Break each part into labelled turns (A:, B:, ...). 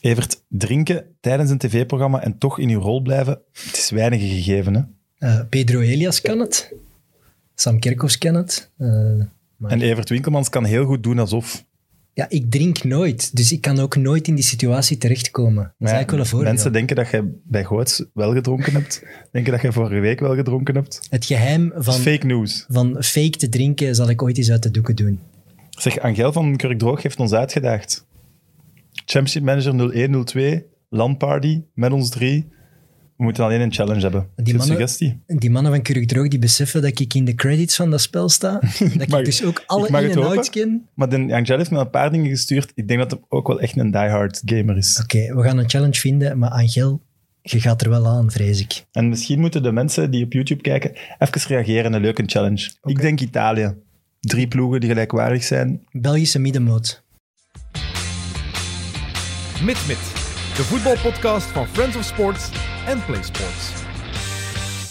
A: Evert, drinken tijdens een tv-programma en toch in uw rol blijven, het is weinig gegeven. Hè?
B: Eh, Pedro Elias kan het. Sam Kerkhoffs kan het. Eh, maar-
A: En Evert Winkelmans kan heel goed doen alsof.
B: ja, ik drink nooit. Dus ik kan ook nooit in die situatie terechtkomen. Dat is
A: Maar ja,
B: eigenlijk wel een voordeel.
A: Mensen denken dat jij bij Goots wel gedronken hebt. denken dat jij vorige week wel gedronken hebt. Dat
B: Het geheim
A: is
B: van,
A: fake news.
B: van fake te drinken zal ik ooit eens uit de doeken doen.
A: Zeg, Angel van Kurkdroog heeft ons uitgedaagd. Championship Manager 0102, LAN-party met ons drie. We moeten alleen een challenge hebben. Die
B: mannen-
A: suggestie.
B: Die mannen van Kurk Droog die beseffen dat ik in de credits van dat spel sta. Dat ik
A: mag-
B: dus ook alle
A: ik mag
B: in-
A: het
B: en
A: hopen.
B: outs ken.
A: Maar den- Angel heeft me een paar dingen gestuurd. Ik denk dat hij ook wel echt een diehard gamer is.
B: Oké, we gaan een challenge vinden, maar Angel, je gaat er wel aan, vrees ik.
A: En misschien moeten de mensen die op YouTube kijken even reageren. Een leuke challenge. Ik denk Italië. Drie ploegen die gelijkwaardig zijn.
B: Belgische middenmoot.
C: MidMid, de voetbalpodcast van Friends of Sports en Play Sports.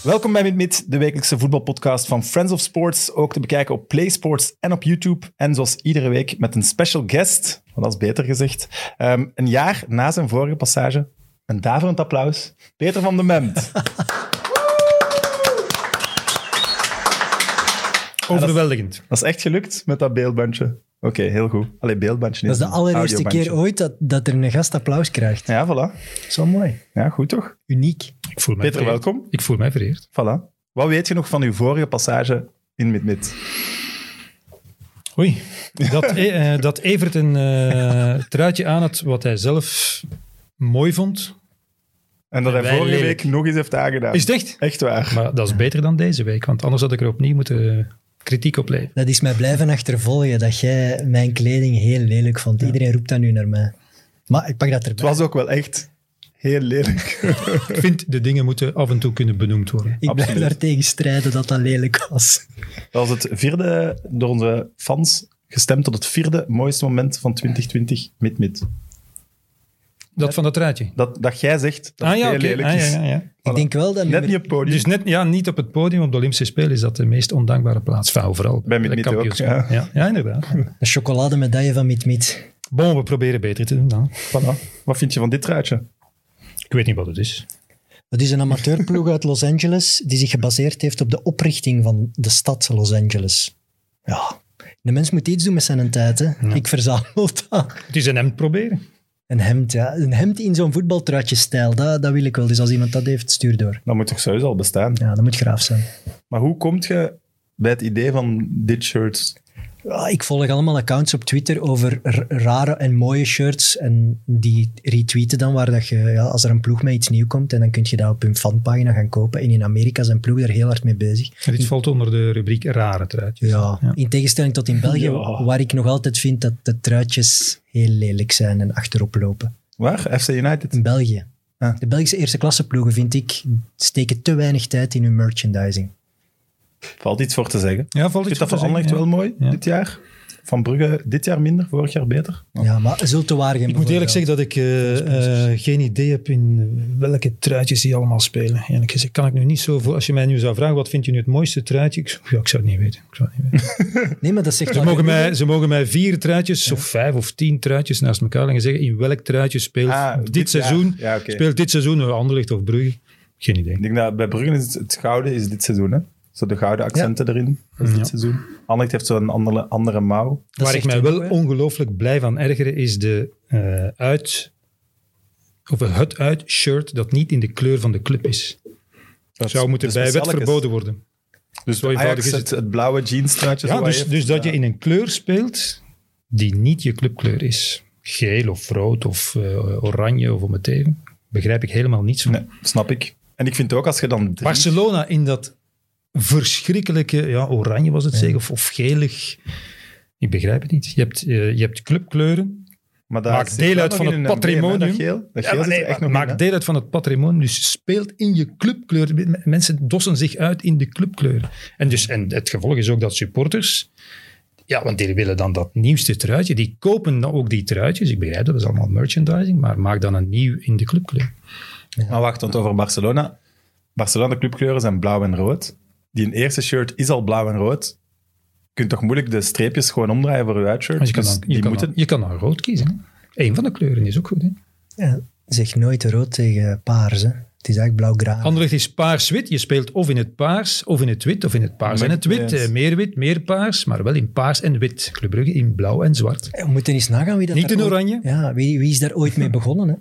A: Welkom bij MidMid, de wekelijkse voetbalpodcast van Friends of Sports. Ook te bekijken op PlaySports en op YouTube. En zoals iedere week met een special guest, want dat is beter gezegd. Ehm, een jaar na zijn vorige passage, een daverend applaus. Peter van de Ment.
D: Overweldigend.
A: dat is echt gelukt met dat beeldbandje. Oké, heel goed. Allee, beeldbandje.
B: Dat is de allereerste keer
A: audiobandje.
B: ooit dat, dat er een gast applaus krijgt.
A: Ja, voilà.
B: Zo mooi.
A: Ja, goed toch?
B: Uniek.
D: Ik voel mij
A: Peter,
D: vereerd.
A: welkom.
D: Ik voel mij vereerd.
A: Voilà. Wat weet je nog van uw vorige passage in Mid-Mid?
D: Oei. Dat, E- eh, dat Evert een eh, truitje aan had wat hij zelf mooi vond.
A: En dat hij
D: Wij
A: vorige
D: lelijk.
A: week nog eens heeft aangedaan.
D: Is het echt?
A: Echt waar.
D: Maar dat is beter dan deze week, want anders had ik er opnieuw moeten eh, kritiek op leveren.
B: Dat is mij blijven achtervolgen, dat jij mijn kleding heel lelijk vond. Iedereen roept dat nu naar mij. Maar ik pak dat
A: Het
B: erbij.
A: was ook wel echt heel lelijk.
D: Ik vind, de dingen moeten af en toe kunnen benoemd worden.
B: Ik blijf
A: absoluut.
B: daar tegen strijden dat dat lelijk was.
A: Dat was het vierde, door onze fans gestemd tot het vierde mooiste moment van 2020 Mid-Mid.
D: Dat van dat truitje.
A: Dat, dat jij zegt dat
D: Ah ja,
A: het heel
D: oké.
A: lelijk
D: Ah,
A: is.
D: ja, ja, ja.
B: Ik denk wel dat
A: Net
B: nummer-
A: niet op het podium.
D: Dus net ja, niet op het podium, op de Olympische Spelen is dat de meest ondankbare plaats. Enfin, overal.
A: Bij
D: de
A: Mid-Mid ook,
D: kampioenschap.
A: ja.
D: Ja, ja, inderdaad.
B: een chocolademedaille van Miet Miet.
D: Bon, we proberen beter te doen dan.
A: Voilà. Wat vind je van dit truitje?
D: Ik weet niet wat het is.
B: Dat is een amateurploeg uit Los Angeles die zich gebaseerd heeft op de oprichting van de stad Los Angeles. Ja, de mens moet iets doen met zijn tijd. Hè. Ik verzamel dat.
D: Het is een hemd proberen.
B: Een hemd, ja. Een hemd in zo'n voetbaltruitje-stijl, dat, dat wil ik wel. Dus als iemand dat heeft, stuur door.
A: Dat moet toch sowieso al bestaan.
B: Ja, dat moet graaf zijn.
A: Maar hoe komt je bij het idee van dit shirt?
B: Ja, Ik volg allemaal accounts op Twitter over r- rare en mooie shirts. En die retweeten dan waar dat je, ja, als er een ploeg met iets nieuw komt, en dan kun je dat op hun fanpagina gaan kopen. En in Amerika zijn ploeg daar heel hard mee bezig.
D: En dit valt onder de rubriek rare truitjes.
B: Ja, in tegenstelling tot in België,
A: Ja.
B: waar ik nog altijd vind dat de truitjes heel lelijk zijn en achterop lopen.
A: Waar? FC United?
B: In België.
A: Ah.
B: De Belgische eerste klasse ploegen, vind ik, steken te weinig tijd in hun merchandising.
A: Valt iets voor te zeggen.
D: Ja, valt
A: Ik
D: iets
A: vind dat
D: voor
A: van
D: te zeggen,
A: Anderlecht wel
D: ja.
A: mooi
D: Ja.
A: dit jaar. Van Brugge dit jaar minder, vorig jaar beter.
B: Ja, maar zult te waar
D: Ik moet eerlijk zeggen dat ik eh, eh, geen idee heb in welke truitjes die allemaal spelen. Eerlijk gezegd kan ik nu niet zo voor. Als je mij nu zou vragen, wat vind je nu het mooiste truitje? Ik, zou- ja, ik zou het niet weten. Ik zou het niet weten.
B: Nee, maar dat zegt
D: ze, mogen mij, ze mogen mij vier truitjes of vijf of tien truitjes naast elkaar leggen en zeggen in welk truitje speelt
A: Ah,
D: dit,
A: dit jaar.
D: seizoen.
A: Ja, oké.
D: Speelt dit seizoen een Anderlecht of Brugge? Geen idee.
A: Ik denk dat bij Brugge is het, het gouden is dit seizoen. Hè? Zo de gouden accenten erin. Dat is dit
D: Ja.
A: seizoen. Anderlecht heeft zo'n andere, andere mouw.
B: Dat
D: Waar ik
B: zegt
D: mij
B: hij
D: wel
B: ook, hè.
D: ongelooflijk blij van ergeren is de eh, uit... Of het uit-shirt dat niet in de kleur van de club is.
A: Dat
D: zou moeten
A: dus
D: bij wet
A: speciaal is.
D: verboden worden.
A: Dus
D: Zo
A: Ajax
D: eenvoudig is
A: het,
D: het.
A: het blauwe jeansstraatje.
D: Ja,
A: zo
D: dus,
A: heeft.
D: dus dat je in een kleur speelt die niet je clubkleur is. Geel of rood of eh, oranje of om het even. Begrijp ik helemaal niets van.
A: Nee, snap ik. En ik vind ook als je dan... drie-
D: Barcelona in dat verschrikkelijke, ja, oranje was het zeker, of, of gelig. Ik begrijp het niet. Je hebt, eh, je hebt clubkleuren.
A: maar daar
D: maakt
A: zit
D: deel
A: wel
D: uit
A: nog
D: van
A: in
D: het
A: een embleem, hè,
D: patrimonium.
A: Dat geel, dat
D: Ja,
A: geel
D: maar
A: zit
D: nee,
A: er echt
D: maar
A: nog
D: maakt
A: in, hè.
D: deel uit van het patrimonium. Dus speelt in je clubkleur. M- Mensen dossen zich uit in de clubkleur. En, dus, en het gevolg is ook dat supporters. Ja, want die willen dan dat nieuwste truitje. Die kopen dan ook die truitjes. Ik begrijp dat, dat is allemaal merchandising. Maar maak dan een nieuw in de clubkleur.
A: Maar wacht, want over Barcelona. Barcelona clubkleuren zijn blauw en rood. Die een eerste shirt is al blauw en rood. Je kunt toch moeilijk de streepjes gewoon omdraaien voor je uitshirt?
D: Want je kan
A: Dus
D: dan, je
A: die
D: kan
A: moeten...
D: dan- je kan dan rood kiezen. Eén van de kleuren is ook goed. Hè?
B: Ja, zeg nooit rood tegen paars. Hè. Het is eigenlijk blauw-graan.
D: Anderlecht is paars-wit. Je speelt of in het paars, of in het wit, of in het paars en het wit.
A: Yes.
D: Eh, meer wit, meer paars, maar wel in paars en wit. Club Brugge in blauw en zwart.
B: Eh, We moeten eens nagaan wie dat
D: Niet
B: daar
D: in
B: ooit-
D: oranje?
B: Ja, wie, wie is daar ooit mee begonnen? Hè?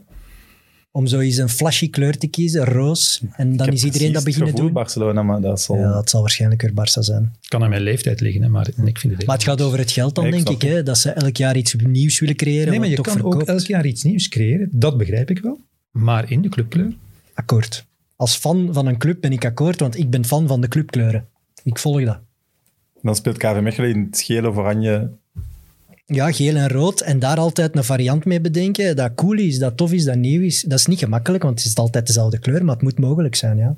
B: Om zo eens een flashy kleur te kiezen, roos. En dan is iedereen dat beginnen
A: doen.
B: doen.
A: Barcelona, maar dat zal...
B: Ja, het zal waarschijnlijk weer Barça zijn.
D: Kan aan mijn leeftijd liggen, hè, maar ik vind het
B: Maar het gaat over het geld dan,
A: Ja, ik
B: denk
A: snap
B: ik. Hè? Dat ze elk jaar iets nieuws willen creëren.
D: Nee, maar je
B: wat
D: kan
B: toch
D: ook
B: verkoopt.
D: elk jaar iets nieuws creëren. Dat begrijp ik wel. Maar in de clubkleur.
B: Akkoord. Als fan van een club ben ik akkoord, want ik ben fan van de clubkleuren. Ik volg dat.
A: Dan speelt KV Mechelen in het geel of oranje.
B: Ja, geel en rood. En daar altijd een variant mee bedenken. Dat cool is, dat tof is, dat nieuw is. Dat is niet gemakkelijk, want het is altijd dezelfde kleur. Maar het moet mogelijk zijn, ja.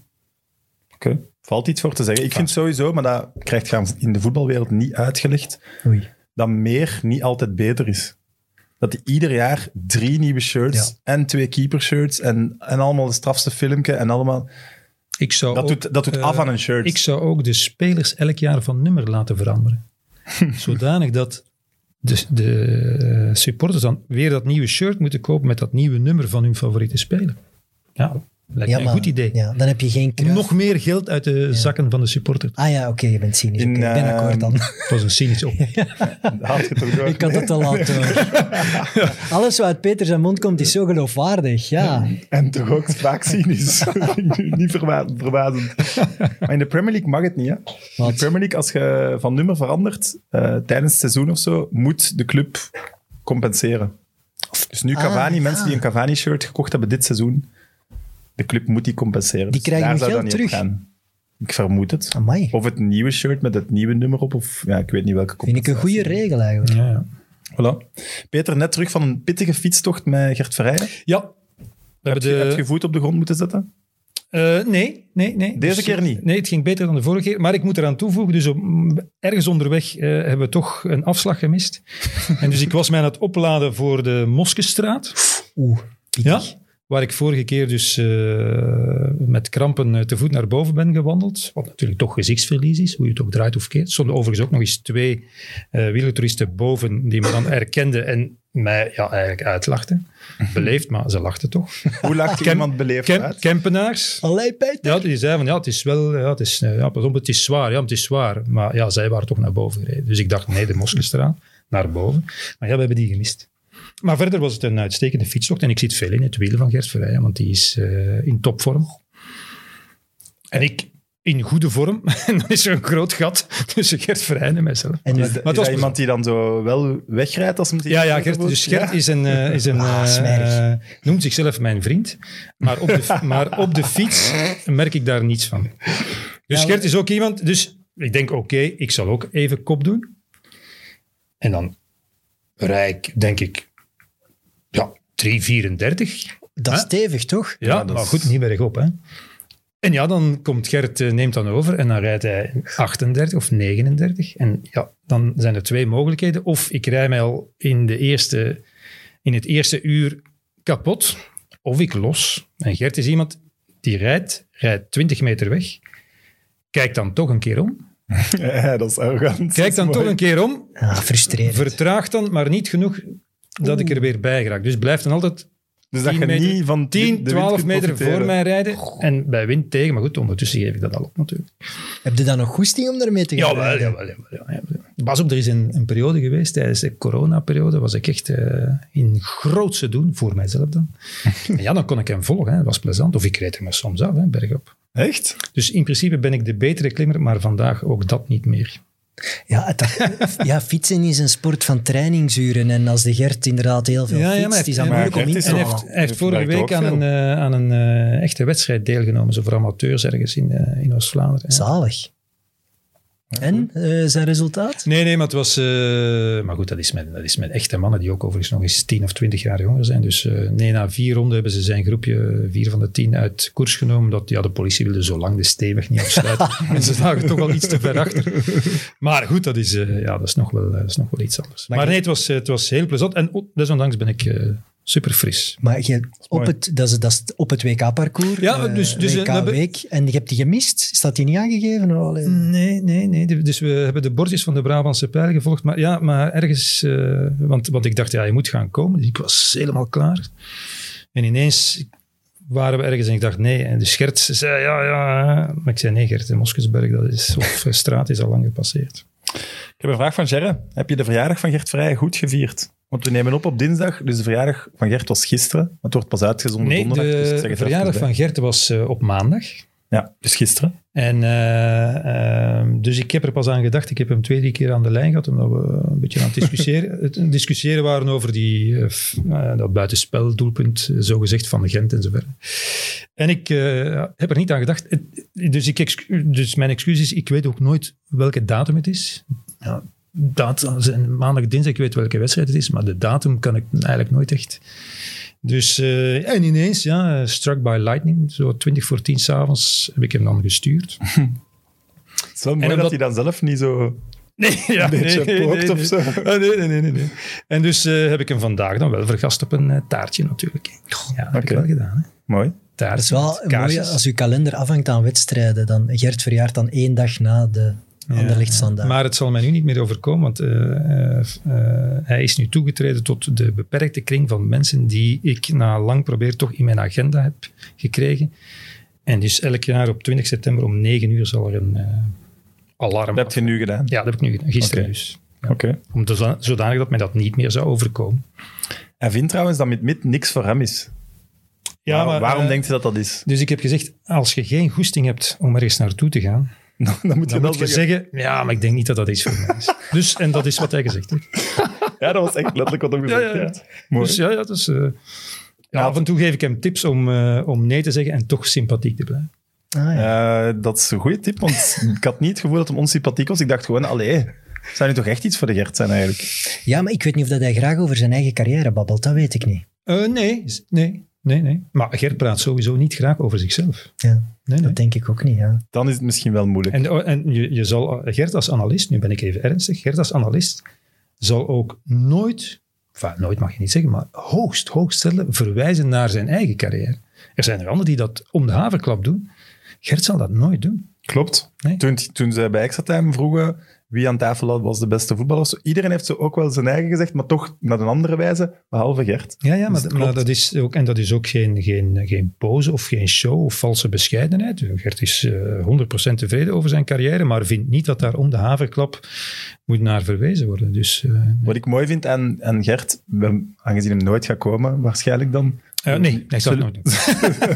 A: Oké. Valt iets voor te zeggen. Ik vind sowieso, maar dat krijgt gaan in de voetbalwereld niet uitgelegd,
B: Oei.
A: dat meer niet altijd beter is. Dat die ieder jaar drie nieuwe shirts
B: Ja.
A: en twee keepershirts en, en allemaal de strafste filmpje en allemaal...
D: Ik zou
A: Dat
D: ook,
A: doet, dat doet
D: eh,
A: af aan een shirt.
D: Ik zou ook de spelers elk jaar van nummer laten veranderen. Zodanig dat de, de eh, supporters dan weer dat nieuwe shirt moeten kopen met dat nieuwe nummer van hun favoriete speler. Ja, lijkt
B: Ja,
D: mij een
B: maar-
D: goed idee.
B: Ja, dan heb je geen
D: Om
B: Cruyff.
D: nog meer geld uit de zakken van de supporter.
B: Ah ja, oké, je bent cynisch.
A: In,
B: Oké, ik ben
D: eh,
A: ehm,
B: akkoord dan.
D: Dat was een cynisch op.
A: Haalt je toch door?
B: Ik had het al laten horen. Alles wat uit Peter zijn mond komt, is zo geloofwaardig. Ja.
A: En toch ook vaak cynisch. niet verwa- verbazend. Maar in de Premier League mag het niet. Hè? In de
B: Wat?
A: Premier League, als je van nummer verandert eh, tijdens het seizoen of zo, moet de club compenseren. Dus nu
B: Ah,
A: Cavani,
B: ja.
A: mensen die een Cavani-shirt gekocht hebben dit seizoen, de club moet die compenseren. Dus
B: Die krijgen
A: daar zou
B: hun
A: dat
B: geld
A: niet op
B: terug.
A: gaan. Ik vermoed het.
B: Amai.
A: Of het nieuwe shirt met het nieuwe nummer op, of ja, ik weet niet welke
B: Vind ik een goede regel eigenlijk.
D: Ja, ja.
A: Voilà. Peter, net terug van een pittige fietstocht met Gert Verheyen.
D: ja. We
A: Heb
D: hebben
A: je, heb
D: de,
A: je voet op de grond moeten zetten?
D: Eh, nee, nee, nee. Dus, eh,
A: Deze keer niet?
D: Nee, het ging beter dan de vorige keer. Maar ik moet eraan toevoegen, dus op, ergens onderweg eh, hebben we toch een afslag gemist. en dus ik was mij aan het opladen voor de Moskestraat.
B: Oeh.
D: Ja. Waar ik vorige keer dus eh, met krampen eh, te voet naar boven ben gewandeld. Wat natuurlijk toch gezichtsverlies is, hoe je het ook draait of keert. Er stonden overigens ook nog eens twee eh wielertoeristen boven die me dan herkenden en mij ja, eigenlijk uitlachten.
A: Mhm.
D: Beleefd, maar ze lachten toch.
A: Hoe lacht je
D: Ken-
A: iemand beleefd
D: Kem-
A: uit?
D: Kempenaars.
B: Allee, Peter.
D: Ja, die zei van ja, het is wel, ja, het is, eh, ja, pas op, het is zwaar, ja, het is zwaar. Maar ja, zij waren toch naar boven gereden. Dus ik dacht, nee, de Moskestraat, naar boven. Maar ja, we hebben die gemist. Maar verder was het een uitstekende fietstocht en ik zit veel in het wiel van Gert Verheyen, want die is eh, in topvorm. En ik in goede vorm. en dan is er een groot gat tussen Gert Verheyen en mijzelf.
B: En
A: Is,
B: wat-
A: is dat
D: was- dus-
A: iemand die dan zo wel wegrijdt als hem
D: Ja, ja, Gert, dus Gert is een... eh, is een
B: Ah,
D: eh,
B: smerig.
D: noemt zichzelf mijn vriend. Maar op, de, maar op de fiets merk ik daar niets van. Dus
B: Ja,
D: Gert is ook iemand... Dus ik denk, oké, ik zal ook even kop doen. En dan rijk, denk ik... Ja, 3,34.
B: Dat is
D: Hè?
B: stevig, toch?
D: Ja,
A: dat
D: maar
A: is-
D: goed, niet bergop, hè. En ja, dan komt Gert, eh, neemt dan over en dan rijdt hij 38 of 39. En ja, dan zijn er twee mogelijkheden. Of ik rij mij al in, de eerste, in het eerste uur kapot, of ik los. En Gert is iemand die rijdt, rijdt 20 meter weg, kijkt dan toch een keer om.
A: Ja, dat is arrogant.
D: Kijkt dan toch een keer om,
B: Ah, frustrerend.
D: vertraagt dan, maar niet genoeg dat ik er weer bij raak. Dus blijft dan altijd
A: Dus dat
D: 10
A: je
D: meter-
A: niet van
D: 10, 12 meter voor
A: mij.
D: mij rijden. En bij wind tegen. Maar goed, ondertussen geef ik dat al op natuurlijk.
B: Heb je dan nog goesting om ermee te gaan?
D: Jawel,
B: rijden?
D: jawel, jawel, jawel. Pas op, er is een, een periode geweest tijdens de coronaperiode. Was ik echt eh, in grootse doen, voor mijzelf dan. en ja, dan kon ik hem volgen. Hè. Dat was plezant. Of ik reed er maar soms af, hè, bergop.
A: Echt?
D: Dus in principe ben ik de betere klimmer, maar vandaag ook dat niet meer.
B: Ja, het- ja, fietsen is een sport van trainingsuren. En als de Gert inderdaad heel veel
D: Ja, ja,
B: fietst,
D: maar hij-
B: is dat
D: maar
B: moeilijk om
A: Gert
B: in
A: is
B: te
D: En
A: nog-
D: hij
B: halen.
D: heeft, hij heeft
A: Dat
D: vorige
A: werkt
D: week
A: ook
D: aan een,
A: veel.
D: eh, aan een eh, echte wedstrijd deelgenomen. Zo voor amateurs ergens in, eh, in Oost-Vlaanderen. hè.
B: Zalig. En eh, zijn resultaat?
D: Nee, nee, maar het was... eh, maar goed, dat is, met, dat is met echte mannen die ook overigens nog eens 10 of 20 jaar jonger zijn. Dus eh, nee, na vier ronden hebben ze zijn groepje, vier van de tien, uit koers genomen. Dat, ja, de politie wilde zo lang de steenweg niet afsluiten. en ze lagen toch al iets te ver achter. Maar goed, dat is, eh, ja, dat is, nog, wel, dat is nog wel iets anders. maar nee, het was, eh, het was heel plezant. En oh, desondanks ben ik eh, super fris.
B: Maar je, op,
A: mooi.
B: het, dat is, dat is op het WK-parcours,
D: Ja,
B: eh,
D: dus- dus, eh, dat be-
B: WK-week. En je hebt die gemist. Is dat die niet aangegeven? Oh, allee.
D: Nee, nee, nee. De- Dus we hebben de bordjes van de Brabantse pijl gevolgd. Maar ja, maar ergens... eh, want, want ik dacht, ja, je moet gaan komen. Dus ik was helemaal klaar. En ineens waren we ergens en ik dacht nee. En de Gert zei ja, ja. Maar ik zei nee Gert, in Moskensberg, dat is, of eh, straat is al lang gepasseerd.
A: Ik heb een vraag van Gerre. Heb je de verjaardag van Gert Vrij goed gevierd? Want we nemen op op dinsdag, dus de verjaardag van Gert was gisteren. Maar Het wordt pas uitgezonden
D: Nee,
A: donderdag. dus ik zeg
D: de
A: het er
D: verjaardag
A: even bij.
D: van Gert was eh, op maandag.
A: Ja, dus gisteren.
D: En, eh, eh, dus ik heb er pas aan gedacht. Ik heb hem twee, drie keer aan de lijn gehad, omdat we een beetje aan het discussiëren, het discussiëren waren over die, eh, f- eh, dat buitenspeldoelpunt, eh, zogezegd, van de Gent en zo verder. En ik eh, heb er niet aan gedacht. Het- Dus, ik, excu- dus mijn excuus is, ik weet ook nooit welke datum het is. Ja, dat zijn maandag, dinsdag, ik weet welke wedstrijd het is, maar de datum kan ik eigenlijk nooit echt... Dus, eh, en ineens, ja, eh, struck by lightning, zo 20 voor 10 s'avonds heb ik hem dan gestuurd.
A: Het is wel mooi dat,
D: omdat-
A: hij dan zelf niet zo...
D: Nee, ja,
A: beetje pookt of zo.
D: Ah, nee, nee, nee, nee, nee. En dus eh, heb ik hem vandaag dan wel vergast op een eh, taartje natuurlijk. Ja, dat heb
A: Oké.
D: ik wel gedaan. Hè.
A: Mooi.
D: Taart,
B: Dat is wel
D: met
B: een mooie,
D: kaarsjes.
B: als uw kalender afhangt aan wedstrijden, dan Gert verjaart dan één dag na de Anderlecht-standaard.
D: Maar het zal mij nu niet meer overkomen, want eh, eh, eh, hij is nu toegetreden tot de beperkte kring van mensen die ik na lang probeer toch in mijn agenda heb gekregen. En dus elk jaar op 20 september om 9 uur zal er een eh, alarm...
A: Dat heb je nu gedaan.
D: Ja, dat heb ik nu gedaan, gisteren
A: Oké.
D: dus.
A: Oké.
D: Om de- zodanig dat mij dat niet meer zou overkomen.
A: Hij vindt trouwens dat met mid niks voor hem is.
D: Ja, eh,
A: Waarom- waarom
D: denk
A: denkt hij dat dat is?
D: Dus ik heb gezegd, als je geen goesting hebt om ergens naartoe te gaan,
A: Dan moet je
D: dan
A: wel
D: moet je zeggen, ja, maar ik denk niet dat dat iets voor mij is. Dus, en dat is wat hij gezegd heeft.
A: Ja, dat was echt letterlijk wat hij gezegd
D: ja, ja.
A: heeft. Mooi.
D: Dus ja, ja, dus, eh, ja,
A: Nou,
D: af en toe geef ik hem tips om, eh, om nee te zeggen en toch sympathiek te blijven.
B: Ah, ja.
A: Eh, dat is een goede tip, want ik had niet het gevoel dat hem onsympathiek was. Ik dacht gewoon, allee, zou nu toch echt iets voor de Gert zijn eigenlijk?
B: ja, maar ik weet niet of dat hij graag over zijn eigen carrière babbelt, dat weet ik niet.
D: Eh, nee, nee, nee, nee. Maar Gert praat sowieso niet graag over zichzelf.
B: Ja,
D: Nee, nee.
B: Dat denk ik ook niet, ja.
A: Dan is het misschien wel moeilijk.
D: En, oh, en je, je zal, Gert als analist, nu ben ik even ernstig, Gert als analist zal ook nooit, enfin, nooit mag je niet zeggen, maar hoogst, hoogst stellen verwijzen naar zijn eigen carrière. Er zijn er anderen die dat om de haverklap doen. Gert zal dat nooit doen.
A: Klopt.
D: Nee.
A: Toen, toen ze bij Extra Time vroegen wie aan tafel was de beste voetballer, zo, iedereen heeft zo ook wel zijn eigen gezegd, maar toch met een andere wijze, behalve Gert.
D: Ja, ja
A: maar
D: maar,
A: dat klopt.
D: dat is ook, en dat is ook geen, geen, geen pose of geen show of valse bescheidenheid. Gert is eh, 100% tevreden over zijn carrière, maar vindt niet dat daar om de haverklap moet naar verwezen worden. Dus eh,
A: Wat ik mooi vind aan, aan Gert, we- aangezien hem nooit gaat komen, waarschijnlijk dan.
D: eh, nee, ik zou
A: Zullen-
D: het nooit doen.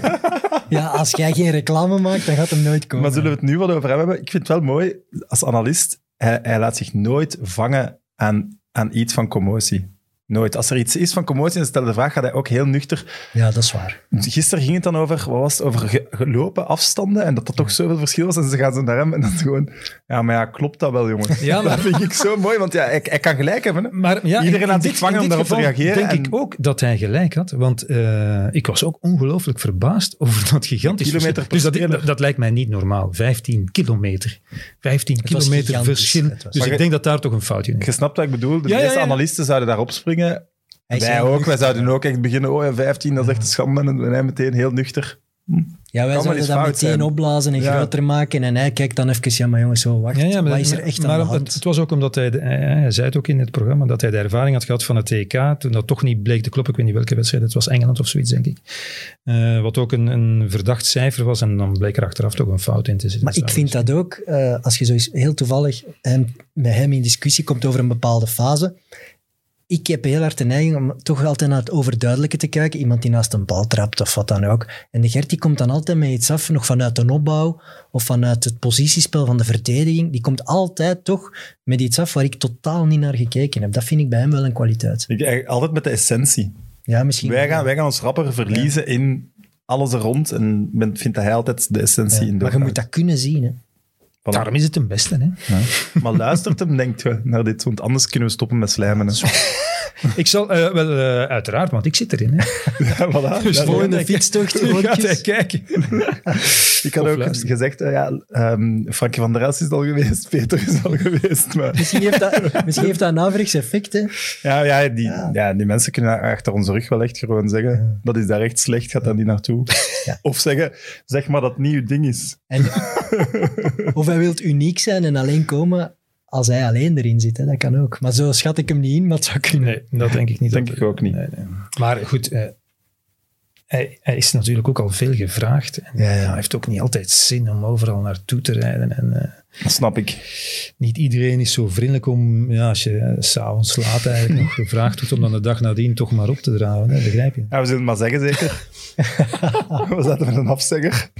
B: Ja, als jij geen reclame maakt, dan gaat hem nooit komen.
A: Maar zullen we het nu wat over hem hebben? Ik vind het wel mooi, als analist, hij, hij laat zich nooit vangen aan, aan iets van commotie. Nooit. Als er iets is van commotie, dan stel de vraag, gaat hij ook heel nuchter
B: Ja, dat is waar.
A: Gisteren ging het dan over, wat was het, over ge- gelopen afstanden en dat dat toch zoveel verschil was. En ze gaan ze naar hem en dan gewoon, ja, maar ja, klopt dat wel, jongen?
D: Ja, maar-
A: Dat vind ik zo mooi, want ja, hij, hij kan gelijk hebben. Hè?
D: Maar ja,
A: Iedereen
D: in-
A: aan
D: in
A: zich
D: dit-
A: vangen
D: in
A: om daarop
D: dit
A: te
D: geval
A: reageren en-
D: Denk ik ook dat hij gelijk had, want eh, ik was ook ongelooflijk verbaasd over dat gigantische
A: Kilometer
D: verschil.
A: per
D: Dus dat,
A: speler.
D: dat, dat lijkt mij niet normaal. 15 kilometer. 15
B: was
D: kilometer
B: gigantisch.
D: verschil.
B: Het was-
D: Dus
A: Maar je-
D: ik denk dat daar toch een foutje in
A: Je
D: is.
A: snapt wat ik bedoel. De
D: Ja, ja,
A: meeste
D: ja.
A: analisten zouden daarop springen.
B: Hij is
A: wij
B: heel
A: ook.
B: nuchter.
A: Wij zouden ook echt beginnen, oh ja, 15, dat is echt een schande. En hij meteen heel nuchter.
B: Ja, wij
A: maar
B: zouden
A: eens
B: dat
A: fout
B: meteen
A: zijn.
B: opblazen en
A: Ja.
B: groter maken. En hij kijkt dan even, ja, maar jongens, zo, wacht, wat is er echt aan de
D: het-
B: hand?
D: Het, was ook omdat hij, de- hij, hij zei het ook in het programma, dat hij de ervaring had gehad van het TK, toen dat toch niet bleek te kloppen. Ik weet niet welke wedstrijd, het was Engeland of zoiets, denk ik. Eh, wat ook een, een verdacht cijfer was en dan bleek er achteraf toch een fout in te zitten.
B: Maar ik vind dat ook, eh, als je zo eens heel toevallig hem, met hem in discussie komt over een bepaalde fase. Ik heb heel hard de neiging om toch altijd naar het overduidelijke te kijken. Iemand die naast een bal trapt of wat dan ook. En de Gert die komt dan altijd met iets af, nog vanuit een opbouw of vanuit het positiespel van de verdediging. Die komt altijd toch met iets af waar ik totaal niet naar gekeken heb. Dat vind ik bij hem wel een kwaliteit.
A: Ik, eigenlijk altijd met de essentie.
B: Ja, misschien.
A: Wij gaan, wij gaan ons rapper verliezen in alles er rond. En men vindt dat hij altijd de essentie
B: Ja,
A: in de
B: maar je moet dat kunnen zien. Hè.
D: Daarom is het een beste, hè?
A: Maar luistert hem, denkt we, naar dit. Want anders kunnen we stoppen met slijmen. hè.
D: Ik zal, eh, wel, eh, uiteraard, want ik zit erin. Hè.
A: Ja, voilà.
D: Dus
A: Ja,
D: voor-
B: Volgende
D: ja.
B: fietstocht.
D: Gaat hij
B: eventjes.
D: kijken.
A: Ik had
D: Of
A: ook
D: luisteren.
A: gezegd, eh, ja, ehm Frankie van der Elst is al geweest, Peter is al geweest. Maar,
B: Misschien heeft dat, misschien heeft dat een averechts effect. Hè.
A: ja, ja, die, ja. die mensen kunnen achter onze rug wel echt gewoon zeggen, dat is daar echt slecht, gaat daar niet naartoe.
B: Ja.
A: Of zeggen, zeg maar dat het niet uw ding is.
B: En, of hij wil uniek zijn en alleen komen als hij alleen erin zit. Hè. Dat kan ook. Maar zo schat ik hem niet in, maar het zou kunnen.
D: Nee, dat denk ik niet.
A: Denk
D: Dat-
A: ik ook niet.
D: Nee, nee. Maar goed, eh, hij, hij is natuurlijk ook al veel gevraagd. En,
B: Ja, ja.
D: Hij heeft ook niet altijd zin om overal naartoe te rijden. En, eh,
A: Dat snap ik.
D: niet iedereen is zo vriendelijk om, ja, als je eh, s'avonds laat eigenlijk nog gevraagd wordt, om dan de dag nadien toch maar op te draven. Hè, begrijp je?
A: Ja, we zullen het maar zeggen, zeker. we zetten met een afzegger.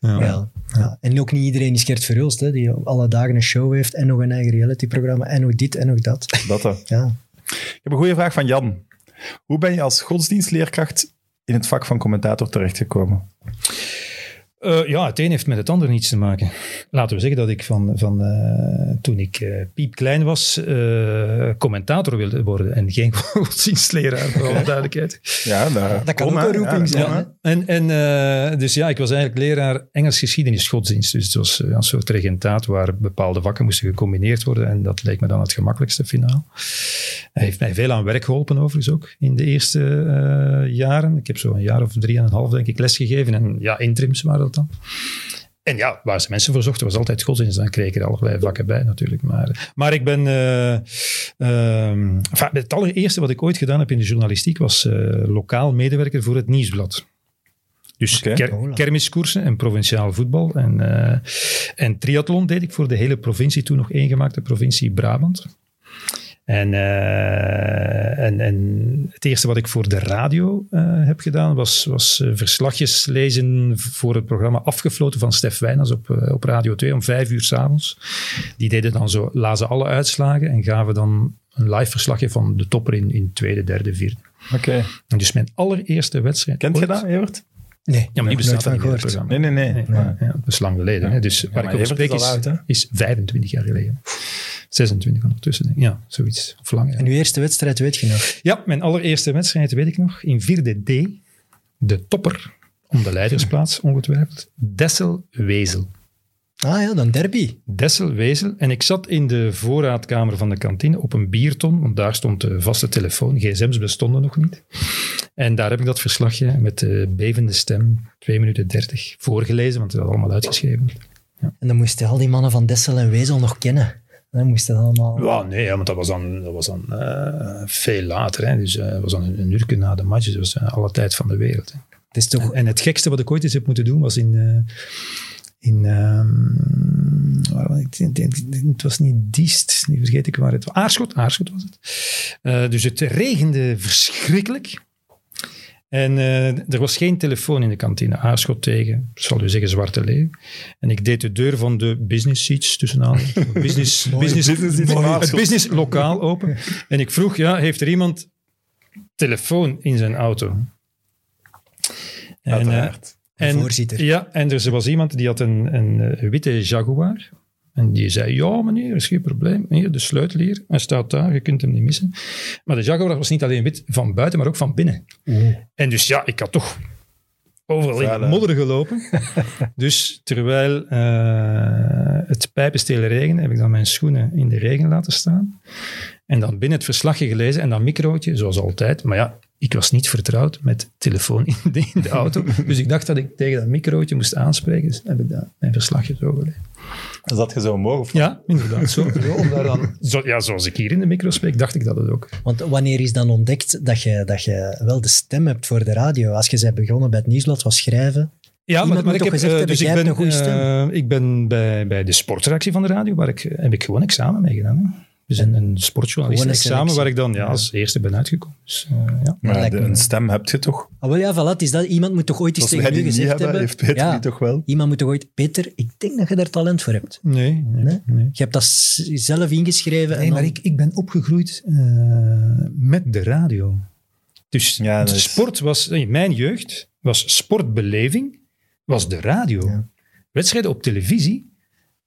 B: Ja. ja. En ook niet iedereen is Gert Verhulst, hè, die alle dagen een show heeft en nog een eigen realityprogramma en nog dit en nog dat.
A: Dat hè.
B: Ja.
A: Ik heb een goede vraag van Jan. Hoe ben je als godsdienstleerkracht in het vak van commentator terechtgekomen?
D: Eh, ja, het een heeft met het ander niets te maken. Laten we zeggen dat ik van, van eh, toen ik eh piepklein was, eh, commentator wilde worden en geen godsdienstleraar, voor alle duidelijkheid.
A: Ja, daar-
B: Dat kan
A: kom,
B: ook
A: hè.
B: een roeping
A: Ja,
B: zijn,
A: kom,
B: hè.
A: hè.
D: En, en eh, dus ja, ik was eigenlijk leraar Engels geschiedenis godsdienst. Dus het was eh, een soort regentaat waar bepaalde vakken moesten gecombineerd worden. En dat leek me dan het gemakkelijkste finaal. Hij heeft mij veel aan werk geholpen overigens ook in de eerste eh, jaren. Ik heb zo een jaar of drie en een half denk ik lesgegeven. En ja, interims waren dat dan. En ja, waar ze mensen voor zochten was altijd godsdienst. Dan kreeg ik er allerlei vakken bij natuurlijk. Maar, maar ik ben... eh, ehm, enfin, het allereerste wat ik ooit gedaan heb in de journalistiek was eh, lokaal medewerker voor het Nieuwsblad. Dus
A: Oké.
D: ker-
B: Hola.
D: kermiskoersen en provinciaal voetbal. En, eh, en triathlon deed ik voor de hele provincie, toen nog eengemaakte provincie Brabant. En, eh, en, en het eerste wat ik voor de radio eh, heb gedaan, was, was eh, verslagjes lezen voor het programma Afgefloten van Stef Wijnands op, eh, op Radio 2 om vijf uur s'avonds. Die deden dan zo, lazen alle uitslagen en gaven dan een live verslagje van de topper in, in tweede, derde, vierde.
A: Oké.
D: En dus mijn allereerste wedstrijd.
A: Kent je
D: ooit-
A: dat, Evert?
B: Nee,
D: Ja, maar die
B: heb ik
D: bestaat
B: nooit
D: niet
B: van
D: in het
B: gehoord.
D: programma.
A: Nee, nee, nee.
D: Ja, ja, dat is lang geleden. Hè? Dus waar
A: maar
D: ik over
A: Evert is
D: spreek is,
A: al oud, hè?
D: is 25 jaar geleden. 26 ondertussen, denk ik. Ja, zoiets. Of langer.
B: En uw eerste wedstrijd weet je nog.
D: Ja, mijn allereerste wedstrijd weet ik nog. In vierde D, de topper om de leidersplaats ongetwijfeld. Dessel-Wezel.
B: Ah ja, dan derby.
D: Dessel-Wezel. En ik zat in de voorraadkamer van de kantine op een bierton, want daar stond de vaste telefoon. Gsm's bestonden nog niet. En daar heb ik dat verslagje met eh, bevende stem, 2 minuten 30, voorgelezen, want het had allemaal uitgeschreven.
B: En dan moesten al die mannen van Dessel en Wezel nog kennen. Dan moest dat allemaal...
D: Ja, nee, ja, want dat was dan, dat was dan eh, veel later. Hè. Dus eh, dat was dan een, een uur na de match. Dus dat was eh, alle tijd van de wereld. Hè.
B: Het is toch...
D: En het gekste wat ik ooit eens heb moeten doen was in. eh, in ehm, waar was ik? Ik denk- ik denk- het was niet Diest, nu vergeet ik waar het was. Aarschot, Aarschot was het. Eh, dus het regende verschrikkelijk. En eh, er was geen telefoon in de kantine. Aarschot tegen, zal u zeggen, Zwarte Leeuw. En ik deed de deur van de business seats, tussen aanhalingstekens, business, business,
A: business seats van
D: het
A: Aarschot.
D: business lokaal open. En ik vroeg, ja, heeft er iemand telefoon in zijn auto? En, eh,
A: Uiteraard.
B: Een voorzitter.
D: Ja, en er was iemand die had een, een eh, witte Jaguar. En die zei, ja meneer, is geen probleem. Hier, de sleutel hier. Hij staat daar, je kunt hem niet missen. Maar de Jaguar was niet alleen wit van buiten, maar ook van binnen. En dus ja, ik had toch overal in
A: Vuil,
D: de
A: hè?
D: modder gelopen. dus terwijl eh, het pijpenstelen regende, heb ik dan mijn schoenen in de regen laten staan. En dan binnen het verslagje gelezen en dan microotje, zoals altijd. Maar ja, ik was niet vertrouwd met telefoon in de, in de auto. dus ik dacht dat ik tegen dat microotje moest aanspreken. Dus heb ik dat, mijn verslagje zo gelezen.
A: Zat je zo omhoog? Of...
D: Ja, inderdaad. Zo, zo, om daar dan, zo, ja, zoals ik hier in de micro spreek, dacht ik dat het ook.
B: Want wanneer is dan ontdekt dat je, dat je wel de stem hebt voor de radio? Als je bent begonnen bij het nieuwsblad, was schrijven.
D: Ja,
B: Iemand moet toch gezegd
D: eh,
B: hebben,
D: dus ik
B: jij
D: ben,
B: hebt een goede
D: eh, ik ben bij, bij de sportreactie van de radio, waar ik, heb ik gewoon examen mee gedaan. Hè. Dus een, een sportjournalist
B: Gewoon een
D: examen waar
B: selectie.
D: ik dan ja, als eerste ben uitgekomen. Dus, eh, ja.
A: Maar
B: Dat
A: ja,
B: lijkt
A: de-
B: me-
A: een stem heb je toch?
B: Ah, wel ja, voilà, het is dat. Iemand moet toch ooit iets
A: Als
B: tegen
A: wij
B: u
A: die niet
B: gezegd
A: hebben,
B: hebben?
A: heeft Peter
B: Ja.
A: die toch wel?
B: Iemand moet toch ooit... Peter, ik denk dat je daar talent voor hebt.
D: Nee, nee,
B: Nee?
D: nee.
B: Je hebt dat s- zelf ingeschreven. en
D: Nee, maar
B: dan-
D: ik, ik ben opgegroeid eh, met de radio. Dus
A: Ja,
D: het
A: dat is-
D: sport was, in mijn jeugd, was sportbeleving, was de radio.
B: Ja.
D: Wedstrijden op televisie,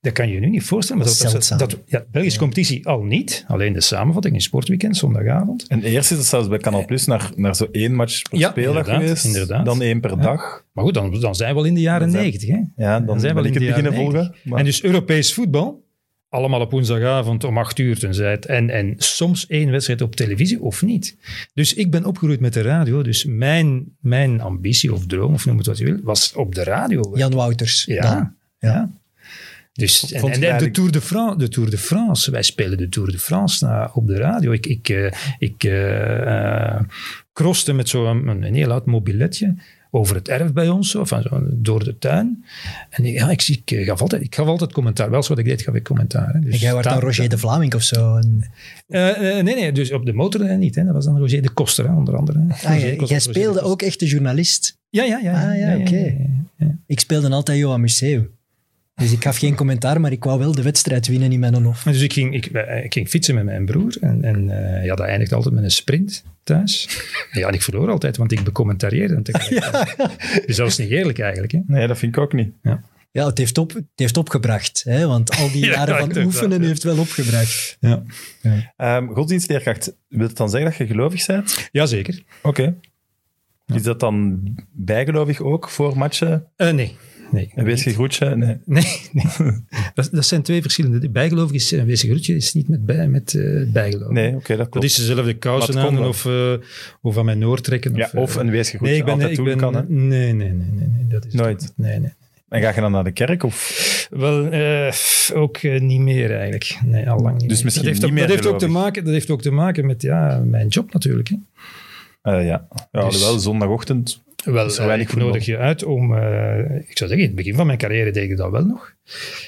D: dat kan je je nu niet voorstellen. Maar
B: Dat
D: dat,
B: is
D: dat,
B: zeldzaam.
D: dat- ja, Belgische competitie al niet. Alleen de samenvatting in Sportweekend, zondagavond.
A: En eerst is het zelfs bij Canal Plus naar, naar zo één match per
D: Ja,
A: speeldag
D: inderdaad,
A: geweest.
D: inderdaad.
A: Dan één per
D: Ja.
A: dag.
D: Maar goed, dan, dan zijn we al in de jaren
A: Dan zijn-
D: negentig. hè?
A: Ja, dan,
D: Dan zijn we
A: ben
D: al
A: ik
D: in
A: het
D: de
A: beginnen
D: jaren
A: volgen. Maar
D: En dus Europees voetbal, allemaal op woensdagavond om acht uur tenzij het. En, en soms één wedstrijd op televisie of niet. Dus ik ben opgegroeid met de radio. Dus mijn, mijn ambitie of droom, of noem het wat je wil, was op de radio.
B: Jan Wouters.
D: Ja.
B: dan.
D: ja. Dus,
A: Vond je
D: en, en- en de,
A: eigenlijk-
D: Tour de, France, de Tour de France, wij spelen de Tour de France na- op de radio. Ik, ik, eh, ik eh, eh, crosten met zo'n een, een heel oud mobiletje over het erf bij ons, of zo, door de tuin. En ik- ja, ik, zie, ik, gaf altijd, ik gaf altijd commentaar. Wel, zoals ik deed, gaf ik commentaar. hè. Dus
B: En jij wordt dan
D: daar-
B: Roger de Vlaming of zo. En,
D: Eh, eh, nee, nee, dus op de motor eh, niet. Hè. Dat was dan Roger de Koster, hè, onder andere. Roger
B: ah,
D: de
B: jij,
D: Koster,
B: jij
D: Roger de
B: speelde
D: Koster.
B: ook echt de journalist.
D: Ja, ja, ja.
B: Ah, ja, oké. Ik speelde altijd Johan Museeuw. Dus ik gaf geen commentaar, maar ik wou wel de wedstrijd winnen in mijn hof.
D: En Dus ik ging, ik, eh, ik ging fietsen met mijn broer. En, en eh, ja, dat eindigt altijd met een sprint thuis. Ja, en ik verloor altijd, want ik becommentarieerde. hem tegelijk. Dus dat is niet eerlijk eigenlijk. Hè.
A: Nee, dat vind ik ook niet.
B: Ja, het heeft, op, het heeft opgebracht. Hè? Want al die
D: Ja,
B: jaren van
D: inderdaad,
B: oefenen
D: ja.
B: heeft wel opgebracht.
D: Ja.
A: Ehm, godsdienstleerkracht, wil het dan zeggen dat je gelovig bent?
D: Jazeker.
A: Oké. Is dat dan bijgelovig ook voor matchen?
D: Eh, nee. Nee.
A: Een weesgegroetje? Nee.
D: Nee, nee. Dat, dat zijn twee verschillende. Bijgeloof is een wezen groetje, is niet met, bij, met eh, bijgeloof.
A: Nee, oké, dat klopt.
D: Dat is dezelfde kousen
A: Maar het
D: aan
A: kon
D: doen
A: wel.
D: of, eh, of aan mijn oor trekken.
A: ja,
D: eh,
A: of een weesgegroetje.
D: nee, ik ben,
A: altijd
D: ik
A: doen
D: ben
A: kan, hè.
D: nee, nee, nee, nee, nee, dat is het
A: Nooit.
D: niet. Nee, nee.
A: En ga je dan naar de kerk? Of?
D: Wel, eh, pff, ook eh, niet meer eigenlijk. Nee, al lang niet.
A: Dus
D: meer.
A: misschien
D: dat heeft,
A: niet
D: ook,
A: meer
D: dat heeft ook te
A: gelovig.
D: maken, dat heeft ook te maken met ja, mijn job natuurlijk. Hè.
A: Eh, ja, ja
D: Dus-
A: wel zondagochtend.
D: Wel,
A: Zo
D: eh,
A: weinig
D: ik
A: voetbal.
D: nodig je uit om... eh, ik zou zeggen, in het begin van mijn carrière deed ik dat wel nog.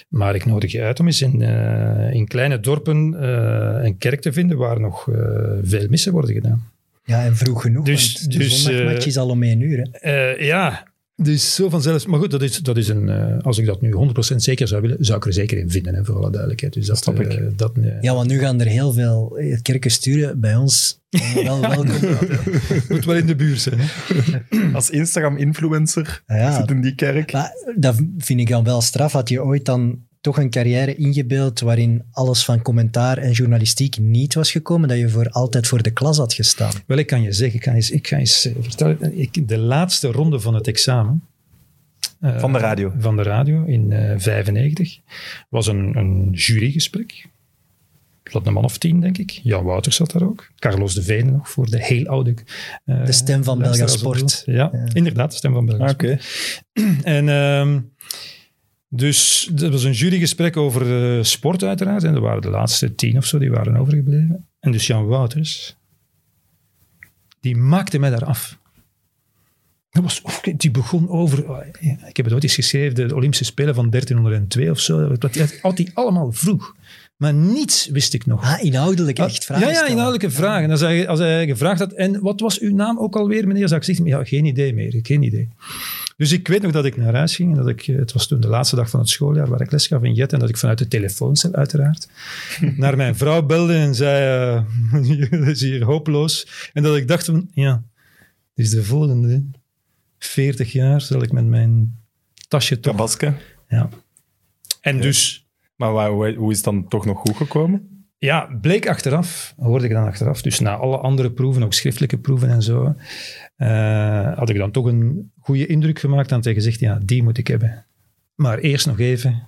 D: Maar ik nodig je uit om eens in, eh, in kleine dorpen eh, een kerk te vinden waar nog eh, veel missen worden gedaan.
B: Ja, en vroeg genoeg.
D: Dus-
B: Dus, want de
D: dus,
B: zondagmatch
D: eh,
B: is al om één uur. Hè?
D: Eh, ja, dus zo vanzelf. Maar goed, dat is, dat is een, eh, als ik dat nu 100% zeker zou willen, zou ik er zeker in vinden, hè, voor alle duidelijkheid. Dus dat,
A: Snap ik.
D: eh, dat, eh,
B: Ja, want nu gaan er heel veel eh, kerken sturen. Bij ons eh, wel welkom.
D: moet wel in de buurt zijn. hè.
A: Als Instagram-influencer
B: Ja.
A: zit in die kerk.
B: Maar dat vind ik dan wel straf. Had je ooit dan toch een carrière ingebeeld waarin alles van commentaar en journalistiek niet was gekomen, dat je voor altijd voor de klas had gestaan?
D: Wel, ik kan je zeggen, ik ga eens, ik ga eens eh, vertellen. Ik, de laatste ronde van het examen. eh,
A: Van de radio.
D: Van de radio in 1995 was een, een jurygesprek. Er zat een man of tien, denk ik. Jan Wouters zat daar ook. Carlos de Veen nog voor de heel oude. eh,
B: De stem van Belga
D: luisteraars op
B: Sport.
D: beeld. Ja, inderdaad, de stem van Belga
A: Ah,
D: Sport. En ehm, dus dat was een jurygesprek over eh, sport uiteraard. En er waren de laatste tien of zo, die waren overgebleven. En dus Jan Wouters, die maakte mij daar af. Dat was, of- die begon over, oh, ik heb het ooit eens geschreven, de Olympische Spelen van 1302 of zo. Dat- Dat had hij allemaal vroeg. Maar niets wist ik nog.
B: Ah, inhoudelijk echt vragen
D: Ja, ja,
B: stellen.
D: inhoudelijke vragen. Als hij, als hij gevraagd had, en wat was uw naam ook alweer, meneer? Zou ik zeggen, ja, geen idee meer, geen idee. Dus ik weet nog dat ik naar huis ging. En dat ik, eh, het was toen de laatste dag van het schooljaar waar ik les gaf in Jet. En dat ik vanuit de telefooncel, uiteraard, naar mijn vrouw belde en zei, eh, dat is hier hopeloos. En dat ik dacht, van, ja, dit is de volgende. 40 jaar zal ik met mijn tasje toch...
A: Tabaske.
D: Ja. En dus...
A: Maar waar- hoe- hoe is het dan toch nog goed gekomen?
D: Ja, bleek achteraf, hoorde ik dan achteraf. Dus na alle andere proeven, ook schriftelijke proeven en zo, eh, had ik dan toch een goede indruk gemaakt en tegen gezegd, ja, die moet ik hebben. Maar eerst nog even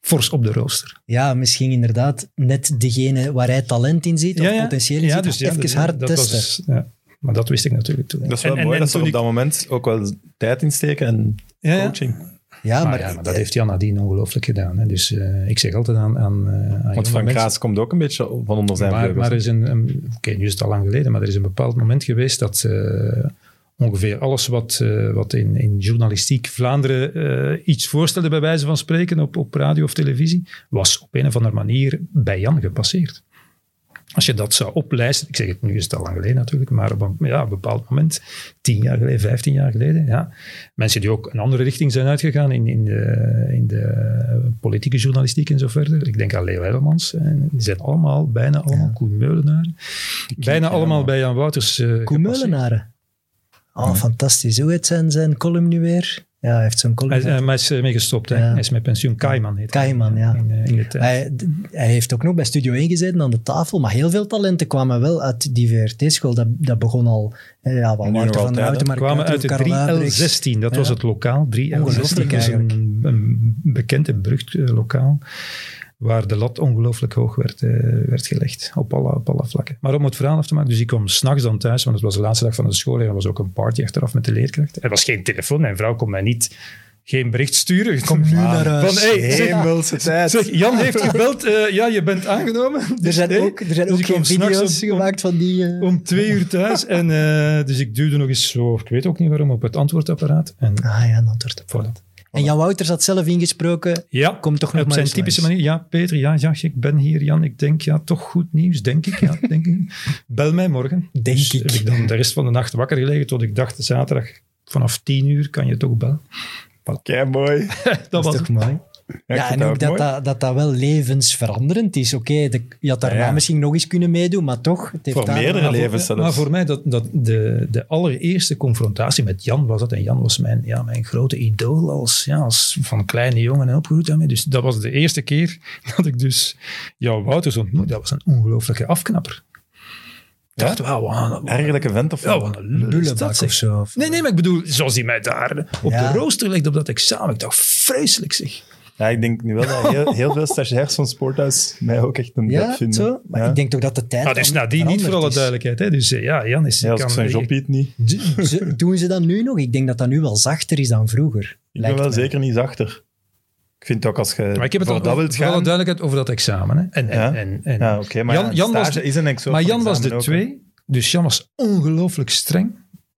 D: fors op de rooster.
B: Ja, misschien inderdaad net degene waar hij talent in ziet, of potentieel in ziet,
D: dus
B: of even
D: dat-
B: hard
D: dat
B: testen.
D: was- dus- ja, maar dat wist ik natuurlijk toen.
A: Dat is wel
D: En- en-
A: mooi
D: en
A: dat ze
D: toen
A: er op
D: ik-
A: dat moment ook wel tijd in steken en
D: Ja, ja.
A: coaching.
B: ja,
D: Maar,
B: maar,
D: Ah, ja, maar dat heeft Jan nadien ongelooflijk gedaan. Hè. Dus eh, ik zeg altijd aan, aan, eh, aan jonge
A: Want Frank
D: mensen-
A: Kraas komt ook een beetje van onder zijn
D: Maar,
A: vleugels.
D: maar er is een, een- oké, nu is het al lang geleden, maar er is een bepaald moment geweest dat eh, ongeveer alles wat, eh, wat in, in journalistiek Vlaanderen eh, iets voorstelde, bij wijze van spreken, op, op radio of televisie, was op een of andere manier bij Jan gepasseerd. Als je dat zou oplijsten, ik zeg het nu is het al lang geleden natuurlijk, maar op een, ja, op een bepaald moment, tien jaar geleden, vijftien jaar geleden, ja, mensen die ook een andere richting zijn uitgegaan in, in, de, in de politieke journalistiek en zo verder. Ik denk aan Leo Hermans. en Die zijn allemaal, bijna allemaal, Koen Meulenaar. Bijna allemaal bij Jan Wouters. eh,
B: Koen
D: gepasseerd.
B: Meulenaren. Oh, fantastisch. Hoe heet zijn, zijn column nu weer? Ja, hij heeft zo'n
D: Hij,
B: column.
D: is- eh, maar hij is ermee gestopt. Hè.
B: Ja. Ah,
D: Hij is met pensioen. Kaiman heet hij.
B: Kaiman, ja.
D: In, eh, in de tijd.
B: Hij, d- hij heeft ook nog bij Studio 1 gezeten aan de tafel, maar heel veel talenten kwamen wel uit die VRT-school. Dat, dat begon al, eh, ja, wat
A: Nu nog
B: Wouter van
A: altijd,
B: der Houten,
A: hè.
B: maar
D: kwamen uit de 3L16, dat was het lokaal. 3L16
B: Ongelooflijk
D: is
B: eigenlijk.
D: een, een bekend en berucht eh, lokaal waar de lat ongelooflijk hoog werd, eh, werd gelegd op alle, op alle vlakken. Maar om het verhaal af te maken, dus ik kwam s'nachts dan thuis, want het was de laatste dag van de school en er was ook een party achteraf met de leerkracht. Er was geen telefoon, mijn vrouw kon mij niet geen bericht sturen. Ah,
B: Kom nu naar huis.
D: Van, hey, zeg,
A: Hemelse tijd.
D: zeg, Jan heeft gebeld, eh, ja, je bent aangenomen.
B: Er zijn
D: nee.
B: ook, er zijn
D: Dus
B: ook
D: ik kwam
B: geen
D: s'nachts
B: video's
D: om- om-
B: gemaakt van die... eh,
D: om twee uur thuis. En, eh, dus ik duwde nog eens zo, ik weet ook niet waarom, op het antwoordapparaat. En,
B: Ah ja, een antwoord op voilà. En Jan Wouters had zelf ingesproken.
D: ja,
B: Kom toch nog
D: op
B: maar
D: zijn
B: eens
D: typische
B: langs.
D: manier. Ja, Peter, ja, ja, ik ben hier. Jan, ik denk, ja, toch goed nieuws, denk ik. Ja, denk ik. Bel mij morgen.
B: Denk
D: Dus
B: ik.
D: Heb ik dan de rest van de nacht wakker gelegen tot ik dacht, zaterdag vanaf tien uur kan je toch bellen.
A: Kijk, mooi.
D: Dat was
B: is toch mooi?
A: Ja,
B: Ja, en ook dat dat, dat dat wel levensveranderend is. Oké, de- je had daarna
A: Ja, ja.
B: misschien nog eens kunnen meedoen, maar toch. Het heeft
A: Voor
B: daar-
A: meerdere
D: Maar voor-
A: levens zelfs.
D: Maar voor mij, dat, dat de, de allereerste confrontatie met Jan was dat. En Jan was mijn, ja, mijn grote idool als, ja, als van kleine jongen en opgegroeid daarmee. Dus dat was de eerste keer dat ik dus jouw Wouters ontmoette. Dat was een ongelooflijke afknapper. Ik dacht, wauw, wat een-
A: Ergerlijke vent of
D: ja,
A: wat?
D: wat een lul is
B: Bullenbak
D: dat, zeg.
B: of zo, of-
D: Nee, nee, maar ik bedoel, zoals hij mij daar op
B: Ja.
D: de rooster legde op dat examen. Ik dacht, vreselijk zeg.
A: Ja, ik denk nu wel dat heel, heel veel stagiairs van Sporthuis mij ook echt een
B: Ja,
A: bed vinden.
B: zo. Maar
A: Ja.
B: ik denk toch dat de tijd.
D: Maar dus
B: dan
D: nadien niet voor alle
B: veranderd is.
D: duidelijkheid. Hè. Dus eh, ja, Jan is...
A: Ja, als
D: kan-
A: ik zijn job eet niet.
B: Ze- Doen ze dat nu nog? Ik denk dat dat nu wel zachter is dan vroeger.
A: Ik ben
B: lijkt
A: wel
B: mij.
A: zeker niet zachter. Ik vind ook als je
D: Maar ik heb het
A: voor
D: al
A: dat
D: over,
A: wilt
D: voor alle
A: gaan...
D: duidelijkheid over dat examen. Hè. En, en,
A: Ja.
D: en, en-
A: Ja, oké, maar
D: Jan-
A: ja,
D: Jan was
A: stage
D: de-
A: is een exoot
D: maar
A: van
D: Jan was de
A: examen ook, hè.
D: twee, dus Jan was ongelooflijk streng.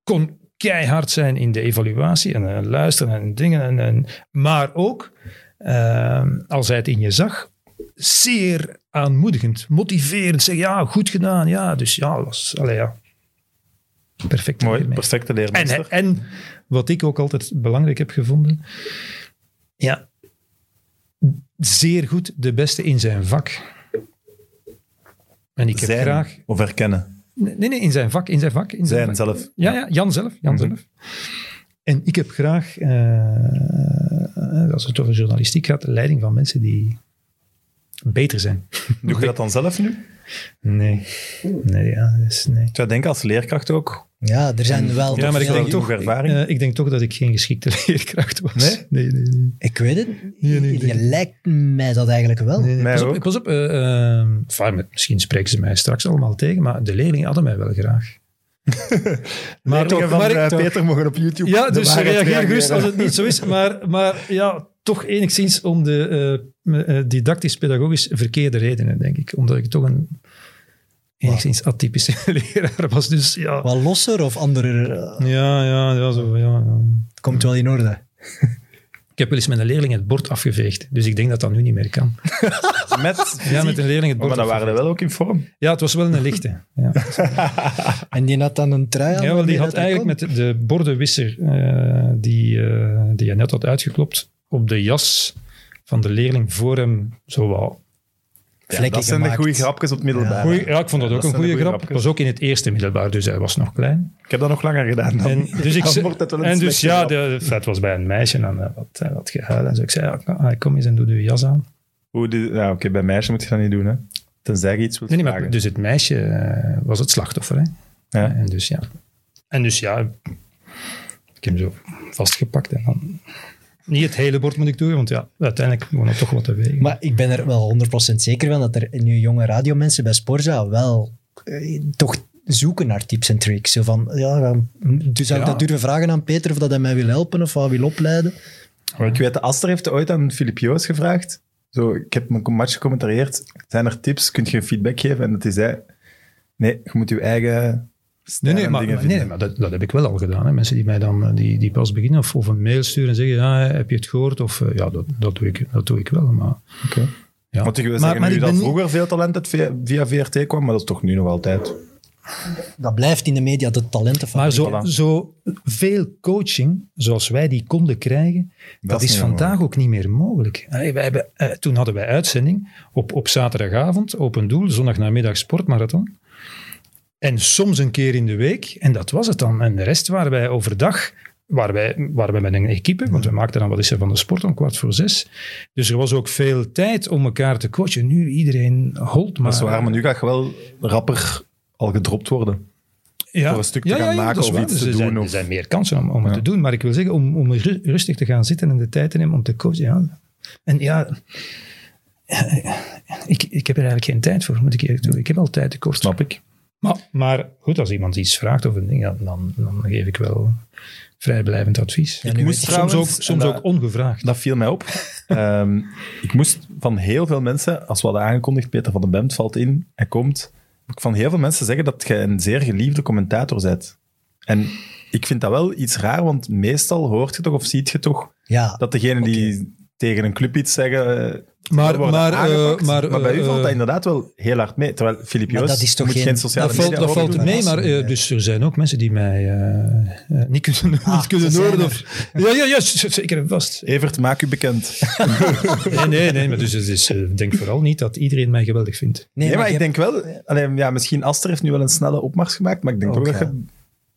D: Kon keihard zijn in de evaluatie en eh, luisteren en dingen. En, en, maar ook, ehm, als hij het in je zag, zeer aanmoedigend, motiverend. Zeg ja, goed gedaan. Ja, dus ja, was, allee, ja. perfect.
A: Mooi,
D: leermeester.
A: perfecte leermeester.
D: En, en wat ik ook altijd belangrijk heb gevonden, ja, zeer goed de beste in zijn vak. En ik heb
A: zijn
D: graag...
A: of herkennen.
D: Nee, nee, in zijn vak, in zijn vak. In zijn
A: Zijn
D: vak.
A: zelf.
D: Ja, ja, Jan zelf. Jan
A: Mhm.
D: zelf. En ik heb graag, eh, als het over journalistiek gaat, de leiding van mensen die beter zijn.
A: Doe je dat dan zelf nu? Ik
D: Nee. Nee, ja, dus nee.
A: zou denken als leerkracht ook.
B: Ja, er zijn wel.
A: Mm. Ja, maar ik
B: veel-
A: denk toch- ervaring.
D: eh, ik denk toch dat ik geen geschikte leerkracht was.
A: Nee?
D: Nee, nee, nee.
B: Ik weet het.
D: Nee, nee, ik
B: je
D: denk-
B: lijkt mij dat eigenlijk wel.
D: Nee, nee,
A: Mij
D: pas op,
A: ook.
D: ik was op. eh, ehm, enfin, met- misschien spreken ze mij straks allemaal tegen, maar de leerlingen hadden mij wel graag. maar,
A: Leerlingen van
D: maar ik-
A: eh, Peter mogen op YouTube
D: ja,
A: de
D: dus
A: waarheid
D: reageer
A: reageren.
D: gerust als het niet zo is. Maar, maar ja, toch enigszins om de eh, eh, didactisch-pedagogisch verkeerde redenen, denk ik. Omdat ik toch een enigszins atypische leraar was. Dus ja,
B: Wat losser of andere. eh,
D: ja, ja, ja, zo, ja, ja.
B: het komt wel in orde.
D: Ik heb wel eens met een leerling het bord afgeveegd. Dus ik denk dat dat nu niet meer kan.
A: Met,
D: Ja, met een leerling het
A: Oh,
D: bord
A: maar dan waren
D: afgeveegd.
A: we wel ook in vorm.
D: Ja, het was wel een lichte. Ja.
B: En die had dan een trui aan.
D: Ja, wel,
B: waarmee
D: die had
B: dat hij
D: eigenlijk
B: kon.
D: met de- de bordenwisser eh, die, eh, die je net had uitgeklopt op de jas van de leerling voor hem zo wel.
A: Ja,
B: Vlekken
A: dat zijn de
B: gemaakt.
A: goede grapjes op het middelbaar.
D: Goeie- ja, ik vond
A: Ah,
D: dat
A: Ja, dat
D: ook een goede
A: zijn de goeie
D: grap. Het was ook in het eerste middelbaar, dus hij was nog klein.
A: Ik heb dat nog langer gedaan dan.
D: En dus, ik,
A: Dan
D: ze-
A: wordt het wel een
D: en dus
A: slechte
D: ja,
A: grap.
D: de, het was bij een meisje en eh, wat, eh, wat gehuil. En zo. Ik zei, ja, kom- ah, kom eens en doe je jas aan.
A: Hoe die- ja, Oké, bij meisjes moet je dat niet doen, hè. Tenzij je iets wilt
D: Nee, nee, maar
A: vragen.
D: dus het meisje eh, was het slachtoffer. Hè?
A: Ja.
D: En dus ja. En dus ja, ik heb hem zo vastgepakt en dan... Niet het hele bord moet ik doen, want ja, uiteindelijk gewoon toch wat te wegen.
B: Maar ik ben er wel 100% zeker van dat er nu jonge radiomensen bij Sporza wel eh, toch zoeken naar tips en tricks. Zo van, ja, dan- dus zou ik
D: Ja.
B: dat durven vragen aan Peter of dat hij mij wil helpen of wat wil opleiden?
A: Maar ik weet, de Aster heeft ooit aan Filip Joos gevraagd. Zo, ik heb mijn match gecommentarieerd. Zijn er tips? Kun je feedback geven? En dat hij zei, nee, je moet je eigen
D: Nee,
A: stijl
D: nee,
A: en
D: maar,
A: dingen
D: maar- nee, nee,
A: vinden.
D: maar dat, dat heb ik wel al gedaan. Hè. Mensen die mij dan eh, die, die pas beginnen of, of een mail sturen en zeggen: ja, Heb je het gehoord? Of eh, ja, dat, dat, doe ik, dat doe ik wel. Maar,
A: Oké.
D: ja.
A: Want ik wil
D: Maar-
A: zeggen,
D: maar
A: nu
D: ik
A: dat
D: ben niet-
A: vroeger veel talent uit via, via VRT kwam, maar dat is toch nu nog altijd.
B: Dat blijft in de media de talenten van.
D: Maar zo,
A: Voilà.
D: zo veel coaching, zoals wij die konden krijgen, dat,
A: is
D: is,
A: niet meer
D: vandaag ook niet meer mogelijk. Allee, wij hebben, eh, toen hadden wij uitzending op, op zaterdagavond, open doel, zondagnamiddag sportmarathon. En soms een keer in de week, en dat was het dan. En de rest waren wij overdag, waren wij, waren wij met een equipe, want we maakten dan wat is er van de sport om kwart voor zes. Dus er was ook veel tijd om elkaar te coachen. Nu iedereen holt maar.
A: Dat is waar, maar nu ga je wel rapper al gedropt worden.
D: ja.
A: voor een stuk te gaan maken
D: dat is
A: of
D: waar.
A: iets
D: Dus
A: te
D: er zijn,
A: doen of-
D: Er zijn meer kansen om, om het
A: Ja.
D: te doen. Maar ik wil zeggen, om, om ru- rustig te gaan zitten en de tijd te nemen om te coachen. Ja. En ja, ik, ik heb er eigenlijk geen tijd voor, moet ik eerlijk doen. Ik heb al tijd tekort.
A: Snap ik.
D: Maar, maar goed, als iemand iets vraagt of een ding, ja, dan, dan geef ik wel vrijblijvend advies.
B: Ja, nu
A: moest
B: weet ik-
D: Soms,
A: trouwens-
D: ook,
A: en
D: soms
A: dat-
D: ook ongevraagd.
A: Dat viel mij op. Ehm, ik moest van heel veel mensen, als we hadden aangekondigd, Peter van den Bemt valt in, hij komt, moet ik van heel veel mensen zeggen dat je een zeer geliefde commentator bent. En ik vind dat wel iets raar, want meestal hoort je toch of ziet je toch
B: ja,
A: dat degenen die tegen een club iets zeggen, eh,
E: Maar,
A: worden
E: maar, eh,
A: aangepakt.
E: maar,
A: bij u
E: eh,
A: valt dat inderdaad wel heel hard mee. Terwijl Filip
B: Maar
A: Joos
B: dat is toch
A: moet geen,
B: geen-
A: sociale
E: dat valt,
A: media
E: dat valt
A: overdoen.
E: mee, maar eh,
B: Ja.
E: dus,
D: Dus er zijn ook mensen die mij eh, eh, niet kunnen,
B: Ah,
D: niet kunnen
B: ze zijn
D: horen. Of, ja, ja, ja, z- z- zeker en vast.
A: Evert, maak u bekend.
D: Nee, nee, nee. Maar dus, het is, eh, denk vooral niet dat iedereen mij geweldig vindt.
A: Nee, maar,
B: je
A: ik
B: hebt-
A: denk wel... Alleen, ja, misschien Aster heeft nu wel een snelle opmars gemaakt, maar ik denk
B: Ook,
A: toch dat
B: ja.
A: je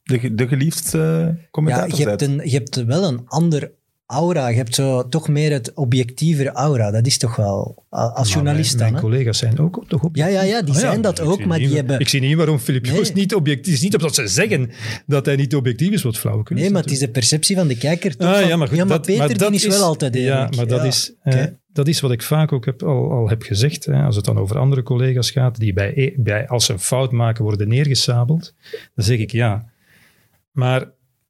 A: de, ge- de geliefdste eh,
B: ja,
A: commentator
B: je,
A: bent.
B: hebt een, je hebt wel een ander aura. Je hebt zo toch meer het objectieve aura. Dat is toch wel, a- als
D: Maar eh,
B: journalist
D: mijn,
B: dan.
D: mijn
B: hè?
D: collega's zijn ook toch op.
B: Ja, ja, ja, die
D: Ah,
B: zijn dat
D: ik
B: ook,
D: zie
B: maar
D: niet
B: die
D: waar-
B: hebben...
D: Ik zie niet waarom Filip
B: Nee.
D: Joos niet objectief is. Niet omdat ze zeggen dat hij niet objectief is, wat flauwekul is
B: Nee, maar het
D: natuurlijk.
B: is de perceptie van de kijker. toch
D: Ah,
B: van-
D: ja, maar goed, dat,
B: Peter
D: maar dat
B: die is wel altijd eerlijk.
D: Ja, maar dat,
B: Ja.
D: Is, eh,
B: Oké.
D: dat is wat ik vaak ook heb, al, al heb gezegd. Hè, als het dan over andere collega's gaat, die bij, e- bij, als ze een fout maken worden neergesabeld, dan zeg ik ja. Maar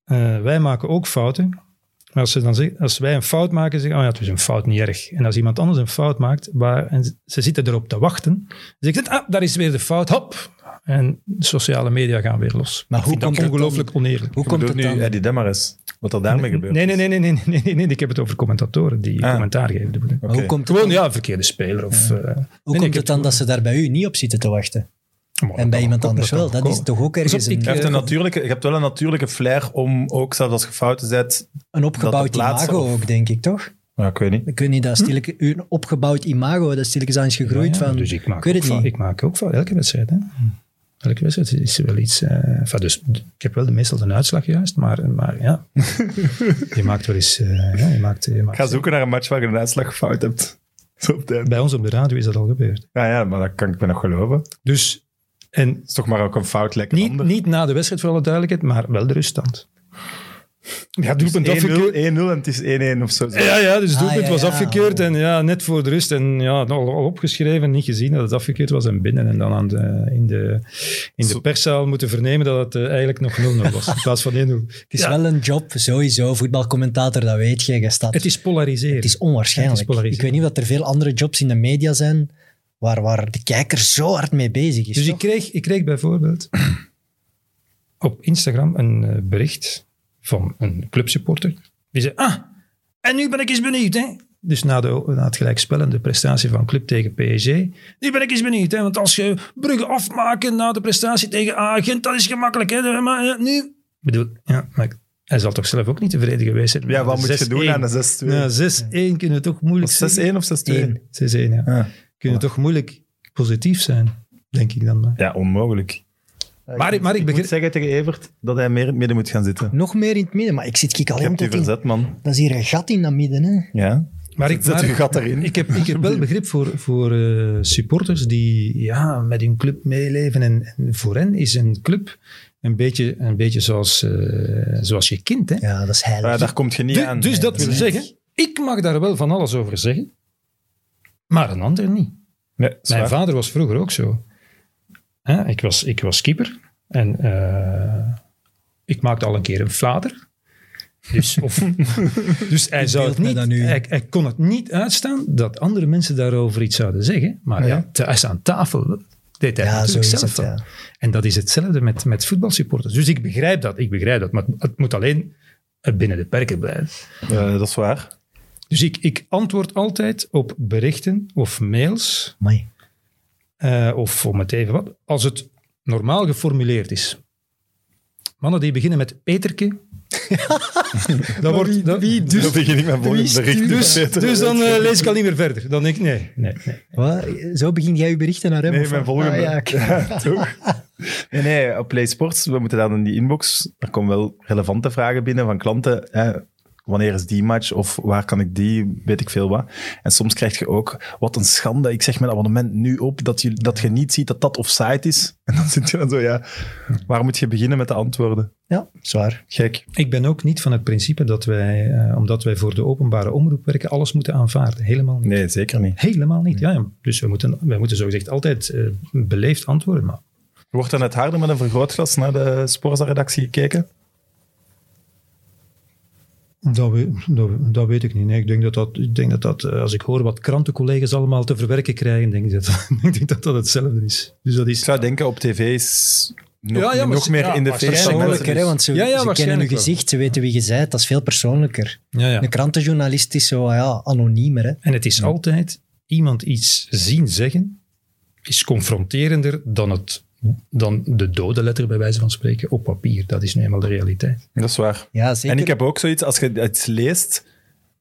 D: eh, wij maken ook fouten. Maar als, ze dan zeggen, als wij een fout maken, zeggen oh ja, het is een fout, niet erg. En als iemand anders een fout maakt, waar, en ze- ze zitten erop te wachten, dan zeg ik, ah, daar is weer de fout, hop. En de sociale media gaan weer los.
B: Maar
D: Ik
B: hoe
D: vind dat
B: komt het dan-
D: ongelooflijk oneerlijk.
B: Hoe
A: Ik
B: komt
A: bedoel
B: het
A: nu eh,
B: dan?
A: Eddie Demaris, wat er daarmee gebeurt.
D: Nee, nee, nee, nee, nee, nee, nee, nee. Ik heb het over commentatoren die
A: Ah.
D: commentaar geven.
B: Maar Hoe
A: Oké.
B: komt het
D: Gewoon,
B: dan,
D: ja, een verkeerde speler. Of, eh, nee,
B: hoe
D: nee, ik
B: komt
D: heb-
B: het dan dat ze daar bij u niet op zitten te wachten?
D: Maar dat
B: En bij
D: kan
B: iemand
D: ook,
B: anders
D: dat
B: wel?
D: kan
B: Dat is
D: ook.
B: toch ook ergens
D: Op- ik-
A: Je hebt,
B: een,
A: een natuurlijke, je hebt wel een natuurlijke flair om ook, zelfs als je fouten zet...
B: een opgebouwd
A: dat de plaats-
B: imago
A: of-
B: ook, denk ik, toch?
A: Nou, ik weet niet.
B: Ik weet niet, dat is stilke- een opgebouwd imago, dat is stilletjes aan is gegroeid
D: Hm? Ja,
B: van...
D: Dus ik maak,
B: weet
D: ook
B: het
D: fout-
B: niet.
D: ik maak ook fout. Elke wedstrijd, hè. Elke wedstrijd is er wel iets... eh, enfin, dus, d- ik heb wel de, meestal de uitslag juist, maar, maar ja. je maakt wel eens... eh, ja, je maakt, je maakt-
A: Ga zoeken naar een match waar je een uitslag fout hebt. Zo op het einde.
D: Bij ons op de radio is dat al gebeurd.
A: Ja, ja, maar dat kan ik me nog geloven. Het
D: Dus... En
A: is toch maar ook een fout lekker
D: niet,
A: ander.
D: niet na de wedstrijd, voor alle duidelijkheid, maar wel de ruststand. Ja, doelpunt
A: Dus 1-0,
D: afgekeurd.
A: 1-0 en het is 1-1 of zo.
D: Ja, ja, dus het
B: Ah,
D: doelpunt
B: ja,
D: was
B: ja.
D: afgekeurd en ja, net voor de rust. En ja, al, al opgeschreven, niet gezien dat het afgekeurd was en binnen. En dan aan de, in, de, in de perszaal moeten vernemen dat het eh, eigenlijk nog 0-0 was in plaats van 1-0. Het
B: Het
D: is,
B: is
D: wel,
B: wel een job, sowieso. Voetbalcommentator, dat weet je. Je staat...
D: het is polariseren.
B: Het is onwaarschijnlijk.
D: Het is polariseren.
B: ik weet niet of er veel andere jobs in de media zijn waar, waar de kijker zo hard mee bezig is.
D: dus ik
B: toch?
D: kreeg, ik kreeg bijvoorbeeld op Instagram een eh, bericht van een clubsupporter. Die zei, ah, en nu ben ik eens benieuwd, hè. Dus na, de, na het gelijkspel en de prestatie van club tegen PSG. Nu ben ik eens benieuwd, hè. Want als je Brugge afmaken na de prestatie tegen Agent, dat is gemakkelijk, hè. Maar eh, nu... Ik bedoel, ja, maar ik- hij zal toch zelf ook niet tevreden geweest zijn.
A: Ja, wat
D: De
A: moet je doen
D: 6-1.
A: aan de 6-2?
D: Ja, 6-1 kunnen we toch moeilijk
A: Of 6-1 of 6-2?
D: 6-1, ja.
A: Ah.
D: Kunnen toch moeilijk positief zijn, denk ik dan eh. maar.
A: Ja, onmogelijk.
D: Maar, ik- maar ik
A: Ik
D: begrijp...
A: moet zeggen tegen Evert dat hij meer in het midden moet gaan zitten.
B: Nog meer in het midden, maar ik zit kijk
A: Je
B: alleen
A: hebt u
B: tot in...
A: verzet, man.
B: Dat is hier een gat in dat midden, hè.
A: Ja.
D: Maar ik,
A: Zet
D: maar-
A: uw gat erin.
D: Ik heb, ik heb wel begrip voor, voor eh, supporters die ja, met hun club meeleven. En, en voor hen is een club een beetje, een beetje zoals, eh, zoals je kind. Hè?
B: Ja, dat is heilig.
A: Maar daar komt je niet
D: Du-
A: aan.
D: dus dat
B: dat
D: wil
B: is
D: zeggen, ik mag daar wel van alles over zeggen, maar een ander niet.
A: Nee, zwaar.
D: Mijn vader was vroeger ook zo. Hè, ik, was, ik was keeper en eh, ik maakte al een keer een flater. Dus, of, dus hij, zou
B: beeld
D: het
B: mij
D: niet,
B: dat nu in.
D: hij, hij kon het niet uitstaan dat andere mensen daarover iets zouden zeggen. Maar ja, thuis aan tafel deed hij
B: Ja,
D: natuurlijk
B: zo is
D: zelf
B: het,
D: wel.
B: ja.
D: En dat is hetzelfde met, met voetbalsupporters. Dus ik begrijp dat, ik begrijp dat. Maar het moet alleen binnen de perken blijven.
A: Eh, dat is waar.
D: Dus ik, ik antwoord altijd op berichten of mails
B: Amai.
D: eh, of om het even wat, als het normaal geformuleerd is. Mannen die beginnen met Peterke. dat wordt, dat-
A: Dus, dat begin ik mijn volgende bericht.
D: dus, dus dan eh, lees ik al niet meer verder. Dan denk ik, nee, nee, nee.
B: Wat? Zo begin jij je berichten naar hem?
A: Nee,
B: of
A: mijn
B: wat?
A: volgende.
B: Ah, ja, oké.
A: Toch? Nee, nee, op Play Sports, we moeten dan in die inbox, er komen wel relevante vragen binnen van klanten. Hè, wanneer is die match of waar kan ik die, weet ik veel wat. En soms krijg je ook, wat een schande, ik zeg mijn abonnement nu op, dat je, dat je niet ziet dat dat offside is. En dan zit je dan zo, ja, waar moet je beginnen met de antwoorden?
B: ja, zwaar.
A: Gek.
D: Ik ben ook niet van het principe dat wij, eh, omdat wij voor de openbare omroep werken, alles moeten aanvaarden. Helemaal niet.
A: Nee, zeker niet.
D: Helemaal niet, ja. ja. Dus we moeten, wij moeten zogezegd altijd eh, beleefd antwoorden. Maar
A: Wordt dan het harder met een vergrootglas naar de Sporza-redactie gekeken?
D: Dat, we, dat, we- dat weet ik niet. Nee, ik denk dat dat, ik denk dat, dat, eh, als ik hoor wat krantencollega's allemaal te verwerken krijgen, denk ik dat ik denk dat, dat hetzelfde is. Dus dat
A: Ik
D: is...
A: zou denken, op tv is nog,
D: Ja, ja, maar
A: nog
D: ze-
A: meer
D: ja,
A: in de
D: maar
A: vingers van
D: waarschijnlijk
A: mensen.
B: Persoonlijker, hè, want ze,
D: Ja, ja,
B: ze kennen
D: waarschijnlijk
B: hun
D: wel.
B: gezicht, ze weten wie je bent. Dat is veel persoonlijker.
D: Ja, ja.
B: Een krantenjournalist is zo ja, anoniemer. Hè.
D: En het is altijd iemand iets zien zeggen, is confronterender dan, het, dan de dode letter, bij wijze van spreken, op papier. Dat is nu eenmaal de realiteit.
A: Dat is waar.
B: Ja, zeker.
A: En ik heb ook zoiets, als je iets leest,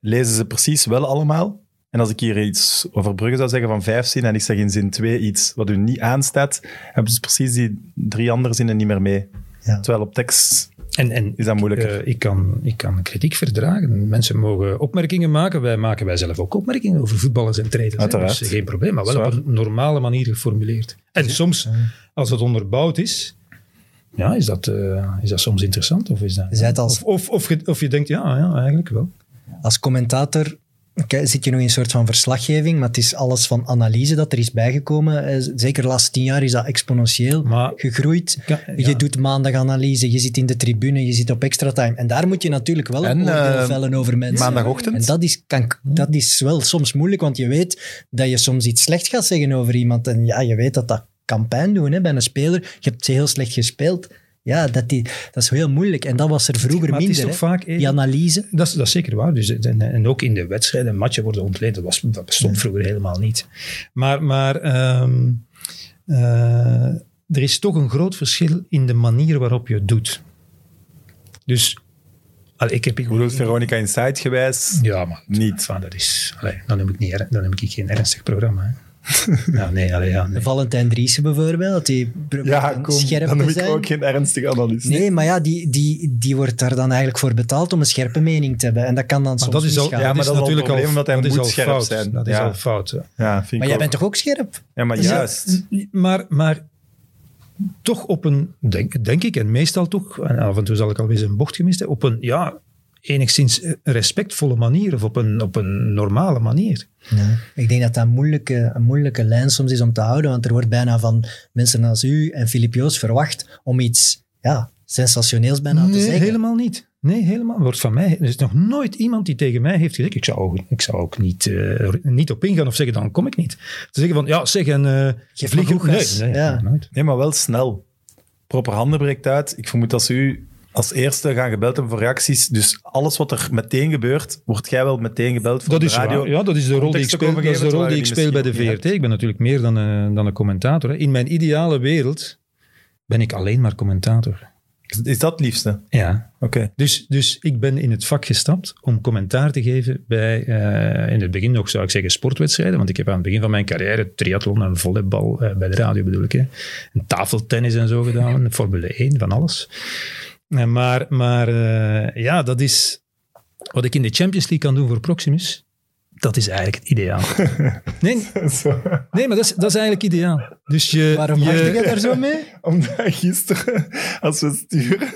A: lezen ze precies wel allemaal. En als ik hier iets over Brugge zou zeggen van vijf zinnen en ik zeg in zin twee iets wat u niet aanstaat, hebben ze precies die drie andere zinnen niet meer mee.
B: Ja.
A: Terwijl op tekst
D: En, en
A: is dat moeilijker.
D: eh, ik, kan, ik kan kritiek verdragen. Mensen mogen opmerkingen maken. Wij maken wij zelf ook opmerkingen over voetballers en trainers. hè.
A: Uiteraard.
D: Dus geen probleem, maar wel
A: Zwaar.
D: op een normale manier geformuleerd. En soms, als het onderbouwd is, ja, is, dat, eh, is dat soms interessant? Of, is dat,
B: Je zei het al.
D: of, of, of, je, of je denkt, ja, ja eigenlijk wel.
B: Als commentator k- zit je nog in een soort van verslaggeving, maar het is alles van analyse dat er is bijgekomen. Eh, z- Zeker de laatste tien jaar is dat exponentieel
D: Maar-
B: gegroeid.
D: Ja, ja.
B: Je doet maandag analyse, je zit in de tribune, je zit op extra time. En daar moet je natuurlijk wel
A: En,
B: een oordeel
A: eh,
B: vellen over mensen.
A: maandagochtend?
B: En dat is, kan, dat is wel soms moeilijk, want je weet dat je soms iets slecht gaat zeggen over iemand. En ja, je weet dat dat kan pijn doen hè, bij een speler. Je hebt heel slecht gespeeld. Ja, dat, die, dat is heel moeilijk. En dat was er vroeger
D: Maar het is
B: minder.
D: toch
B: hè.
D: vaak even-
B: Die analyse.
D: Dat is, dat is zeker waar. Dus, en, en ook in de wedstrijden, matchen worden ontleed. Dat, was, dat bestond vroeger helemaal niet. Maar, maar ehm, eh, er is toch een groot verschil in de manier waarop je het doet. Dus, allee, ik heb... Ik,
A: Ik bedoel, Veronica Inside gewijs,
D: ja, maar
A: niet.
D: enfin, dat is... Allee, dan, heb ik niet, er- dan heb ik geen ernstig programma. Hè. ja, nee, allee, ja, nee.
B: Valentijn Driessen bijvoorbeeld, die probeert
A: Ja,
B: dan
A: kom,
B: scherp
A: dan
B: te
A: heb ik
B: zijn.
A: ook geen ernstige analyse.
B: Nee, maar ja, die, die, die wordt daar dan eigenlijk voor betaald om een scherpe mening te hebben. En dat kan dan soms
D: dat is al,
B: misgaan.
A: ja, maar dat is al het
D: natuurlijk
A: probleem, omdat hij
D: dat is
A: moet
D: al
A: scherp
D: fout.
A: zijn.
D: Dat is
A: Ja.
D: al fout. hè.
A: Ja, vind
B: Maar
A: ik
B: jij
A: ook.
B: bent toch ook scherp? Dus
A: Ja, maar juist.
D: Ja, maar, maar toch op een, denk, denk ik, en meestal toch, en af en toe zal ik alweer eens een bocht gemist hebben, op een ja, enigszins respectvolle manier of op een, op een normale manier.
B: Ik denk dat dat een moeilijke, een moeilijke lijn soms is om te houden, want er wordt bijna van mensen als u en Filip Joos verwacht om iets ja, sensationeels bijna te
D: nee,
B: zeggen.
D: helemaal niet. Nee, helemaal. Wordt van mij, er is nog nooit iemand die tegen mij heeft gezegd, ik zou ook, ik zou ook niet, eh, er niet op ingaan of zeggen, dan kom ik niet. Te zeggen van, ja, zeg en eh
B: Geef
D: vliegen.
B: maar goed gas.
D: Nee, nee,
B: Ja.
D: nooit.
A: Nee, maar wel snel. Proper handen breekt uit. Ik vermoed dat ze u als eerste gaan gebeld hebben voor reacties. Dus alles wat er meteen gebeurt, wordt jij wel meteen gebeld voor
D: Dat
A: de
D: is
A: radio.
D: waar. Ja, dat is de rol die ik
A: context ook
D: speel, dat is
A: overgeven,
D: de rol
A: terwijl
D: die ik
A: je
D: speel bij de
A: misschien ook niet
D: VRT. Ik ben natuurlijk meer dan een, dan een commentator. Hè. In mijn ideale wereld ben ik alleen maar commentator.
A: Is- Is dat het liefste?
D: Ja.
A: Oké.
D: Dus, dus ik ben in het vak gestapt om commentaar te geven bij, eh, in het begin nog zou ik zeggen sportwedstrijden, want ik heb aan het begin van mijn carrière triathlon en volleybal eh, bij de radio bedoel ik, hè. en tafeltennis en zo gedaan, Formule 1, van alles. Eh, maar maar eh, ja, dat is wat ik in de Champions League kan doen voor Proximus, dat is eigenlijk het ideaal. Nee,
A: Zo.
D: nee maar dat is, dat is eigenlijk ideaal. Dus je,
B: Waarom
D: je-
B: maak je daar zo mee?
A: Omdat gisteren, als we sturen...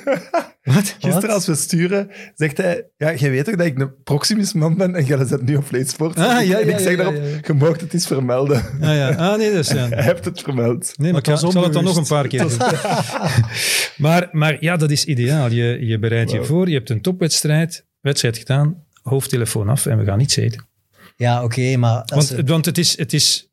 D: Wat?
A: Gisteren,
B: Wat?
A: als we sturen, zegt hij... Ja, jij weet toch dat ik een Proximus-man ben en jij zet nu op Leedsport?
D: Ah, ja, ja,
A: en ik
D: ja,
A: zeg
D: ja,
A: daarop,
D: ja.
A: je mag het eens vermelden.
D: Ah, ja. ah nee, dat is... ja.
A: Hij hebt het vermeld.
D: Nee, maar,
B: Maar het
D: ik ga-
B: was
D: ik zal het dan nog een
B: onbewust.
D: paar keer doen. maar, maar ja, dat is ideaal. Je, je bereidt je
A: Wow.
D: voor, je hebt een topwedstrijd, wedstrijd gedaan, hoofdtelefoon af en we gaan iets eten.
B: Ja, oké, maar... als
D: Want,
B: er-
D: want het is... Het is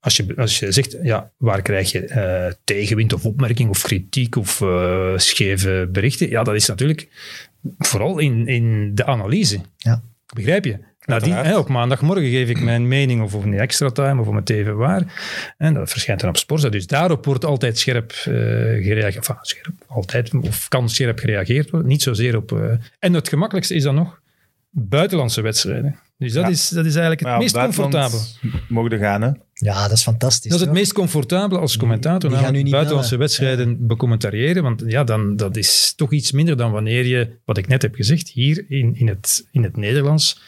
D: als je, als je zegt, ja, waar krijg je eh, tegenwind of opmerking of kritiek of eh, scheve berichten? Ja, dat is natuurlijk vooral in, in de analyse.
B: Ja.
D: Begrijp je? Nadien,
A: Uiteraard.
D: hè, op maandagmorgen geef ik mijn mening of in de extra time of om het even waar. En dat verschijnt dan op Sporza. Dus daarop wordt altijd scherp eh, gereageerd. Enfin, scherp, altijd, of kan scherp gereageerd worden. Niet zozeer op... eh, en het gemakkelijkste is dan nog buitenlandse wedstrijden. Dus dat,
A: Ja.
D: is, dat is eigenlijk het
A: Maar ja,
D: meest
A: Nou, buitenland
D: comfortabel.
A: Mogen gaan, hè?
B: ja, dat is fantastisch.
D: Dat is het
B: toch?
D: meest comfortabel als commentator.
B: die gaan
D: namelijk
B: u niet
D: buitenlandse
B: bellen.
D: wedstrijden becommentariëren. Want ja, dan, dat is toch iets minder dan wanneer je, wat ik net heb gezegd, hier in, in, het, in het Nederlands,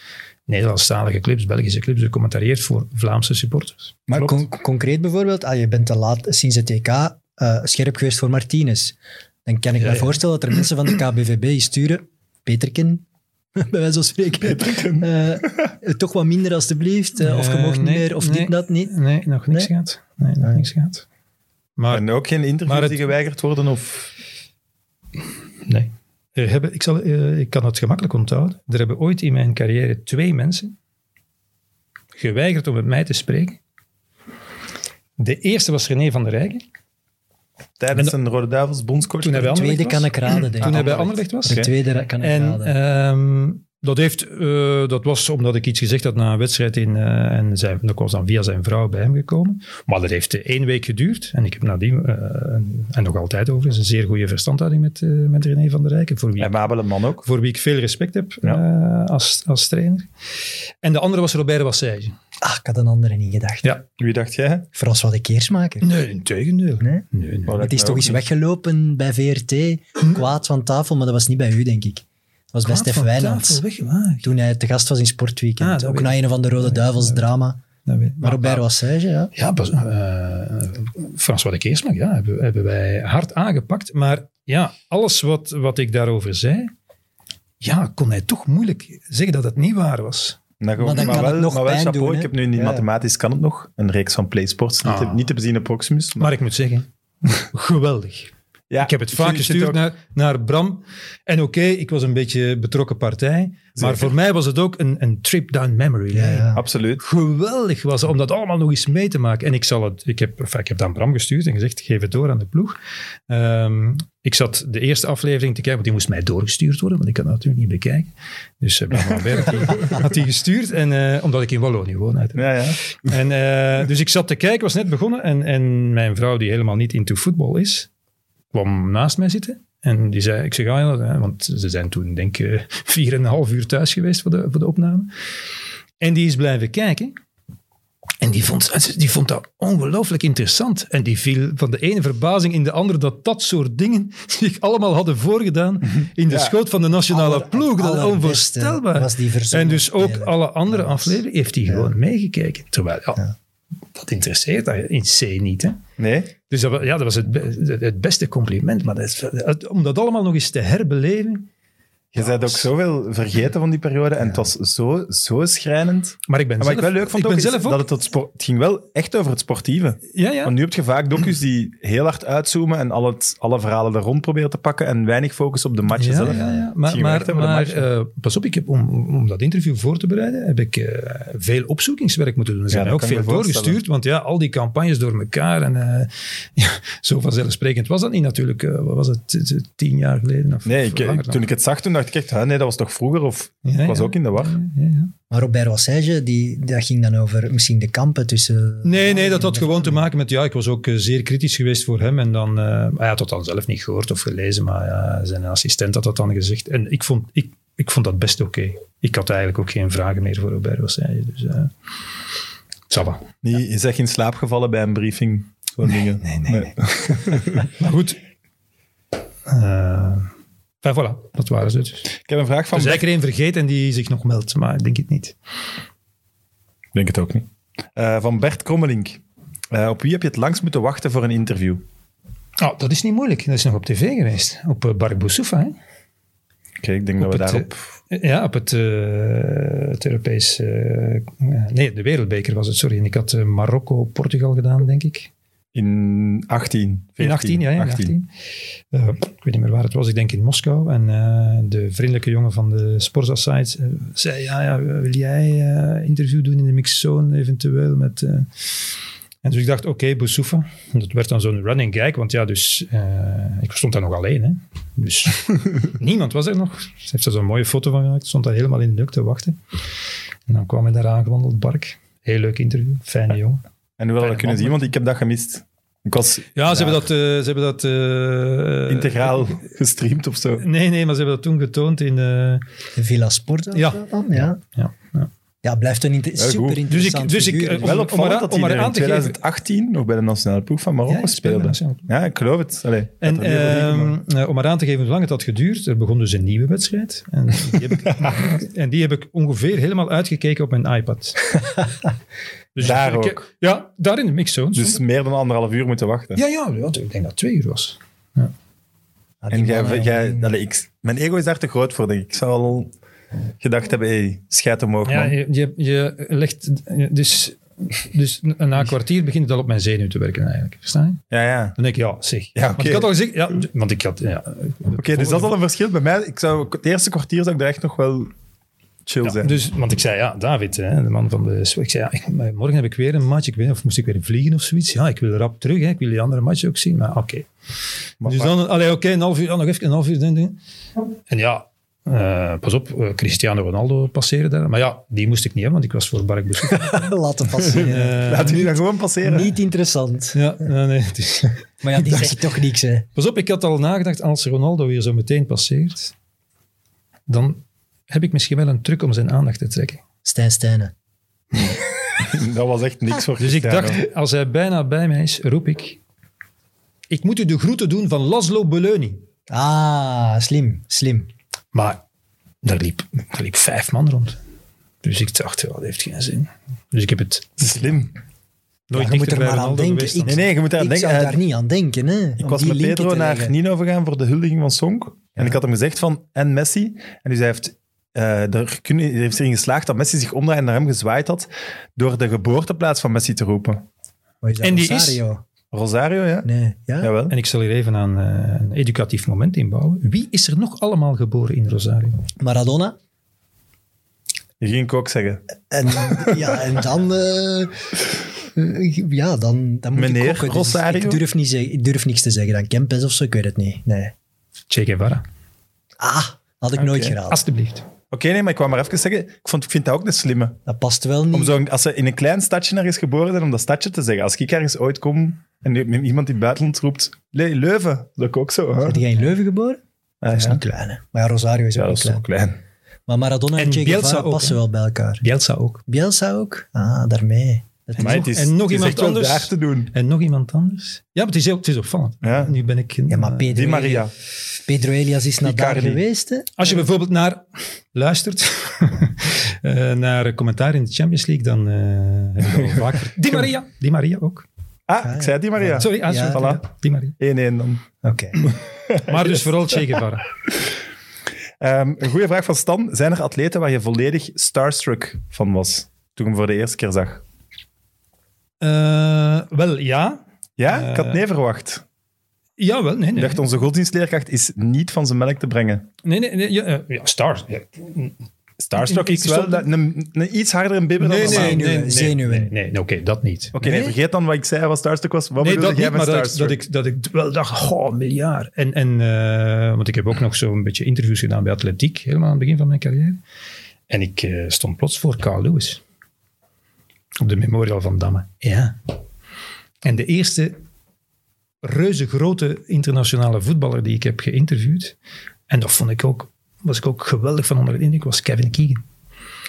D: Nederlandstalige clips, Belgische clips, becommentarieert voor Vlaamse supporters.
B: Maar
A: Klopt.
B: con- concreet bijvoorbeeld, ah, je bent te laat sinds het EK eh, scherp geweest voor Martinez. Dan kan ik
D: Ja,
B: me
D: ja.
B: voorstellen dat er mensen van de KBVB die sturen, Peterken, bij wijze van spreken, eh, toch wat minder alstublieft, eh, of je
D: Eh,
B: mocht niet
D: nee,
B: meer, of
D: nee.
B: dit, dat, niet.
D: Nee, nog niks
B: Nee?
D: gehad. Nee, nog niks gehad. Maar
A: En ook geen interviews
D: Maar het-
A: die geweigerd worden? Of...
D: nee. Er hebben, ik, zal, eh, ik kan het gemakkelijk onthouden. Er hebben ooit in mijn carrière twee mensen geweigerd om met mij te spreken. De eerste was René van der Rijken.
A: Tijdens een Rode Duivels bondscoach.
D: Toen hij
B: De
D: wel-
B: tweede kan ik raden, denk
D: Toen hij
B: ik.
D: bij Anderlecht was.
B: De tweede kan ik
D: En
B: raden.
D: ehm, dat, heeft, eh, dat was omdat ik iets gezegd had na een wedstrijd. In, eh, en zijn, dat was dan via zijn vrouw bij hem gekomen. Maar dat heeft eh, één week geduurd. En ik heb nadien, eh, een- en nog altijd overigens, een zeer goede verstandhouding met, eh, met René van der Rijken. Voor wie,
A: En Mabele Man ook.
D: voor wie ik veel respect heb eh, als, als trainer. En de andere was Robert Wassage.
B: ah, ik had een andere niet gedacht.
D: Ja.
A: Wie dacht jij?
B: Frans wat ik Keersmaker.
D: Nee, in tegendeel.
B: Nee?
D: Nee, nee.
B: Het is toch eens weggelopen bij VRT, kwaad van tafel, maar dat was niet bij u, denk ik. Dat was bij Stef Wijnands. Toen hij te gast was in
D: Ah,
B: Sportweekend.
D: dat
B: ook
D: weet
B: na een van de Rode Duivels drama. Maar
D: Maar
B: Robert Wassage, ja.
D: Ja, pas, eh, François de Keersman, ja, hebben, hebben wij hard aangepakt. Maar ja, alles wat, wat ik daarover zei, ja, kon hij toch moeilijk zeggen dat het niet waar was.
A: Maar,
B: Maar dan
A: Nou, maar
B: kan
A: wel,
B: het nog
A: maar wel
B: pijn
A: chapeau.
B: doen,
A: ik
B: hè?
A: heb nu niet
B: Ja.
A: mathematisch kan het nog. Een reeks van PlaySports. Niet,
D: Ah.
A: niet te bezien op Proximus.
D: Maar ik moet zeggen, geweldig.
A: ja,
D: Ik heb het vaak
A: vind- ik vind
D: gestuurd
A: ook-
D: naar, naar Bram. En oké, ik was een beetje betrokken partij. Maar
A: Zeker.
D: voor mij was het ook een, een trip down memory lane.
B: ja.
A: Absoluut.
D: geweldig was om dat allemaal nog eens mee te maken. En ik, zal het, ik, heb, enfin, ik heb dan Bram gestuurd en gezegd, geef het door aan de ploeg. Ehm, ik zat de eerste aflevering te kijken, want die moest mij doorgestuurd worden, want ik kan dat natuurlijk niet bekijken. Dus eh, Bram Lambert had die, had die gestuurd, en, eh, omdat ik in Wallonië woon. uiteraard.
A: Ja, ja.
D: En, eh, dus ik zat te kijken, was net begonnen. En, en mijn vrouw, die helemaal niet into voetbal is, kwam naast mij zitten. En die zei, ik zeg, ah ja, hè, want ze zijn toen denk ik eh, vier en een half uur thuis geweest voor de, voor de opname. En die is blijven kijken. En die vond, die vond dat ongelooflijk interessant. En die viel van de ene verbazing in de andere dat dat soort dingen zich allemaal hadden voorgedaan in de
A: Ja.
D: schoot van de nationale
B: Aller-
D: ploeg. Dat is
B: allerbeste
D: onvoorstelbaar.
B: was die verzonnen
D: en dus ook
B: speler.
D: alle andere
B: Ja, dat is-
D: afleveringen heeft hij gewoon meegekeken. Terwijl, ja, dat interesseert haar in C niet. Hè?
A: Nee.
D: Dus dat, wa- ja, dat was het, be- het beste compliment. Maar dat is, het- om dat allemaal nog eens te herbeleven.
A: Je bent ook
D: dus-
A: zoveel vergeten van die periode. En het was zo, zo schrijnend.
D: Maar ik ben
A: En wat
D: zelf,
A: ik wel leuk vond ook,
D: ben
A: is
D: zelf ook-
A: dat het, tot sport, het ging wel echt over het sportieve.
D: ja, ja.
A: Want nu heb je vaak docu's die heel hard uitzoomen en al het, alle verhalen er rond proberen te pakken en weinig focus op de matchen zelf.
D: Ja, ja, ja.
A: Het
D: Maar,
A: ging wel echt
D: maar,
A: over de
D: maar
A: matchen.
D: eh, pas op, ik heb om, om dat interview voor te bereiden, heb ik eh, veel opzoekingswerk moeten doen. Er zijn
A: Ja,
D: mij
A: dat
D: ook
A: kan ik
D: veel
A: me voorstellen.
D: doorgestuurd, want ja, al die campagnes door elkaar. En, eh, ja, zo vanzelfsprekend was dat niet natuurlijk. eh, wat was het, t- t- tien jaar geleden? Of,
A: Nee,
D: of
A: ik,
D: langer dan.
A: toen ik het zag, toen dacht ik echt, hè, nee, dat was toch vroeger? Of
D: Ja,
A: ik was
D: ja.
A: ook in de war.
D: Ja, ja.
B: Maar Robert Wassage, die, dat ging dan over misschien de kampen tussen...
D: Nee, nee, dat had gewoon te maken met... Ja, ik was ook eh, zeer kritisch geweest voor hem. En dan, eh, maar hij had dat dan zelf niet gehoord of gelezen, maar ja, zijn assistent had dat dan gezegd. En ik vond, ik, ik vond dat best oké. Ik had eigenlijk ook geen vragen meer voor Robert Wassage. Dus, eh ça va.
A: Nee, je zegt in slaap gevallen bij een briefing. Zo'n dingen. Nee.
D: Maar goed. Eh, enfin, voilà, dat waren ze dus.
A: Ik heb een vraag
D: Er
A: van...
D: is zeker één vergeten en die zich nog meldt, maar ik denk het niet.
A: Ik denk het ook niet. Eh, van Bert Krommelink. Eh, op wie heb je het langst moeten wachten voor een interview? Oké,
D: Oh, dat is niet moeilijk. Dat is nog op tv geweest. Op eh, Bark Boussoufa, hè.
A: ik denk dat we
D: Op het,
A: daarop...
D: eh, Ja, op het, eh het Europese... eh, nee, de Wereldbeker was het, sorry. En ik had eh, Marokko-Portugal gedaan, denk ik.
A: In 18. 14,
D: in 18, ja, in 18. Eh, ik weet niet meer waar het was, ik denk in Moskou. En eh, de vriendelijke jongen van de Sporza site eh, zei, ja, ja, wil jij eh, interview doen in de mixzone eventueel met... eh?" en dus ik dacht, oké, Boussoufa. Dat werd dan zo'n running gag, want ja, dus eh, ik stond daar nog alleen. Hè. Dus niemand was er nog. Ze heeft er zo'n mooie foto van gemaakt. Stond daar helemaal in de lucht te wachten. En dan kwam hij daar aangewandeld, Bark. Heel leuk interview, fijne jongen.
A: En hoe hadden we dat kunnen
D: man.
A: zien? Want ik heb dat gemist. Ik was
D: Ja, ze
A: daar
D: hebben dat... eh, ze hebben dat eh,
A: integraal gestreamd of zo.
D: Nee, nee, maar ze hebben dat toen getoond in... eh,
B: De Villa Sport. of
D: Ja.
B: zo dan, ja.
D: ja, ja.
B: Ja, blijft een inter-
A: goed.
B: super
D: Dus ik-
B: interessant
D: dus ik, eh,
A: Wel
D: om-
A: opvallend
D: om er-
A: dat
D: om
A: hij
D: er
A: er in
D: aan te geven-
A: 2018 nog bij de nationale ploeg van Marokko
D: Ja, hij speelde
A: speelde.
D: nationale ploeg.
A: Ja, ik geloof het. Allee, dat
D: En
A: er heel veel liegen, maar-
D: ehm, eh, om maar aan te geven hoe lang het had geduurd, er begon dus een nieuwe wedstrijd. En die heb ik, en die heb ik ongeveer helemaal uitgekeken op mijn iPad. Dus
A: Daar
D: ik-
A: ook.
D: Ja, daar in de mixzone.
A: dus meer dan anderhalf uur moeten wachten.
D: ja, ja, ja, ik denk dat het twee uur was.
B: Ah, die
A: En jij,
B: mannen,
A: jij,
B: jongen.
A: allee, ik, mijn ego is daar te groot voor, denk ik. Ik zou al gedacht hebben, hé, hey, schijt omhoog,
D: Ja,
A: man.
D: je, je, je legt dus Dus na- na een kwartier begint het al op mijn zenuw te werken eigenlijk. Versta je?
A: Ja, ja.
D: Dan denk ik, ja, zeg.
A: Ja, oké.
D: Want ik had al gezegd, ja, d- want ik had, ja.
A: Oké, dus dat is al een verschil. Bij mij, ik zou, het eerste kwartier zou ik daar echt nog wel chill
D: Ja,
A: zijn.
D: dus, want ik zei, ja, David, hè, de man van de... Ik zei, ja, ik- maar morgen heb ik weer een match. Ik weet, niet of moest ik weer vliegen of zoiets? Ja, ik wil rap terug. Hè, ik wil die andere match ook zien. Maar oké.
A: Maar-
D: dus dan, allee, oké, een half uur, ja, nog even een half uur. Ding, ding. En ja, eh, pas op, eh, Cristiano Ronaldo passeren daar. Maar ja, die moest ik niet hebben, want ik was voor Bark bezoek.
B: Laten passeren.
D: eh,
A: Laat die dan gewoon passeren.
B: Niet interessant.
D: ja, nee, nee. het is-
B: Maar ja, die zegt toch niks, hè.
D: Pas op, ik had al nagedacht, als Ronaldo weer zo meteen passeert, dan heb ik misschien wel een truc om zijn aandacht te trekken.
B: Stijn Stijnen.
A: Dat was echt
B: Ah.
A: niks voor
D: Dus ik
A: Cristiano.
D: dacht, als hij bijna bij mij is, roep ik, ik moet u de groeten doen van Laszlo Beleuni.
B: Ah, slim, slim.
D: Maar daar liep, daar liep vijf man rond. Dus ik dacht, ja, dat heeft geen zin. Dus ik heb het
A: Slim.
D: nooit
B: je moet
D: dichter
B: er
D: bij
B: maar aan
D: Ronaldo
B: denken.
D: geweest dan-
A: Nee, nee, je moet daar
B: ik
A: denken.
B: zou
A: Eh,
B: daar niet aan denken, hè.
A: Ik was met Pedro naar Nino gegaan voor de huldiging van Song. En ik had hem gezegd van, en Messi. En dus hij heeft, eh er, kunnen, hij heeft erin geslaagd dat Messi zich omdraaide en naar hem gezwaaid had door de geboorteplaats van Messi te roepen.
B: Oh,
D: En die is-
A: Rosario, ja?
B: Nee, ja?
A: Jawel.
D: En ik zal hier even aan eh, een educatief moment inbouwen. Wie is er nog allemaal geboren in Rosario?
B: Maradona.
A: Die ging ik ook zeggen.
B: En, ja, en dan... eh, eh, ja, dan, dan moet
A: Meneer
B: ik kokken. Dus
A: Rosario?
B: Ik durf, niet zeggen, ik durf niks te zeggen dan Kempes of zo, ik weet het niet. Nee.
D: Che Guevara.
B: Ah, had ik nooit geraden.
D: Alsjeblieft.
A: Oké, nee, maar ik kwam maar even zeggen, ik, vond, ik vind dat ook een slimme.
B: Dat past wel niet.
A: Om zo, als ze in een klein stadje ergens geboren zijn, om dat stadje te zeggen. Als ik ergens ooit kom en nu- iemand in het buitenland roept, "Le- Leuven, dat ik ook zo. Hè?
B: Zijn jij in Leuven geboren?
A: Ah,
B: Dat is
A: ja.
B: niet klein, hè. Maar ja, Rosario is
A: Ja,
B: ook
A: dat
B: niet
A: is zo
B: klein.
A: klein.
B: Maar Maradona en,
D: En
B: Che
D: Bielsa
B: Guevara
D: ook,
B: passen
D: hè.
B: wel bij elkaar.
D: Bielsa ook.
B: Bielsa ook? Ah, daarmee. Dat is-
A: Maar het is,
D: en nog
A: het is
D: iemand
A: echt wel
D: anders?
A: daar te doen.
D: En nog iemand anders? Ja, maar het is, heel, het is opvallend.
A: Ja.
D: Nu ben ik...
B: Ja, maar
D: eh,
B: Pedro,
A: Die Maria.
B: Pedro Elias is naar daar
A: Icardi.
B: geweest, hè.
D: Als je bijvoorbeeld naar, luistert eh, naar commentaar in de Champions League, dan eh heb ik al vaak... ver- Di Maria. Di Maria ook.
A: Ah, ik zei die Maria.
D: Sorry, ah,
B: Ja,
D: sorry.
A: voilà.
D: Ja, Di Maria.
A: 1-1 dan.
B: Oké.
D: Maar dus vooral Che Guevara.
A: Ehm, een goede vraag van Stan. Zijn er atleten waar je volledig starstruck van was toen je hem voor de eerste keer zag?
D: Eh, wel, ja.
A: Ja, ik had
D: Eh,
A: nee verwacht.
D: Ja, wel. Nee,
A: Ik
D: nee.
A: dacht, onze godsdienstleerkracht is niet van zijn melk te brengen.
D: nee, nee, nee ja, eh, ja, stars. Ja.
A: Starstruck
D: Ik- ik
A: is wel
D: stond-
A: dat- een, een iets harder en bibber dan normaal.
B: nee, nee. zenuwen.
D: Nee, nee, nee, oké, dat niet.
A: Oké, nee,
B: Nee?
A: vergeet dan wat ik zei, wat starstruck was. Wat
D: Nee,
A: bedoelde
D: dat
A: jij
D: niet,
A: met
D: maar dat ik,
A: starstruck?
D: dat, ik, dat ik wel dacht, goh, miljard. En, en, eh, want ik heb ook nog zo'n beetje interviews gedaan bij Atletiek, helemaal aan het begin van mijn carrière. En ik eh, stond plots voor Carl Lewis. Op de Memorial van Damme. Ja. En de eerste reuze grote internationale voetballer die ik heb geïnterviewd, en dat vond ik ook, was ik ook geweldig van onder de indruk, was Kevin Keegan.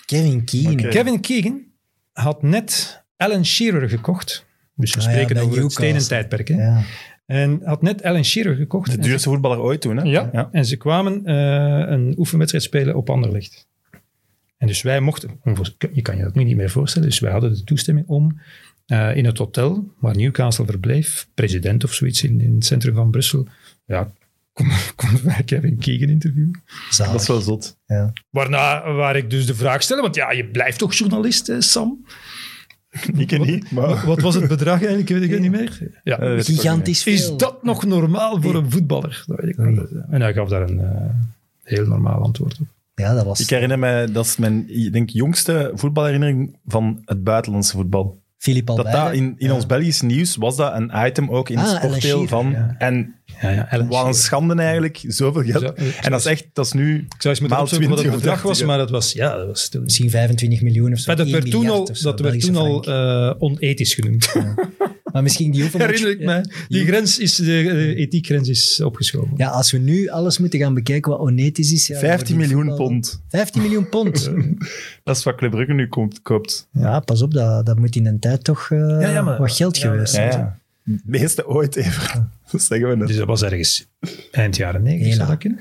B: Kevin Keane.
A: Oké.
D: Kevin Keegan had net Alan Shearer gekocht. Dus we
B: Ah ja,
D: spreken
B: bij
D: over het
B: Newcastle.
D: stenen tijdperk. Hè?
B: Ja.
D: En had net Alan Shearer gekocht.
A: De
D: En
A: duurste voetballer ooit toen, hè?
D: ze- Ja,
A: ja.
D: en ze kwamen eh, een oefenwedstrijd spelen op Anderlecht. En dus wij mochten, onvoor- je kan je dat nu niet meer voorstellen, dus wij hadden de toestemming om eh, in het hotel waar Newcastle verbleef, president of zoiets in, in het centrum van Brussel, ja, konden kon wij Kevin Keegan interviewen.
B: Zalig.
A: Dat is wel zot.
B: Ja.
D: Waarna, waar ik dus de vraag stelde, want ja, je blijft toch journalist, eh, Sam?
A: Ik ken niet, maar...
D: Wat was het bedrag eigenlijk? Ik weet het niet meer. Ja.
A: Eh,
B: Gigantisch veel.
D: Is dat nog normaal voor een voetballer? Dat weet ik nog niet. En hij gaf daar een eh, heel normaal antwoord op.
B: Ja, dat was...
A: Ik herinner me, dat is mijn ik denk, jongste voetbalherinnering van het buitenlandse voetbal.
B: Filip
A: dat
B: Albert.
A: daar in, in ons Belgisch nieuws was dat een item ook in
B: Ah,
A: het sportdeel
B: LSG,
A: van.
D: ja.
A: En
D: Ja, ja, Alan
A: wat een
D: Shearer.
A: schande eigenlijk, zoveel geld.
D: Zo- eh,
A: en dat is echt, dat is nu
D: Ik zou eens moeten
A: maal
D: opzoeken wat
A: 20
D: het
A: of
D: bedrag was,
A: 30,
D: maar dat was, ja, dat was toen...
B: Misschien 25 miljoen of zo.
D: Maar dat
B: 1
D: werd toen
B: miljard
D: al,
B: of zo,
D: dat werd
B: Belgische
D: toen al
B: frank.
D: eh, onethisch genoemd.
B: Maar misschien die oefenmatch...
D: Herinner ik me. Die grens is, de eh, ethiekgrens is opgeschoven.
B: Ja, als we nu alles moeten gaan bekijken wat onethisch is... Ja, dan
A: 15
B: wordt die
A: miljoen
B: voetbal-
A: pond.
B: 15 miljoen pond.
A: Dat is wat Club Brugge nu komt, koopt.
B: ja, pas op, dat, dat moet in een tijd toch eh,
D: ja, maar-
B: wat geld
D: ja, ja.
B: geweest
A: Ja,
B: zijn.
A: ja. De meeste ooit even. Dat zeggen we net.
D: Dus dat was ergens eind jaren negentig,
B: Heel
D: zou dat kunnen?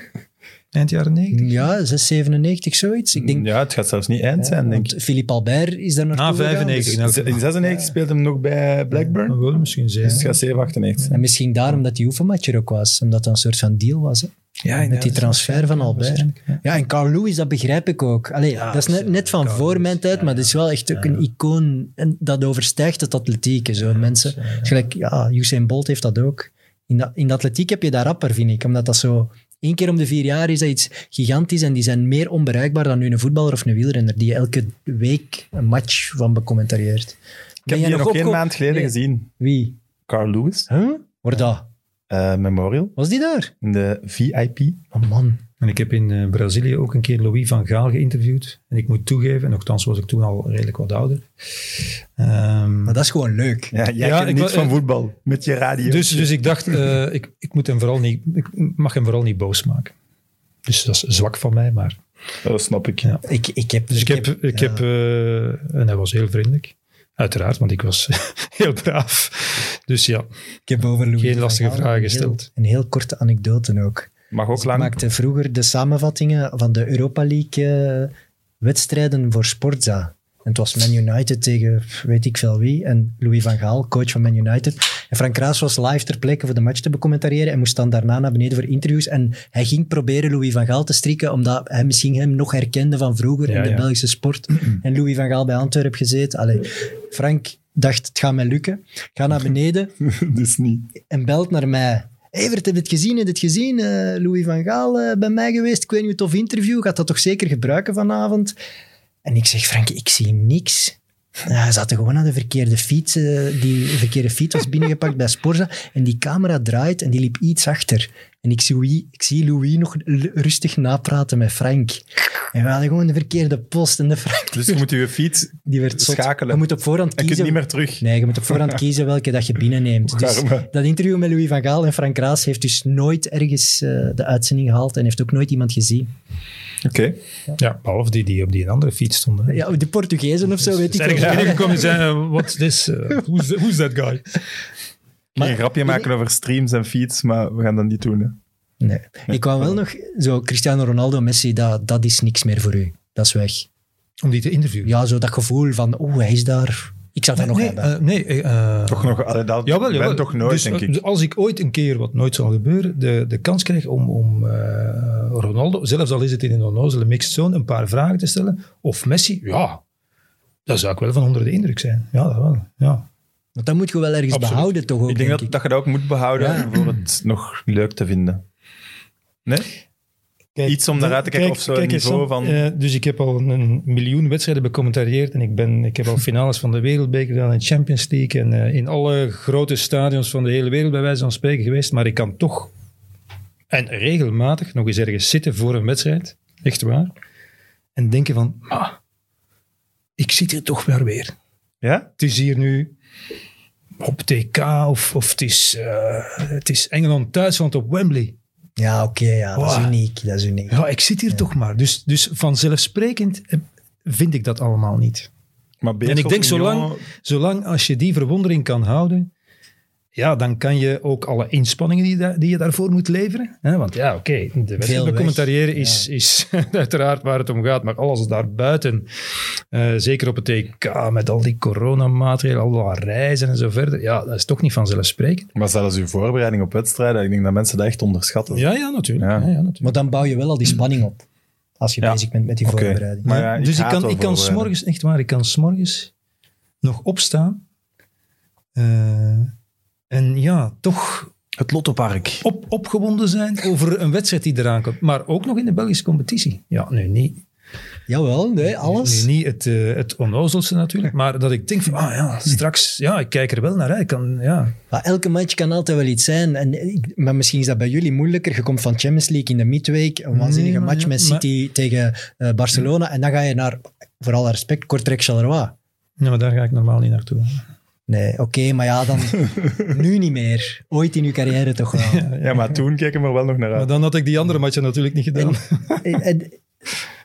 D: Eind jaren negentig?
B: Ja, 697 zoiets.
D: Mm,
B: Ik denk,
A: Ja, het gaat zelfs niet eind zijn, denk ik.
B: want Philippe Albert is daar naartoe
D: Na
B: gegaan,
D: 95.
B: dus-
D: nou,
A: In 96 speelde hem nog bij Blackburn.
D: dan wel misschien
A: Dus het
D: zeven.
A: gaat 7, 98 zijn.
B: En misschien daarom dat die oefenmatch er ook was. Omdat dat een soort van deal was. Hè?
D: Ja,
B: met die transfer van Albert. Ja, en Carl Lewis, dat begrijp ik ook. Allee,
E: Ja,
B: dat is net,
E: absoluut.
B: net van
E: Carl
B: voor
E: Lewis,
B: mijn tijd,
E: ja,
B: maar dat is wel echt ook een icoon. En dat overstijgt het atletiek. hè, Zo. Mensen, gelijk, ja, Usain Bolt heeft dat ook. In, dat- in de atletiek heb je dat rapper, vind ik. Omdat dat zo... één keer om de vier jaar is dat iets gigantisch en die zijn meer onbereikbaar dan nu een voetballer of een wielrenner die je elke week een match van becommentarieert.
A: Ik heb die nog geen maand geleden
B: Nee.
A: gezien.
B: Wie?
A: Carl Lewis,
B: Huh? Waar dat?
A: eh, Memorial,
B: Was die daar?
A: in de VIP.
B: Oh man.
D: En ik heb in eh, Brazilië ook een keer Louis van Gaal geïnterviewd. En ik moet toegeven, nogthans was ik toen al redelijk wat ouder. Ehm,
B: Maar dat is gewoon leuk.
A: Ja, jij
D: Ja,
A: kent
D: ik
A: niets
D: wa-
A: van
D: eh,
A: voetbal, met je radio.
D: dus, dus ik dacht, eh, ik, ik, moet hem vooral niet, ik mag hem vooral niet boos maken. Dus dat is zwak van mij, maar...
A: Oh, dat snap ik.
D: Ja.
B: Ik, ik heb...
D: Dus ik heb... Ik
B: ja.
D: heb eh, en hij was heel vriendelijk. Uiteraard, want ik was heel braaf. Dus ja,
B: Ik heb over Louis
D: Geen
B: van
D: lastige
B: Gaal
D: vragen
B: een heel-
D: gesteld.
B: Een heel korte anekdote ook.
A: Mag ook
B: Dus ik
A: lang.
B: maakte vroeger de samenvattingen van de Europa League-wedstrijden voor Sportza. En het was Man United tegen weet ik veel wie. En Louis van Gaal, coach van Man United. En Frank Kraas was live ter plekke voor de match te becommentariëren. En moest dan daarna naar beneden voor interviews. En hij ging proberen Louis van Gaal te strikken. Omdat hij misschien hem nog herkende van vroeger
D: Ja,
B: in de
D: ja.
B: Belgische sport. en Louis van Gaal bij Antwerpen gezeten. Allee, Frank dacht, het gaat mij lukken. Ga naar beneden
A: dus niet.
B: en belt naar mij. Evert, heb je het gezien? Heb je het gezien? Eh, Louis van Gaal eh, bij mij geweest. Ik weet niet, tof interview. Gaat dat toch zeker gebruiken vanavond? En ik zeg, Frank, ik zie niks. Ja, Hij zat er gewoon aan de verkeerde fiets. eh, die verkeerde fiets was binnengepakt bij Sporza. En die camera draait en die liep iets achter. En ik zie, Louis- ik zie Louis nog l- rustig napraten met Frank. En we hadden gewoon de verkeerde post. En de Frank
A: Dus je moet je fiets
B: die werd zot.
A: Schakelen.
B: Je moet op voorhand
A: en je kunt
B: kiezen.
A: niet meer terug.
B: Nee, je moet op voorhand kiezen welke dat je binnenneemt. Dus
A: Garme.
B: dat interview met Louis van Gaal en Frank Raas heeft dus nooit ergens eh, de uitzending gehaald en heeft ook nooit iemand gezien.
A: Oké.
D: ja behalve die die op die andere fiets stonden. hè.
B: Ja, de Portugezen of zo, weet ik
D: Zijn ergens
B: wel.
D: binnengekomen en zeiden, eh, what's this? Eh, who's, who's that guy?
A: Ik ging een grapje maken over streams en feeds, maar we gaan dat niet doen. Hè.
B: Nee. Ik wou wel nog... Zo, Cristiano Ronaldo, Messi, dat, dat is niks meer voor u. Dat is weg.
D: Om die te interviewen.
B: Ja, zo dat gevoel van, oeh, hij is daar. Ik zou dat nog
D: nee,
B: hebben.
D: eh, nee, eh, eh,
A: Toch nog, allee, dat
D: Jawel,
A: ben
D: jawel.
A: toch nooit,
D: Dus,
A: denk
D: eh,
A: ik.
D: dus Als ik ooit een keer, wat nooit zal gebeuren, de, de kans krijg om, om eh, Ronaldo, zelfs al is het in een onnozele mixed zone, een paar vragen te stellen, of Messi, ja, dan zou ik wel van onder de indruk zijn. Ja, dat wel. Ja.
B: Want dat moet je wel ergens
D: Absoluut.
B: behouden, toch ook,
A: Ik denk
B: denk
A: dat,
B: ik.
A: dat je dat ook moet behouden
B: Ja.
A: voor het nog leuk te vinden. Nee? Iets om naar uit te kijken of zo'n
D: eens,
A: niveau
D: Sam,
A: van-
D: eh, dus ik heb al een miljoen wedstrijden becommentarieerd en ik, ben, ik heb al finales van de Wereldbeker gedaan en Champions League en eh, in alle grote stadions van de hele wereld bij wijze van spreken geweest. Maar ik kan toch en regelmatig nog eens ergens zitten voor een wedstrijd, echt waar, en denken van, ah, ik zit hier toch wel weer.
A: Ja?
D: Het is hier nu op TK of, of het, is, eh, het is Engeland-Duitsland op Wembley.
B: Ja, oké, ja, dat is
D: Wow.
B: uniek. Dat is uniek.
D: Ja, ik zit hier toch maar. Dus, dus vanzelfsprekend eh, vind ik dat allemaal niet.
A: Maar
D: En ik denk, zolang, zolang als je die verwondering kan houden, ja, dan kan je ook alle inspanningen die, je daar- die je daarvoor moet leveren. Hè? Want ja, oké, de
B: Veel
D: wedstrijd
B: weg.
D: commentariëren is, is uiteraard waar het om gaat, maar alles daarbuiten, eh zeker op het TK, met al die coronamaatregelen, al dat reizen en zo verder, ja, dat is toch niet vanzelfsprekend.
A: Maar zelfs uw voorbereiding op wedstrijden, ik denk dat mensen dat echt onderschatten.
D: Ja, ja, natuurlijk.
A: Ja.
D: Ja. Ja, natuurlijk.
B: Maar dan bouw je wel al die spanning op. Als je
A: Ja.
B: bezig bent met die
A: Oké.
B: voorbereiding.
A: Maar ja, ik
D: dus ik
A: haat
D: kan,
A: wel
D: ik kan
A: voorbereiding.
D: s'morgens, echt waar, ik kan s'morgens nog opstaan. eh, en ja, toch
A: Het Lottopark.
D: op, opgewonden zijn over een wedstrijd die eraan komt. Maar ook nog in de Belgische competitie. Ja, nu niet,
B: Jawel, nee, alles.
D: nu niet het, eh, het onnozelste natuurlijk. Maar dat ik denk van, ah ja, straks, ja, ik kijk er wel naar uit. Ik Kan, ja.
B: Maar elke match kan altijd wel iets zijn. En, ik- maar misschien is dat bij jullie moeilijker. Je komt van Champions League in de midweek. Een waanzinnige
D: maar
B: match
D: Mm, ja,
B: met
D: maar-
B: City tegen eh, Barcelona. En dan ga je naar, vooral respect, Kortrijk Charleroi.
D: ja, maar daar ga ik normaal niet naartoe.
B: Nee, oké, maar ja, dan nu niet meer. Ooit in uw carrière toch wel.
A: Ja, maar toen keken we er wel nog naar
D: Maar
A: uit.
D: dan had ik die andere matchen natuurlijk niet gedaan.
B: En- Eh, en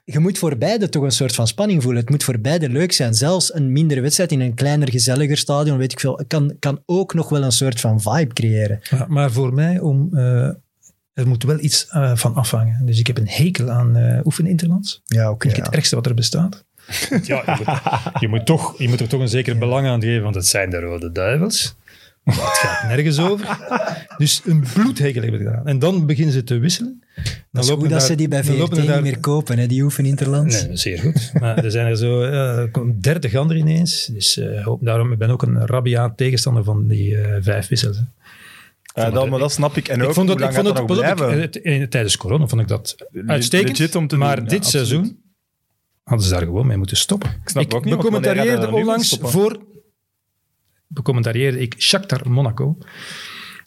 B: je moet voor beide toch een soort van spanning voelen. Het moet voor beide leuk zijn. Zelfs een mindere wedstrijd in een kleiner, gezelliger stadion, weet ik veel, kan, kan ook nog wel een soort van vibe creëren.
D: Maar, maar voor mij, om, eh, er moet wel iets eh, van afhangen. Dus ik heb een hekel aan eh oefenen interlands.
B: Ja, oké.
D: Vind ik het ergste wat er bestaat. Ja, je moet, je moet toch, je moet er toch een zeker belang aan geven, want het zijn de Rode Duivels. Het gaat nergens over. Dus een bloedhekel hebben we gedaan. En dan beginnen ze te wisselen. Dan
B: Dat is
D: lopen
B: goed
D: er
B: dat
D: daar-
B: ze die bij
D: dan
B: VRT
D: lopen er
B: niet
D: daar-
B: meer kopen, hè, die oefen Interlands.
D: Nee, zeer goed. Maar er zijn er zo eh, dertig anderen ineens. Dus eh, hoop- daarom ik ben ook een rabiaat tegenstander van die eh, vijf wissels. hè.
A: Eh, dat, maar dat snap ik. En ook,
D: ik vond dat,
A: hoe
D: ik
A: lang
D: vond
A: gaat
D: het,
A: dat nog
D: pas op, ik-
A: blijven?
D: het- in- tijdens corona vond ik dat uitstekend.
A: legit om te
D: maar
A: doen, ja,
D: dit
A: absoluut.
D: seizoen hadden ze daar gewoon mee moeten stoppen. Ik
A: snap ook niet,
D: We
A: want wanneer gaat dat
D: commentarieerden
A: dan nu
D: onlangs
A: stoppen?
D: voor... We commentarieerden ik Shakhtar Monaco.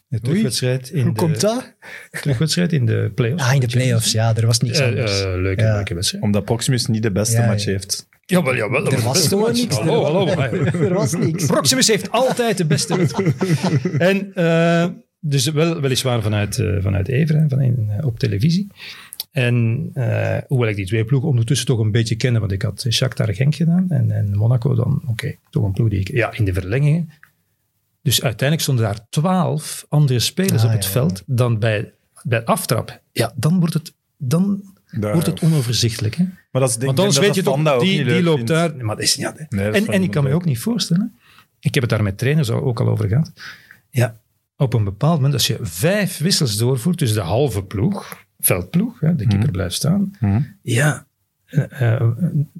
D: De terugwedstrijd in,
B: Hoe
D: de,
B: komt dat?
D: terugwedstrijd in de play-offs.
B: Ah, in de play-offs, ja, er was niks
D: Eh, eh,
B: anders.
D: leuke,
B: Ja.
D: leuke wedstrijd.
A: Omdat Proximus niet de beste
B: Ja,
A: match
B: ja.
A: heeft.
D: Jawel, jawel. dat
B: Er was
D: best
B: gewoon
D: een match.
B: niks.
D: Hallo, hallo.
B: er was niks.
D: Proximus heeft altijd de beste wedstrijd. En eh, dus wel, weliswaar vanuit, eh, vanuit Everen, van in, eh, op televisie. En eh, hoewel ik die twee ploegen ondertussen toch een beetje kende, want ik had Shakhtar Genk gedaan en, en Monaco dan, oké, toch een ploeg die ik... Ja, in de verlengingen. Dus uiteindelijk stonden daar twaalf andere spelers
B: Ah,
D: op het
B: ja, ja.
D: veld dan bij, bij aftrap. Ja, dan wordt het, dan
A: Daar-
D: wordt het onoverzichtelijk, hè?
A: Maar dat is denk
D: Want
A: ik dat
D: anders weet
A: dat
D: je toch,
A: Van dat ook
D: die,
A: niet
D: die
A: leuk
D: loopt
A: vindt.
D: daar. Maar dat is niet aan-
A: Nee, dat
D: en,
A: vond
D: en ik
A: ik
D: kan me
A: leuk.
D: ook niet voorstellen. Ik heb het daar met trainers al- ook al over gehad. Ja, op een bepaald moment, als je vijf wissels doorvoert, dus de halve ploeg, veldploeg, hè, de keeper blijft staan.
A: Mhm.
D: Ja, eh, eh,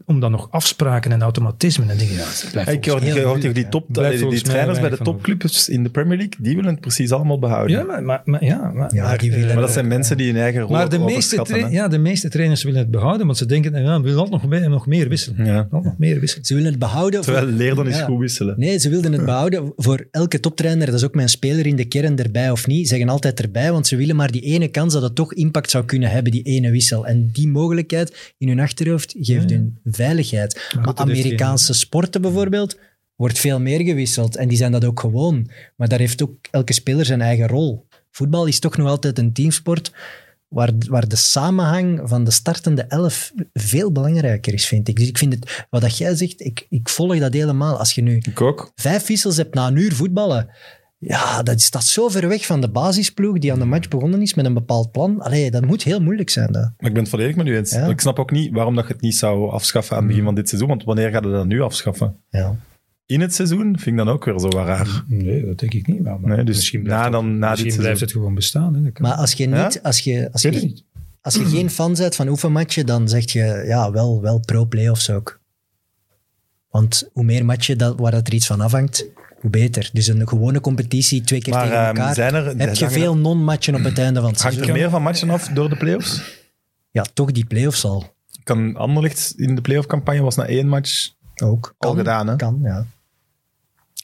D: om dan nog afspraken en automatismen en dingen. Ja, het blijft
A: Ik
D: volgens
A: hoor
D: mij
A: ik
D: heel
A: hoor tegen
D: moeilijk,
A: die,
D: ja.
A: top,
D: Blijft
A: die, die
D: volgens mij
A: trainers bij de
D: weinig van over.
A: topclubs in de Premier League, die willen het precies allemaal behouden.
D: Ja, maar, maar, maar- ja, maar,
B: Ja, die willen-
D: eh,
A: maar dat zijn mensen die hun eigen rol
D: maar de meeste,
A: overschatten,
D: tra-
A: hè.
D: ja, de meeste trainers willen het behouden, want ze denken, nou, ja, we willen altijd nog, me- nog meer wisselen.
A: Ja.
D: Altijd nog meer wisselen.
B: Ze willen het behouden. voor-
A: Terwijl Leerden is
B: Ja.
A: goed wisselen.
B: Nee, ze wilden het behouden voor elke toptrainer. Dat is ook mijn speler in de kern erbij of niet. Zeggen altijd erbij, want ze willen maar die ene kans dat het toch impact zou kunnen hebben, die ene wissel. En die mogelijkheid in hun achterhoofd geeft
D: Ja, ja.
B: hun veiligheid. Maar
D: goed, dat heeft
B: Amerikaanse sporten bijvoorbeeld wordt veel meer gewisseld. En die zijn dat ook gewoon. Maar daar heeft ook elke speler zijn eigen rol. Voetbal is toch nog altijd een teamsport waar, waar de samenhang van de startende elf veel belangrijker is, vind ik. Dus ik vind het, wat dat jij zegt, ik, ik volg dat helemaal. Als je nu
A: Ik ook.
B: vijf wissels hebt na een uur voetballen. Ja, dat staat zo ver weg van de basisploeg die aan de match begonnen is met een bepaald plan. Allee, dat moet heel moeilijk zijn. Dat.
A: Maar ik ben het volledig met u eens.
B: Ja.
A: Ik snap ook niet waarom dat je het niet zou afschaffen aan het
D: Mhm.
A: begin van dit seizoen. Want wanneer gaan we dat nu afschaffen?
B: Ja.
A: In het seizoen vind ik dan ook weer zo wat raar.
D: Nee, dat denk ik niet. Maar, maar
A: Nee, dus
D: misschien
A: na
D: blijft, dat-
A: dan- na dit
D: misschien blijft
A: seizoen.
D: het gewoon bestaan. Hè. Dat kan.
B: Maar als je,
A: Ja?
B: niet, als, je, als,
D: Ik weet het
B: je,
D: niet.
B: als je geen fan bent van oefenmatchen, dan zeg je ja, wel, wel pro-playoffs ook. Want hoe meer matchen dat, waar dat er iets van afhangt, hoe beter. Dus een gewone competitie, twee keer
A: Maar
B: tegen
A: ehm,
B: elkaar,
A: zijn er...
B: heb je
A: hangen-
B: veel non-matchen op het einde van het
A: Hangt
B: seizoen.
A: er meer van matchen af door de play-offs?
B: Ja, toch die playoffs al.
A: Kan Anderlecht in de play-off campagne was na één match
B: Ook.
A: al gedaan, hè?
B: Kan, ja.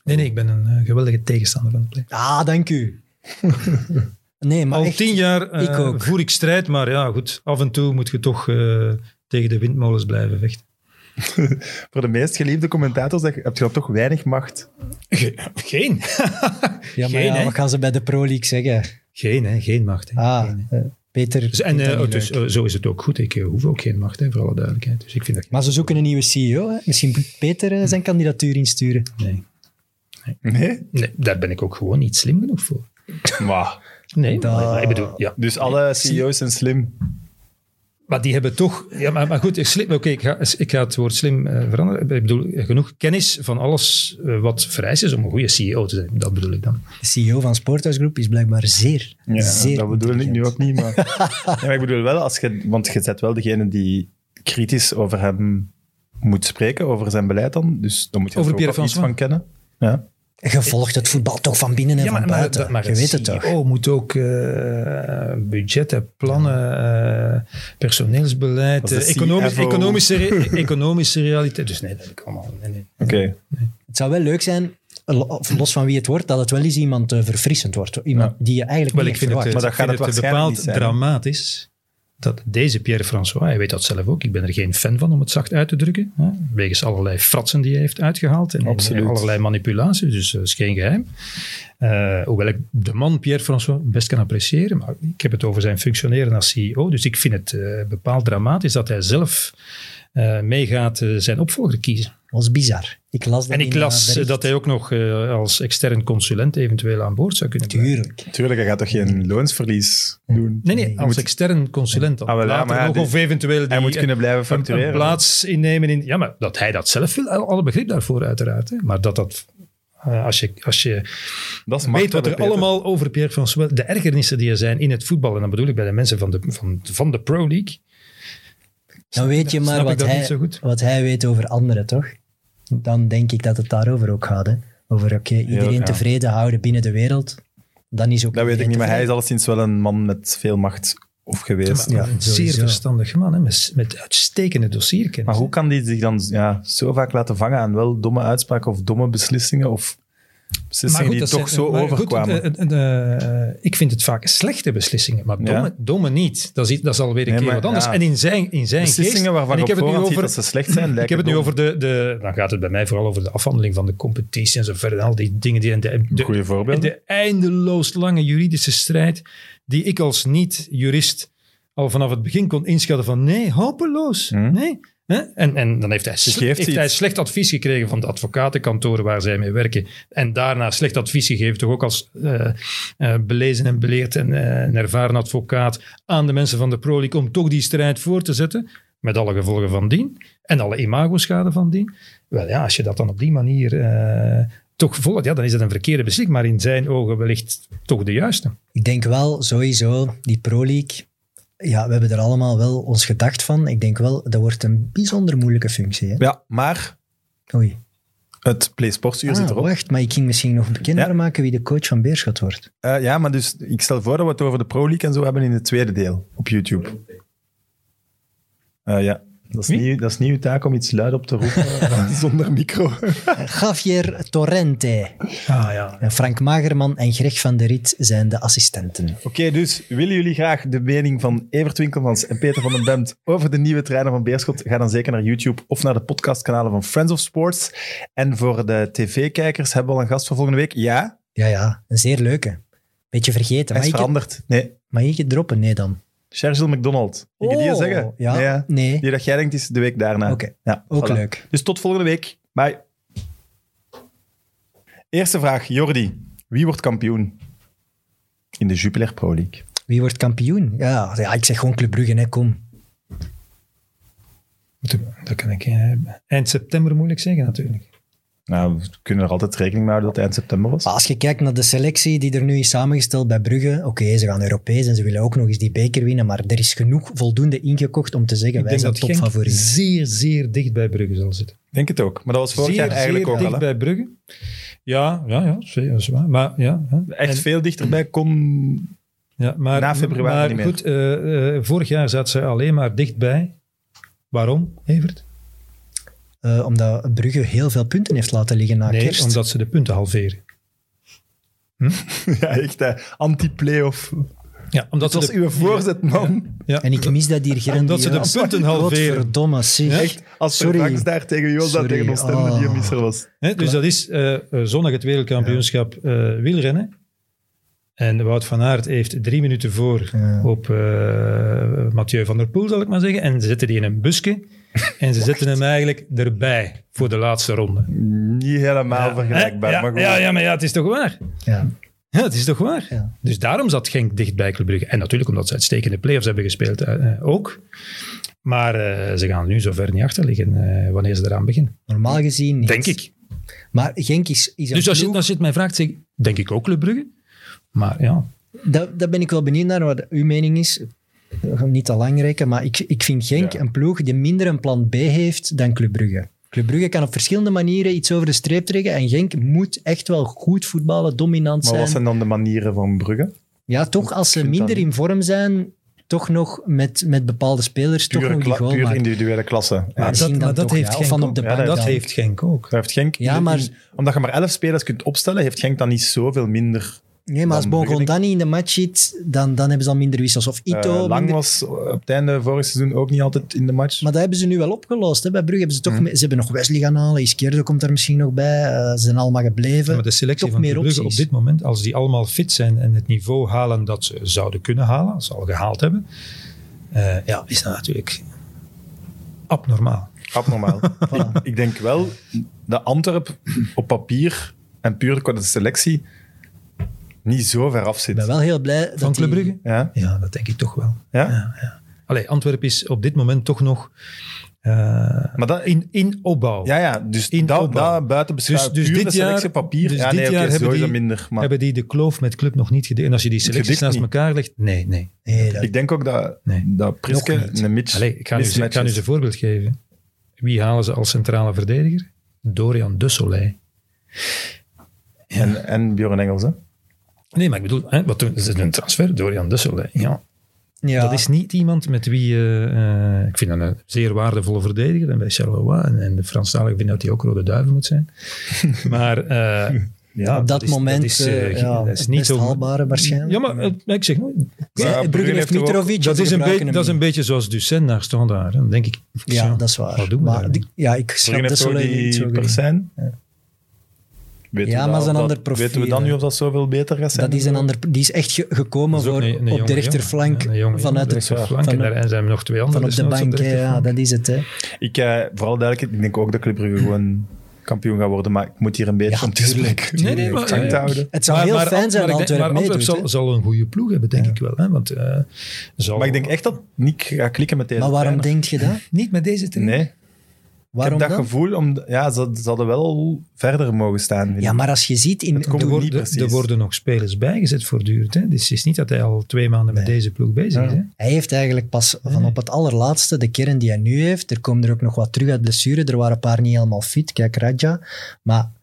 D: Nee, nee, ik ben een eh, geweldige tegenstander van de play.
B: Ah, dank u. nee, maar
D: Al
B: echt,
D: tien jaar eh,
B: ik ook.
D: voer ik strijd, maar ja, goed. Af en toe moet je toch eh, tegen de windmolens blijven vechten.
A: Voor de meest geliefde commentators zeg- heb je dan toch weinig macht.
D: geen.
B: ja, maar
D: geen,
B: ja,
D: hè?
B: wat gaan ze bij de Pro League zeggen?
D: Geen, hè. Geen macht. Hè.
B: Ah,
D: Geen, hè.
B: eh, Peter.
D: Dus, en
B: vindt dat
D: eh,
B: niet
D: dus,
B: leuk.
D: eh, zo is het ook goed. Ik eh, hoef ook geen macht, hè, voor alle duidelijkheid. Dus ik vind dat...
B: maar ze zoeken een nieuwe CEO. Hè? Misschien moet Peter eh, zijn kandidatuur insturen.
D: Nee.
A: Nee?
D: nee, daar ben ik ook gewoon niet slim genoeg voor.
A: Maar.
D: Nee,
B: Da-
D: maar ik bedoel... Ja.
A: Dus alle CEO's zijn slim.
D: Maar die hebben toch... Ja, maar, maar goed, slim, oké, ik, ga, ik ga het woord slim eh, veranderen. Ik bedoel, genoeg kennis van alles eh, wat vereist is om een goede CEO te zijn. Dat bedoel ik dan.
B: De CEO E van Sporthuisgroep is blijkbaar zeer,
A: Ja,
B: zeer...
A: dat bedoel ik nu
B: intelligent.
A: ook niet. Maar, ja, maar ik bedoel wel, als je, want je bent wel degene die kritisch over hem moet spreken, over zijn beleid dan. Dus dan moet je
D: Over
A: er ook
D: Pierre
A: wel iets
D: François.
A: van kennen. Ja.
B: Je volgt het voetbal toch van binnen en van buiten.
D: maar
B: je weet het toch.
D: CEO moet ook eh, budgetten, plannen, eh, personeelsbeleid,
A: Dat is de
D: eh, economisch,
A: CFO.
D: economische, re- economische realiteit. Dus nee, dat ik allemaal... Nee, nee.
A: Oké.
B: Het zou wel leuk zijn, lo- of los van wie het wordt, dat het wel eens iemand eh, verfrissend wordt. Iemand die je eigenlijk
D: Wel,
B: niet
D: ik vind het,
B: verwacht.
D: eh,
A: Maar dat
D: ik
A: gaat het
D: vind het
A: waarschijnlijk
D: bepaald
A: niet zijn.
D: dramatisch dat deze Pierre-François, hij weet dat zelf ook, ik ben er geen fan van om het zacht uit te drukken, hè, wegens allerlei fratsen die hij heeft uitgehaald en, en
A: Absoluut.
D: allerlei manipulaties, dus dat is geen geheim. Eh, hoewel ik de man Pierre-François best kan appreciëren, maar ik heb het over zijn functioneren als CEO, dus ik vind het eh, bepaald dramatisch dat hij zelf eh, meegaat eh, zijn opvolger kiezen.
B: Dat was bizar. Ik las dat
D: En
B: in,
D: ik
B: eh,
D: las eh,
B: bericht.
D: dat hij ook nog eh, als extern consulent eventueel aan boord zou kunnen blijven.
B: Tuurlijk.
A: Tuurlijk, je gaat toch geen loonsverlies doen?
D: Nee, nee,
B: Je
D: als extern consulent dan.
A: Ah, wel, ja,
D: Later
A: maar ja,
D: nog
A: die-
D: of eventueel die,
A: Hij moet kunnen blijven
D: een- een,
A: factureren.
D: plaats innemen. In, ja, maar dat hij dat zelf wil, alle begrip daarvoor uiteraard. Hè. Maar dat dat Eh, als je, als je
A: Dat is
D: weet
A: macht,
D: wat
A: hè,
D: er
A: Peter.
D: allemaal over Pierre-François... De ergernissen die er zijn in het voetbal. En dan bedoel ik bij de mensen van de, van, van de Pro League.
B: Dan weet je
D: Snap
B: maar
D: ik
B: wat
D: dat niet
B: hij,
D: zo goed?
B: wat hij weet over anderen, toch? Dan denk ik dat het daarover ook gaat. Hè? Over oké, iedereen
A: ja.
B: tevreden houden binnen de wereld. Dan is ook
A: Dat weet ik
B: iedereen
A: niet, maar hij is
B: tevreden.
A: alleszins wel een man met veel macht of geweest.
B: Ja,
D: een zeer
B: sowieso.
D: verstandig man, hè, met, met uitstekende dossierkennis.
A: Maar hoe
D: hè.
A: kan die zich dan ja, zo vaak laten vangen aan wel domme uitspraken of domme beslissingen of beslissingen Dus die
D: dat
A: toch
D: zijn-
A: zo
D: maar goed,
A: overkwamen?
D: eh, eh, eh, ik vind het vaak slechte beslissingen, maar
A: Ja.
D: domme, domme niet. Dat is, dat is alweer een
A: Nee,
D: keer
A: maar
D: wat anders.
A: ja.
D: En in zijn, in zijn
A: beslissingen
D: geest...
A: waarvan
D: en
A: ik
D: ik
A: op
D: heb het nu
A: voorhand ziet dat
D: over,
A: ze slecht zijn,
D: ik
A: lijken
D: heb het
A: dom.
D: nu over de, de... Dan gaat het bij mij vooral over de afhandeling van de competitie en zo verder. en Al die dingen die... en De, de,
A: Goeie voorbeelden.
D: De eindeloos lange juridische strijd die ik als niet-jurist al vanaf het begin kon inschatten van nee, hopeloos. Nee. Hè? En, en dan heeft hij, sle-
A: Hmm. geeft
D: heeft
A: iets.
D: hij slecht advies gekregen van de advocatenkantoren waar zij mee werken. En daarna slecht advies gegeven, toch ook als eh, eh, belezen en beleerd en eh, een ervaren advocaat aan de mensen van de Pro League om toch die strijd voor te zetten. Met alle gevolgen van dien en alle imagoschade van dien. Wel ja, als je dat dan op die manier eh, toch volgt, ja, dan is dat een verkeerde beslissing, maar in zijn ogen wellicht toch de juiste.
B: Ik denk wel sowieso, die Pro League. Ja, we hebben er allemaal wel ons gedacht van. Ik denk wel, dat wordt een bijzonder moeilijke functie. Hè?
A: Ja, maar
B: Oei.
A: het PlaySportsuur
B: Ah,
A: zit erop.
B: wacht, maar ik ging misschien nog bekender
A: Ja.
B: maken wie de coach van Beerschot wordt.
A: Eh, ja, maar dus ik stel voor dat we het over de Pro League en zo hebben in het tweede deel op YouTube. Eh, ja, dat is,
D: Wie?
A: niet, dat is niet uw taak om iets luid op te roepen eh, zonder micro.
B: Javier Torrente.
D: Ah ja.
B: En Frank Magerman en Greg van der Riet zijn de assistenten.
A: Oké, dus willen jullie graag de mening van Evert Winkelmans en Peter van den Bent over de nieuwe trainer van Beerschot? Ga dan zeker naar YouTube of naar de podcastkanalen van Friends of Sports. En voor de tv-kijkers hebben we al een gast voor volgende week. Ja,
B: Ja, ja, een zeer leuke. Beetje vergeten.
A: hij is
B: Mag ik, het,
A: veranderd. Nee,
B: mag ik het droppen? Nee dan.
A: Sergio McDonald. Ik je die
B: Oh,
A: zeggen?
B: Ja,
A: Nee,
B: nee.
A: ja. Die dat jij denkt is de week daarna.
B: Oké,
A: Ja,
B: ook
A: voilà.
B: leuk.
A: Dus tot volgende week. Bye. Eerste vraag, Jordi. Wie wordt kampioen in de Jupiler Pro League?
B: Wie wordt kampioen? Ja, ja, ik zeg gewoon Club Brugge, hè, kom.
D: Dat kan ik eh, eind september moeilijk zeggen natuurlijk.
A: Nou, we kunnen er altijd rekening mee houden dat het eind september was.
B: Maar als je kijkt naar de selectie die er nu is samengesteld bij Brugge, oké, ze gaan Europees en ze willen ook nog eens die beker winnen, maar er is genoeg voldoende ingekocht om te zeggen,
D: Ik
B: wij
D: denk
B: zijn
D: dat Genk
B: topfavoriet.
D: zeer, zeer dicht bij Brugge zal zitten.
A: Ik denk het ook. Maar dat was vorig
D: zeer,
A: jaar eigenlijk
D: zeer
A: ook
D: dicht
A: al. hè.
D: bij Brugge. Ja, ja, ja, zeer, dat is waar. Maar, ja, hè.
A: Echt veel dichterbij kon...
D: ja, maar,
A: Na februari
D: maar
A: niet meer.
D: goed, eh, eh, vorig jaar zat ze alleen maar dichtbij. Waarom, Evert?
B: Eh, omdat Brugge heel veel punten heeft laten liggen na
D: nee,
B: kerst.
D: omdat ze de punten halveren.
A: Ja, echt hè. anti-playoff.
D: Ja, omdat
A: Dat was
D: ze de,
A: uw voorzet, man.
D: ja,
B: En ik mis dat hier grandioos.
D: omdat ze de punten halveren.
B: Godverdomme, zeg.
D: Ja,
A: Echt, als
B: Sorry.
A: Sorry. daar tegen Joost dat
B: Sorry.
A: tegen ons stemde,
B: Oh.
A: die een misser was.
D: Hè, dus dat is eh, eh, zondag het wereldkampioenschap eh, wielrennen. En Wout van Aert heeft drie minuten voor
B: Ja.
D: op eh, Mathieu van der Poel, zal ik maar zeggen. En ze zetten die in een busje. en ze zetten hem eigenlijk erbij voor de laatste ronde.
A: Niet helemaal
D: Ja,
A: vergelijkbaar,
D: hè? ja,
A: maar goed.
D: ja, ja, maar ja, het is toch waar?
B: Ja.
D: Ja, het is toch waar?
B: Ja.
D: Dus daarom zat Genk dicht bij Club Brugge. En natuurlijk omdat ze uitstekende play-offs hebben gespeeld eh, eh, ook. Maar eh, ze gaan nu zover niet achter liggen eh, wanneer ze eraan beginnen.
B: Normaal gezien niet.
D: Denk ik.
B: Maar Genk is, is een
D: Dus als je,
B: ploeg-
D: als je het mij vraagt, zeg ik, denk ik ook Club Brugge. Maar ja,
B: Daar, daar ben ik wel benieuwd naar, wat uw mening is. We gaan niet te lang rekken, maar ik, ik vind Genk
A: Ja.
B: een ploeg die minder een plan B heeft dan Club Brugge. Club Brugge kan op verschillende manieren iets over de streep trekken en Genk moet echt wel goed voetballen, dominant
A: Maar wat
B: zijn.
A: zijn dan de manieren van Brugge?
B: Ja, toch als ze
A: vind dat
B: minder in vorm zijn, toch nog met, met bepaalde spelers toch
A: Pure,
B: nog die
A: kla-
B: goal
A: puur
B: maken.
A: individuele klasse. Ja.
B: Maar
D: dat,
B: misschien dan
D: maar dat
B: toch,
D: heeft
B: ja. Of
D: Genk
B: van op
D: ook.
B: de
D: Ja,
B: bank
D: dat
B: dan.
D: heeft Genk ook.
A: Daar heeft Genk,
B: Ja, maar-
A: omdat je maar elf spelers kunt opstellen, heeft Genk dan niet zoveel minder.
B: Nee, maar als
A: dan Brugge,
B: Bongondani in de match zit, dan, dan hebben ze al minder wissels. Of
A: Eh,
B: Ito.
A: Lang
B: minder-
A: was op het einde vorig seizoen ook niet altijd in de match.
B: Maar dat hebben ze nu wel opgelost. Hè? Bij Brugge hebben ze
D: Hmm.
B: toch... mee- Ze hebben nog Wesley gaan halen. Izquierdo komt daar misschien nog bij. eh, ze zijn allemaal gebleven.
D: Maar de selectie
B: toch
D: van
B: meer
D: Club Brugge op
B: opties.
D: dit moment, als die allemaal fit zijn en het niveau halen dat ze zouden kunnen halen, als ze al gehaald hebben, eh, ja, is dat natuurlijk abnormaal.
A: Abnormaal. Ik- Ik denk wel dat Antwerp op papier en puur qua de selectie niet zo ver af
B: Ik ben
A: zit.
B: wel heel blij dat
D: Van Club
B: die-
D: Brugge?
A: Ja?
D: Ja, dat denk ik toch wel.
A: Ja?
D: Allee, Antwerpen is op dit moment toch nog eh,
A: Maar dat,
D: in, in opbouw.
A: ja, ja, dus
D: In
A: dat,
D: opbouw.
A: dat buiten beschouwing.
D: Dus- dus
A: Puur
D: dit
A: de
D: jaar-
A: selectie op papier.
D: dus
A: ja,
D: dit
A: nee, oké,
D: jaar hebben
A: sowieso
D: die-
A: minder. Maar
D: Hebben die de kloof met club nog niet gedekt? En als je die selecties
A: gedicht
D: naast
A: niet.
D: elkaar legt, nee, nee.
B: Nee, dat-
A: ik denk ook dat,
D: Nee.
A: dat Priske
B: Nog niet.
A: een Mitch
D: Allee, ik, ga nu, ik
A: mismatch
D: ga nu
A: is.
D: eens een voorbeeld geven. Wie halen ze als centrale verdediger? Dorian de Soleil.
A: En, en Björn Engels, hè?
D: Nee, maar ik bedoel, hè, wat doen, dat is een transfer, Dorian de Soleil. Ja,
B: ja.
D: Dat is niet iemand met wie... eh, eh, ik vind dat een zeer waardevolle verdediger. En bij Charleroi en, en de Franstaligen vinden dat hij ook rode duivel moet zijn. maar eh, ja,
B: op dat,
D: is-
B: moment
D: dat is, eh,
B: eh, ja,
D: dat is niet
B: best
D: zo...
B: haalbare waarschijnlijk.
D: Ja, maar eh, ik zeg nooit...
A: Maar
B: Brugge,
A: Brugge
B: heeft
A: heeft hem ook-
B: Mitrovic,
D: Dat
B: ze
D: is, een
B: gebruiken
D: beetje,
B: hem
D: dat is een beetje zoals Ducent naar Standaard. hè. Dan denk ik...
B: niet. Ja,
D: zo,
B: dat is waar.
D: Wat doen we
B: maar,
D: daarmee?
B: die- ja, ik
A: Bruggen
B: snap dat
A: heeft
B: zo
A: ook
B: niet zo
A: die
B: goed.
A: Persijn. Weten
B: Ja,
A: we dat-
B: maar dat is een
A: dat-
B: ander profiel,
A: Weten we dan
B: hè.
A: nu of dat zoveel beter gaat zijn?
B: Dat is een ander, die is echt ge- gekomen
D: Dat is ook
B: voor,
D: een- een
B: op
D: jonge
B: de
D: jongen.
B: rechterflank
D: Ja, een jonge jongen op
B: vanuit
D: de
B: het,
D: rechterflank.
B: van,
D: en daar zijn er nog twee
B: van
D: anderen.
B: op de
D: desnoods
B: bank. hè. ja,
D: rechterflank.
B: dat is het. Hè.
A: Ik, eh, vooral duidelijk, ik denk ook dat Club Brugge gewoon kampioen gaat worden, maar ik moet hier een beetje
B: Ja,
A: om te
B: tuurlijk.
A: spreken.
D: Nee, nee, maar-
A: Om tank te
D: ja, ja.
A: houden.
B: Het zou heel fijn zijn
D: maar
B: als
D: ik denk-
B: Antwerpen
D: maar Antwerpen
B: meedoet.
D: zal,
B: hè.
D: zal een goede ploeg hebben, denk ik wel. Hè? Want, eh, zal-
A: Maar ik denk echt dat Nick gaat klikken met deze
B: Maar waarom
A: trainer.
B: denk je dat?
D: Niet met deze trainer.
A: Nee,
B: Waarom
A: ik heb dat
B: dan?
A: gevoel, om, ja, ze, ze hadden wel verder mogen staan. vind
B: Ja,
A: ik.
B: maar als je ziet in...
A: komt
D: Er
A: Niet
D: worden,
A: precies.
D: er worden nog spelers bijgezet voortdurend. Hè? Dus het is niet dat hij al twee maanden met deze ploeg bezig is. Hè?
B: Hij heeft eigenlijk pas van op het allerlaatste, de kern die hij nu heeft, er komen er ook nog wat terug uit blessure. Er waren een paar niet helemaal fit, kijk Radja. Maar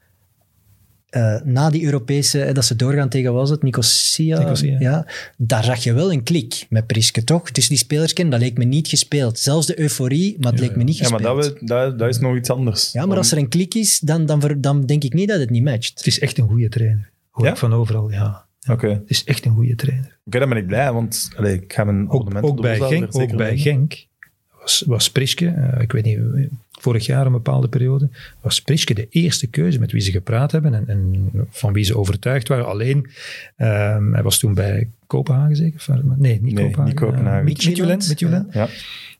B: eh, na die Europese, eh, dat ze doorgaan tegen, was het Nicosia?
D: Nicosia.
B: Ja, daar zag je wel een klik met Priske, toch? Dus die spelersken, dat leek me niet gespeeld. Zelfs de euforie, maar het leek me niet
A: ja, maar
B: gespeeld.
A: dat, we, dat, dat is nog iets anders.
B: Ja, maar als er een klik is, dan, dan, ver- dan denk ik niet dat het niet matcht.
D: Het is echt een goede trainer. Hoor
A: Ja?
D: ik van overal, ja.
A: Oké,
D: Het is echt een goede trainer.
A: Oké, dan ben ik blij, want allee, ik ga mijn
D: Ook,
A: abonnement op
D: ook,
A: de
D: bij,
A: Boshouder
D: Genk,
A: zeker
D: ook bij
A: nemen.
D: Genk was, was Priske, eh, ik weet niet, eh, vorig jaar een bepaalde periode, was Priske de eerste keuze met wie ze gepraat hebben en, en van wie ze overtuigd waren. Alleen, ehm, hij was toen bij Kopenhagen zeker? Of waar- Nee, niet
A: Nee,
D: Kopenhagen.
A: niet Kopenhagen.
D: eh, Mid- Midtjylland,
B: Midtjylland,
D: Midtjylland.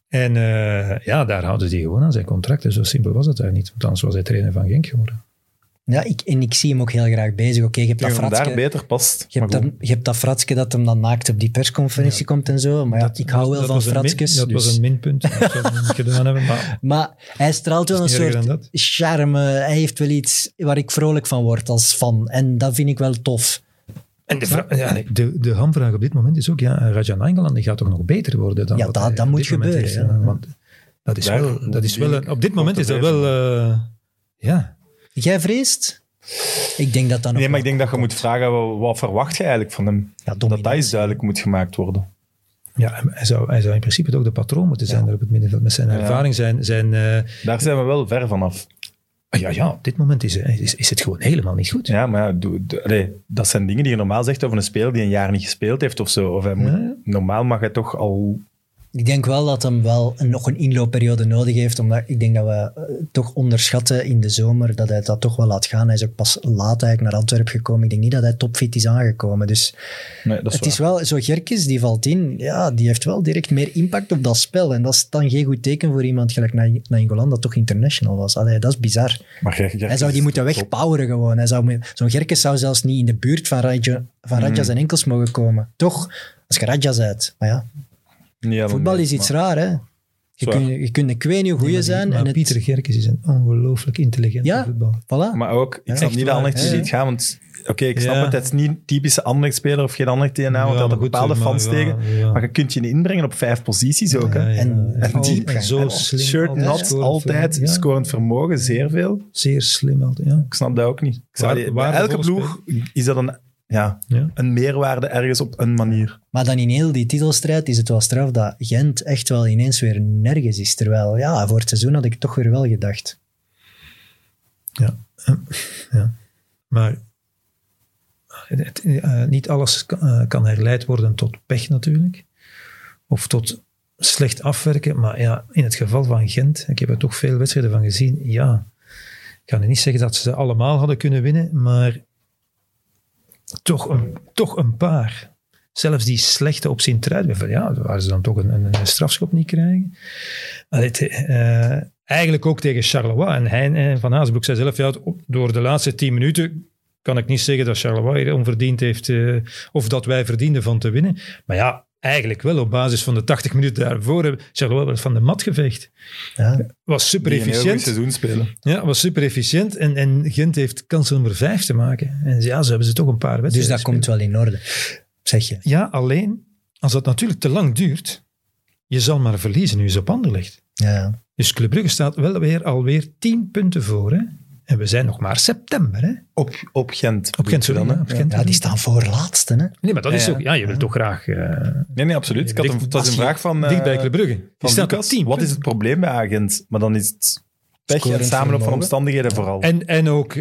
A: Ja.
D: En eh, ja, daar houden ze die gewoon aan zijn contracten. Zo simpel was het eigenlijk niet. Want anders was hij trainer van Genk geworden.
B: Ja, ik, en ik zie hem ook heel graag bezig. Oké, je hebt
A: Ik denk dat hem
B: dat
A: daar
B: Fratske-
A: beter past.
B: Je
A: maar
B: hebt, dat,
A: goed.
B: je hebt dat Fratske dat hem dan naakt op die persconferentie komt en zo. Maar ja, ik hou wel
D: Dat
B: van
D: was een min-
B: Fratskes.
D: Dat
B: dus-
D: was een minpunt. Dat zou ik niet gedaan hebben. Maar
B: Maar hij straalt wel een
D: Het is niet erger dan
B: soort charme. Hij heeft wel iets waar ik vrolijk van word als fan. En dat vind ik wel tof.
D: en de, vra- ja, nee, de, de hamvraag op dit moment is ook, ja, Rajan Angeland die gaat toch nog beter worden dan
B: Ja,
D: wat
B: dat-
D: hij
B: dat
D: op
B: moet
D: dit moment
B: gebeuren,
D: is,
B: ja.
D: hè. Want dat is
A: Daar
D: wel, dat is
A: moet
D: wel
A: ik
D: een- op dit moment
A: op
D: is dat
A: tevreden
D: wel, eh, ja,
B: Jij vreest? Ik denk dat dan
A: Nee, maar ik denk dat je moet vragen, wat, wat verwacht je eigenlijk van hem?
B: Ja,
A: dat dat
B: dominantie.
A: is duidelijk moet gemaakt worden.
D: ja hij, zou, hij zou in principe ook de patroon moeten zijn daar op het middenveld. Met zijn ervaring, zijn, zijn eh, Ah,
A: Daar zijn we wel ver vanaf.
D: ja, ja, op dit moment is, is, is het gewoon helemaal niet goed.
A: Ja, maar ja, doe- doe- allee, dat zijn dingen die je normaal zegt over een speler die een jaar niet gespeeld heeft of zo. Of hij moet-
D: Ja.
A: Normaal mag hij toch al...
B: Ik denk wel dat hem wel een- nog een inloopperiode nodig heeft. Omdat ik denk dat we eh, toch onderschatten in de zomer dat hij dat toch wel laat gaan. Hij is ook pas laat eigenlijk naar Antwerpen gekomen. Ik denk niet dat hij topfit is aangekomen. Dus
A: Nee, dat is
B: het is wel, zo Gerkes, die valt in, ja, die heeft wel direct meer impact op dat spel. En dat is dan geen goed teken voor iemand gelijk Na- Nainggolan, dat toch international was. Allee, dat is bizar.
A: Maar jij- jij-
B: Hij zou die moeten wegpoweren gewoon. Hij zou, moet- Zo'n Gerkes zou zelfs niet in de buurt van, Radja, van
A: Mm.
B: Radja zijn enkels mogen komen. Toch? Als je Radja bent. Maar ja,
A: Niet helemaal
B: voetbal
A: mee,
B: is iets
A: maar-
B: raar, hè. Je
A: Zwaar.
B: kunt, je kunt een kwee hoe goeie zijn.
D: Maar
B: en het,
D: Pieter Gerkes is een ongelooflijk intelligente
B: Ja.
D: voetballer.
B: voilà.
A: Maar ook, ik snap
D: echt
A: niet dat
D: waar,
A: Anderlecht
D: hè?
A: zo ziet gaan, want... Oké, ik snap
D: Ja.
A: het, het is niet een typische Anderlecht-speler of geen Anderlecht-DNA, want
D: Ja,
A: hij had er
D: maar goed,
A: bepaalde
D: maar
A: fans
D: ja,
A: tegen.
D: ja.
A: Maar je kunt je niet inbrengen op vijf posities ook. hè?
D: Ja, ja.
B: En- en
D: Altijd
B: diepgang.
D: Zo
B: En
D: slim.
A: Shirt
D: altijd
A: nat,
D: scoren.
A: altijd,
D: Ja,
A: scorend vermogen, zeer veel.
D: Zeer slim altijd, ja.
A: Ik snap dat ook niet. Ik zou
D: Waar-
A: die- bij
D: waardevolle
A: elke ploeg is dat een, ja,
D: Ja.
A: een meerwaarde ergens op een manier.
B: Maar dan in heel die titelstrijd is het wel straf dat Gent echt wel ineens weer nergens is. Terwijl, ja, voor het seizoen had ik het toch weer wel gedacht.
D: Maar het, eh, niet alles kan, eh, kan herleid worden tot pech natuurlijk. Of tot slecht afwerken. Maar ja, in het geval van Gent, ik heb er toch veel wedstrijden van gezien. Ja, ik ga nu niet zeggen dat ze ze allemaal hadden kunnen winnen, maar toch een, toch een paar. Zelfs die slechte op Sint-Truiden, ja, waar ze dan toch een, een, een strafschop niet krijgen. Allee, het, eh, eigenlijk ook tegen Charleroi. En, hij, en Van Haasbroek zei zelf, ja, het- door de laatste tien minuten kan ik niet zeggen dat Charleroi hier onverdiend heeft, eh, of dat wij verdienden van te winnen. Maar ja, eigenlijk wel op basis van de 80 minuten daarvoor hebben Charleroi wel van de mat geveegd.
B: Ja.
D: Was super
A: Die een heel goed
D: efficiënt.
A: seizoen spelen.
D: Ja, was super efficiënt. En, en Gent heeft kans nummer 5 te maken. En ja, ze hebben ze toch een paar
B: Dus
D: wedstrijden.
B: dat komt wel in orde, zeg je.
D: Ja, alleen als dat natuurlijk te lang duurt, je zal maar verliezen nu ze op handen ligt.
B: Ja.
D: Dus Club Brugge staat wel weer alweer 10 punten voor. Hè? En we zijn nog maar september. Hè?
A: Op, op Gent.
D: Op Gent, sorry,
A: Dan, hè?
D: hè? Op Gent.
B: ja, die staan voor laatste. Hè?
D: Nee, maar dat is
A: Ja, ja.
D: ook... Ja, je wilt toch graag... eh
A: Nee, nee, absoluut. Ik had een,
D: Dicht-
A: het was een
D: als je
A: vraag van, eh,
D: dicht bij Club Brugge. Die
A: van
D: staat op
A: Lucas.
D: 10
A: Wat is het probleem bij Agent? Maar dan is het pech en
B: Scorend
A: samenloop van
B: vermogen.
A: omstandigheden vooral.
D: En, en ook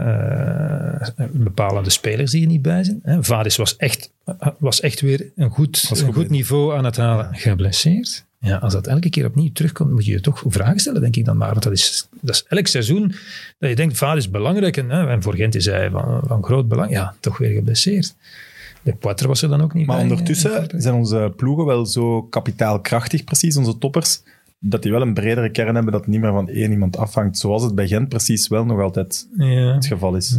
D: eh, eh, bepalende spelers die er niet bij zijn. Hè. Vadis was echt, eh, was echt weer een goed,
A: Was
D: een
A: goed
D: goed
A: bezig.
D: niveau aan het halen. Geblesseerd. Ja, als dat elke keer opnieuw terugkomt, moet je je toch vragen stellen, denk ik dan maar. Want dat is, dat is elk seizoen dat je denkt, Vadis is belangrijk. En, hè, en voor Gent is hij van, van groot belang. Ja, toch weer geblesseerd. De Poitre was er dan ook niet
A: maar
D: bij.
A: ondertussen
D: eh,
A: zijn onze ploegen wel zo kapitaalkrachtig, precies, onze toppers, dat die wel een bredere kern hebben dat niet meer van één iemand afhangt, zoals het bij Gent precies wel nog altijd
D: Ja.
A: het geval is.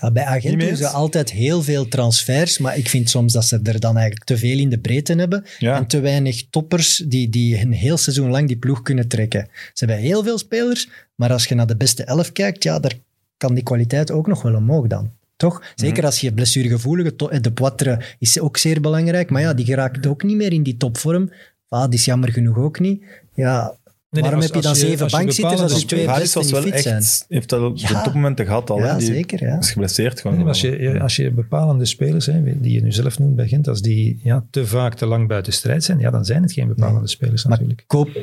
B: Ja, bij
A: Niet
B: agenten
A: mee
B: doen ze
A: eens?
B: altijd heel veel transfers, maar ik vind soms dat ze er dan eigenlijk te veel in de breedte hebben
A: Ja.
B: en te weinig toppers die, die een heel seizoen lang die ploeg kunnen trekken. Ze hebben heel veel spelers, maar als je naar de beste elf kijkt, ja, daar kan die kwaliteit ook nog wel omhoog dan. Toch? Zeker
D: Mhm.
B: als je blessuregevoelige... to- eh, De Poitre is ook zeer belangrijk, maar ja, die geraakt ook niet meer in die topvorm. Ah, die is jammer genoeg ook niet. Ja,
D: nee,
B: waarom
D: als-
B: heb je
D: als
B: dan
D: je-
B: zeven
D: als je
B: bankzitters
D: bepalende
B: als je twee
A: Vadis
B: beste
A: was
B: niet
A: wel
B: fit
A: echt,
B: zijn?
A: heeft dat op de
B: Ja.
A: topmomenten gehad al. hè?
B: Ja,
A: Die
B: zeker, ja.
A: Is geblesseerd gewoon.
D: Nee, maar als je, je- als je bepalende spelers, hè, die je nu zelf noemt bij Gent, als die ja, te vaak te lang buiten strijd zijn, ja, dan zijn het geen bepalende spelers
B: Maar
D: natuurlijk.
B: koop,
A: Jij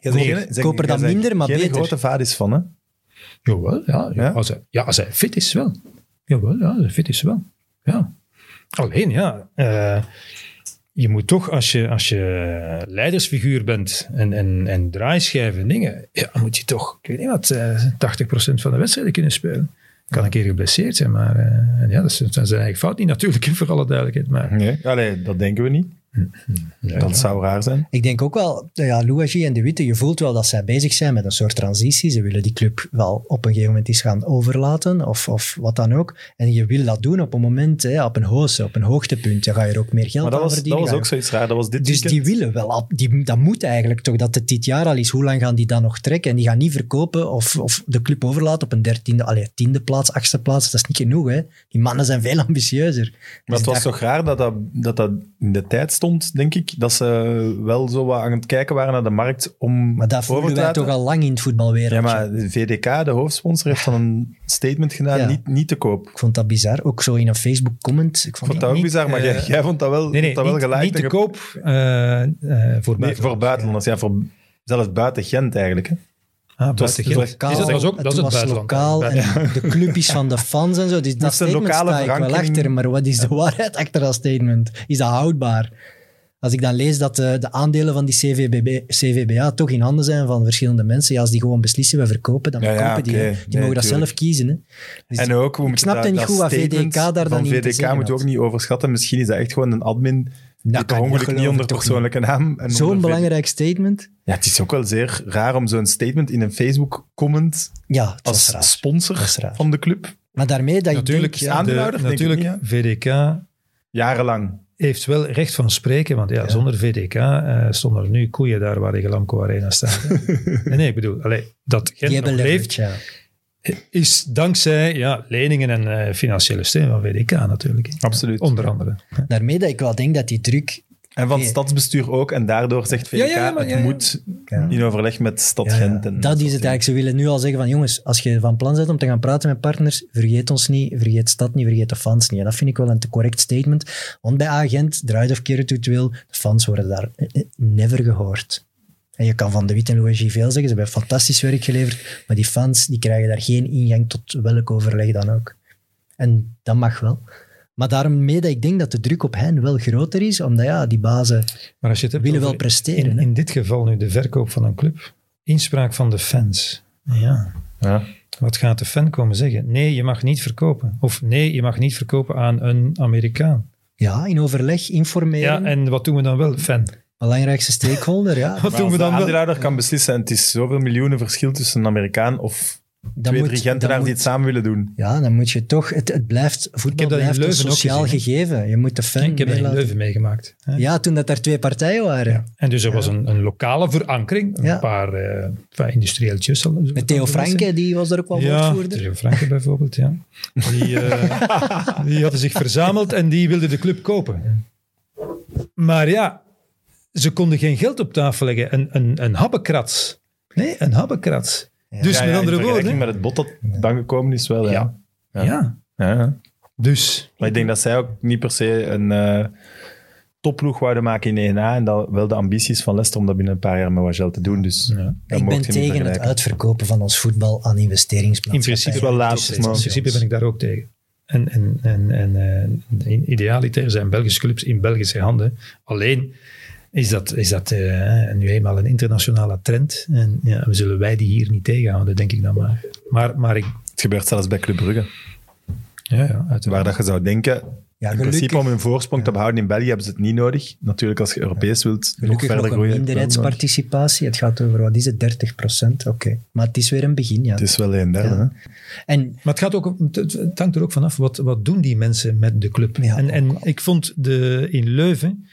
A: bent
B: Koop-
A: geen- zeg-
B: koop er
A: jij
B: dan
A: bent
B: minder, maar
A: geen
B: beter.
A: grote vadis van, hè?
D: Jawel, ja. ja.
A: Ja?
D: Als, hij, ja als hij fit is wel. Jawel, ja, als hij fit is wel. Ja. Alleen, ja, eh, je moet toch, als je, als je leidersfiguur bent en, en, en draaischijven en dingen, ja, dan moet je toch, ik weet niet wat, eh, 80% van de wedstrijden kunnen spelen. Kan een keer geblesseerd zijn, maar eh, en ja, dat is, dat is zijn eigen fout niet natuurlijk, voor alle duidelijkheid. Maar,
A: Nee. Allee, dat denken we niet. dat zou raar zijn.
B: Ik denk ook wel, eh, ja, Louagie en De Witte, je voelt wel dat zij bezig zijn met een soort transitie. Ze willen die club wel op een gegeven moment eens gaan overlaten of, of wat dan ook. En je wil dat doen op een moment, hè, op een hoogte, op een hoogtepunt. Dan ga je er ook meer geld
A: Maar dat
B: aan
A: was, dat
B: verdienen.
A: was
B: ga je
A: ook zoiets raar. Dat was dit
B: dus die
A: weekend.
B: willen wel, ab- die, dat moet eigenlijk toch, dat het dit jaar al is. Hoe lang gaan die dan nog trekken? En die gaan niet verkopen of, of de club overlaten op een dertiende, allee, tiende plaats, achtste plaats. Dat is niet genoeg, hè. Die mannen zijn veel ambitieuzer.
A: Maar het
B: Dus
A: was
B: daar-
A: toch raar dat dat, dat dat in de tijd stond, denk ik. Dat ze wel zo wat aan het kijken waren naar de markt om
B: Maar dat
A: over
B: voelen
A: te
B: wij
A: laten.
B: toch al lang in het voetbalwereld.
A: Ja, maar de VDK, de hoofdsponsor, heeft dan een statement gedaan,
B: Ja.
A: niet, niet te koop. Ik
B: Ik vond dat bizar. Ook zo in een Facebook-comment. Ik vond
A: vond
B: dat-
A: dat ook
D: niet,
A: bizar, maar
D: eh,
A: jij, jij vond dat wel,
D: Nee,
A: vond
D: nee,
A: dat wel
D: niet,
A: gelijk.
D: niet
A: dat
D: te
A: je-
D: koop eh, eh, voor
A: Nee, voor buitenlanders. Ja, voor, zelfs buiten Gent eigenlijk. Hè.
D: Ah,
A: was
D: buiten Gent.
B: lokaal.
D: Is dat, was ook, dat is het
B: was
D: buitenland.
B: lokaal en de club is van de fans en zo. Dus dat
A: is een
B: statement
A: lokale
B: sta ik wel
A: verankering.
B: achter. Maar wat is de waarheid achter dat statement? Is dat houdbaar? Als ik dan lees dat de, de aandelen van die CVBB, CVBA toch in handen zijn van verschillende mensen. Ja, als die gewoon beslissen, we verkopen, dan
A: Ja, ja,
B: verkopen die.
A: oké.
B: hè. Die
A: Nee,
B: mogen dat
A: tuurlijk.
B: zelf kiezen. Hè. Dus
A: En ook, we
B: ik
A: moeten
B: snapte
A: dat-
B: niet
A: dat
B: goed wat
A: statement
B: VDK daar dan
A: van
B: in te
A: VDK
B: zeggen
A: moeten we ook
B: had.
A: niet overschatten. Misschien is dat echt gewoon een admin die
B: kan
A: per
B: ik
A: ongeluk niet
B: geloven,
A: onder
B: toch niet.
A: persoonlijke naam... en onder
B: Zo'n
A: VDK
B: belangrijk statement.
A: Ja, het is ook wel zeer raar om zo'n statement in een Facebook-comment
B: Ja, het was
A: als
B: raar.
A: sponsor
B: Dat is raar.
A: van de club.
B: Maar daarmee dat ik
D: Natuurlijk,
A: is
B: denk...
A: aan-
B: Ja,
A: aandeelhouder,
D: de,
A: denk ik
D: natuurlijk VDK
A: Jarenlang.
D: heeft wel recht van spreken, want ja, zonder VDK eh, stonden er nu koeien daar waar de Glamco Arena staat. nee, nee, ik bedoel, allee, dat
B: die
D: Gent nog
B: hebben
D: leeft,
B: leverage, ja.
D: is dankzij ja, leningen en eh, financiële steun van VDK natuurlijk. hè.
A: Absoluut.
D: Onder andere.
B: Daarmee dat ik wel denk dat die druk...
A: En van het
B: Ja.
A: stadsbestuur ook. En daardoor zegt VK,
D: Ja, ja, maar
A: het
D: ja, ja.
A: moet
B: Ja.
A: in overleg met Stad
B: Ja,
A: Gent. En
D: dus
B: dat is het eigenlijk. Ze willen nu al zeggen van jongens, als je van plan bent om te gaan praten met partners, vergeet ons niet, vergeet stad niet, vergeet de fans niet. En dat vind ik wel een te correct statement. Want bij agent, draait of keer het hoe het wil, de fans worden daar eh, eh, never gehoord. En je kan van De Wit en Louis veel zeggen, ze hebben fantastisch werk geleverd, maar die fans die krijgen daar geen ingang tot welk overleg dan ook. En dat mag wel. Maar daarmee dat ik denk dat de druk op hen wel groter is, omdat ja, die bazen
D: Maar als je het hebt
B: willen wel
D: over-
B: presteren.
D: in,
B: hè.
D: in dit geval nu de verkoop van een club, inspraak van de fans. Ja.
A: Ja.
D: Wat gaat de fan komen zeggen? Nee, je mag niet verkopen. Of nee, je mag niet verkopen aan een Amerikaan.
B: Ja, in overleg, informeren.
D: Ja, en wat doen we dan wel, fan?
B: Belangrijkste stakeholder, ja.
D: Wat
A: Maar
D: doen
A: als
D: we
A: de
D: dan wel?
A: aandeelhouder kan beslissen, en het is zoveel miljoenen verschil tussen een Amerikaan of
B: dan
A: Twee,
B: moet-
A: drie
B: dan
A: Gentenaars die
B: moet-
A: het samen willen doen.
B: Ja, dan moet je toch... Het, het blijft, voetbal
D: heb dat in
B: blijft een
D: Leuven ook
B: sociaal
D: gezien,
B: gegeven. Je moet de fan
D: ik heb dat in
B: meelaten.
D: Leuven meegemaakt. hè.
B: Ja, toen dat er twee partijen waren.
D: En dus er was een, een lokale verankering, een
B: Ja.
D: paar eh, enfin, industrieeltjes. zal- zullen we
B: Met Theo
D: het wel
B: Franke, die was er ook wel
D: zeggen. Ja,
B: woordvoerder.
D: Theo Franke bijvoorbeeld, ja. Die, eh, die hadden zich verzameld en die wilden de club kopen. Maar ja, ze konden geen geld op tafel leggen. Een, een, een habbekrats. Nee, een habbekrats. Dus
A: Ja,
D: met
A: ja, in
D: andere
A: vergelijking
D: woorden...
A: met het bod dat dan gekomen is wel. Ja.
D: Ja.
A: ja.
D: Ja,
A: Ja.
D: dus...
A: Maar ik denk dat zij ook niet per se een eh topploeg wouden maken in 1A en dat wel de ambities van Leicester om dat binnen een paar jaar met Wagel te doen. Dus dat
B: Ik
A: mocht je
B: ben
A: niet
B: tegen het
A: vergelijken.
B: uitverkopen van ons voetbal aan
D: In
B: investeringsmaatschappijen.
D: principe,
A: wel
D: ben ik daar
A: laatst,
D: ook tegen.
A: maar-
D: in principe ben ik daar ook tegen. En, en, en, en eh, in- idealiter zijn Belgische clubs in Belgische handen. Alleen is dat, is dat eh, nu eenmaal een internationale trend. En ja, we zullen wij die hier niet tegenhouden, denk ik dan maar. Maar, maar ik,
A: Het gebeurt zelfs bij Club Brugge.
D: ja, ja, uiteraard.
A: Waar dat je zou denken, in
B: gelukkig.
A: principe om hun voorsprong te behouden in België hebben ze het niet nodig. Natuurlijk, als je Europees wilt, nog
B: Gelukkig nog
A: verder
B: een
A: groeien. wel nodig.
B: minderheidsparticipatie. Het gaat over, wat is het, 30 procent? Oké. Maar het is weer een begin, ja.
A: Het is wel een derde.
B: Ja.
A: hè.
B: En
D: Maar het, gaat ook, om- het- het hangt er ook vanaf, wat, wat doen die mensen met de club?
B: Ja,
D: en, en ik vond de, in Leuven,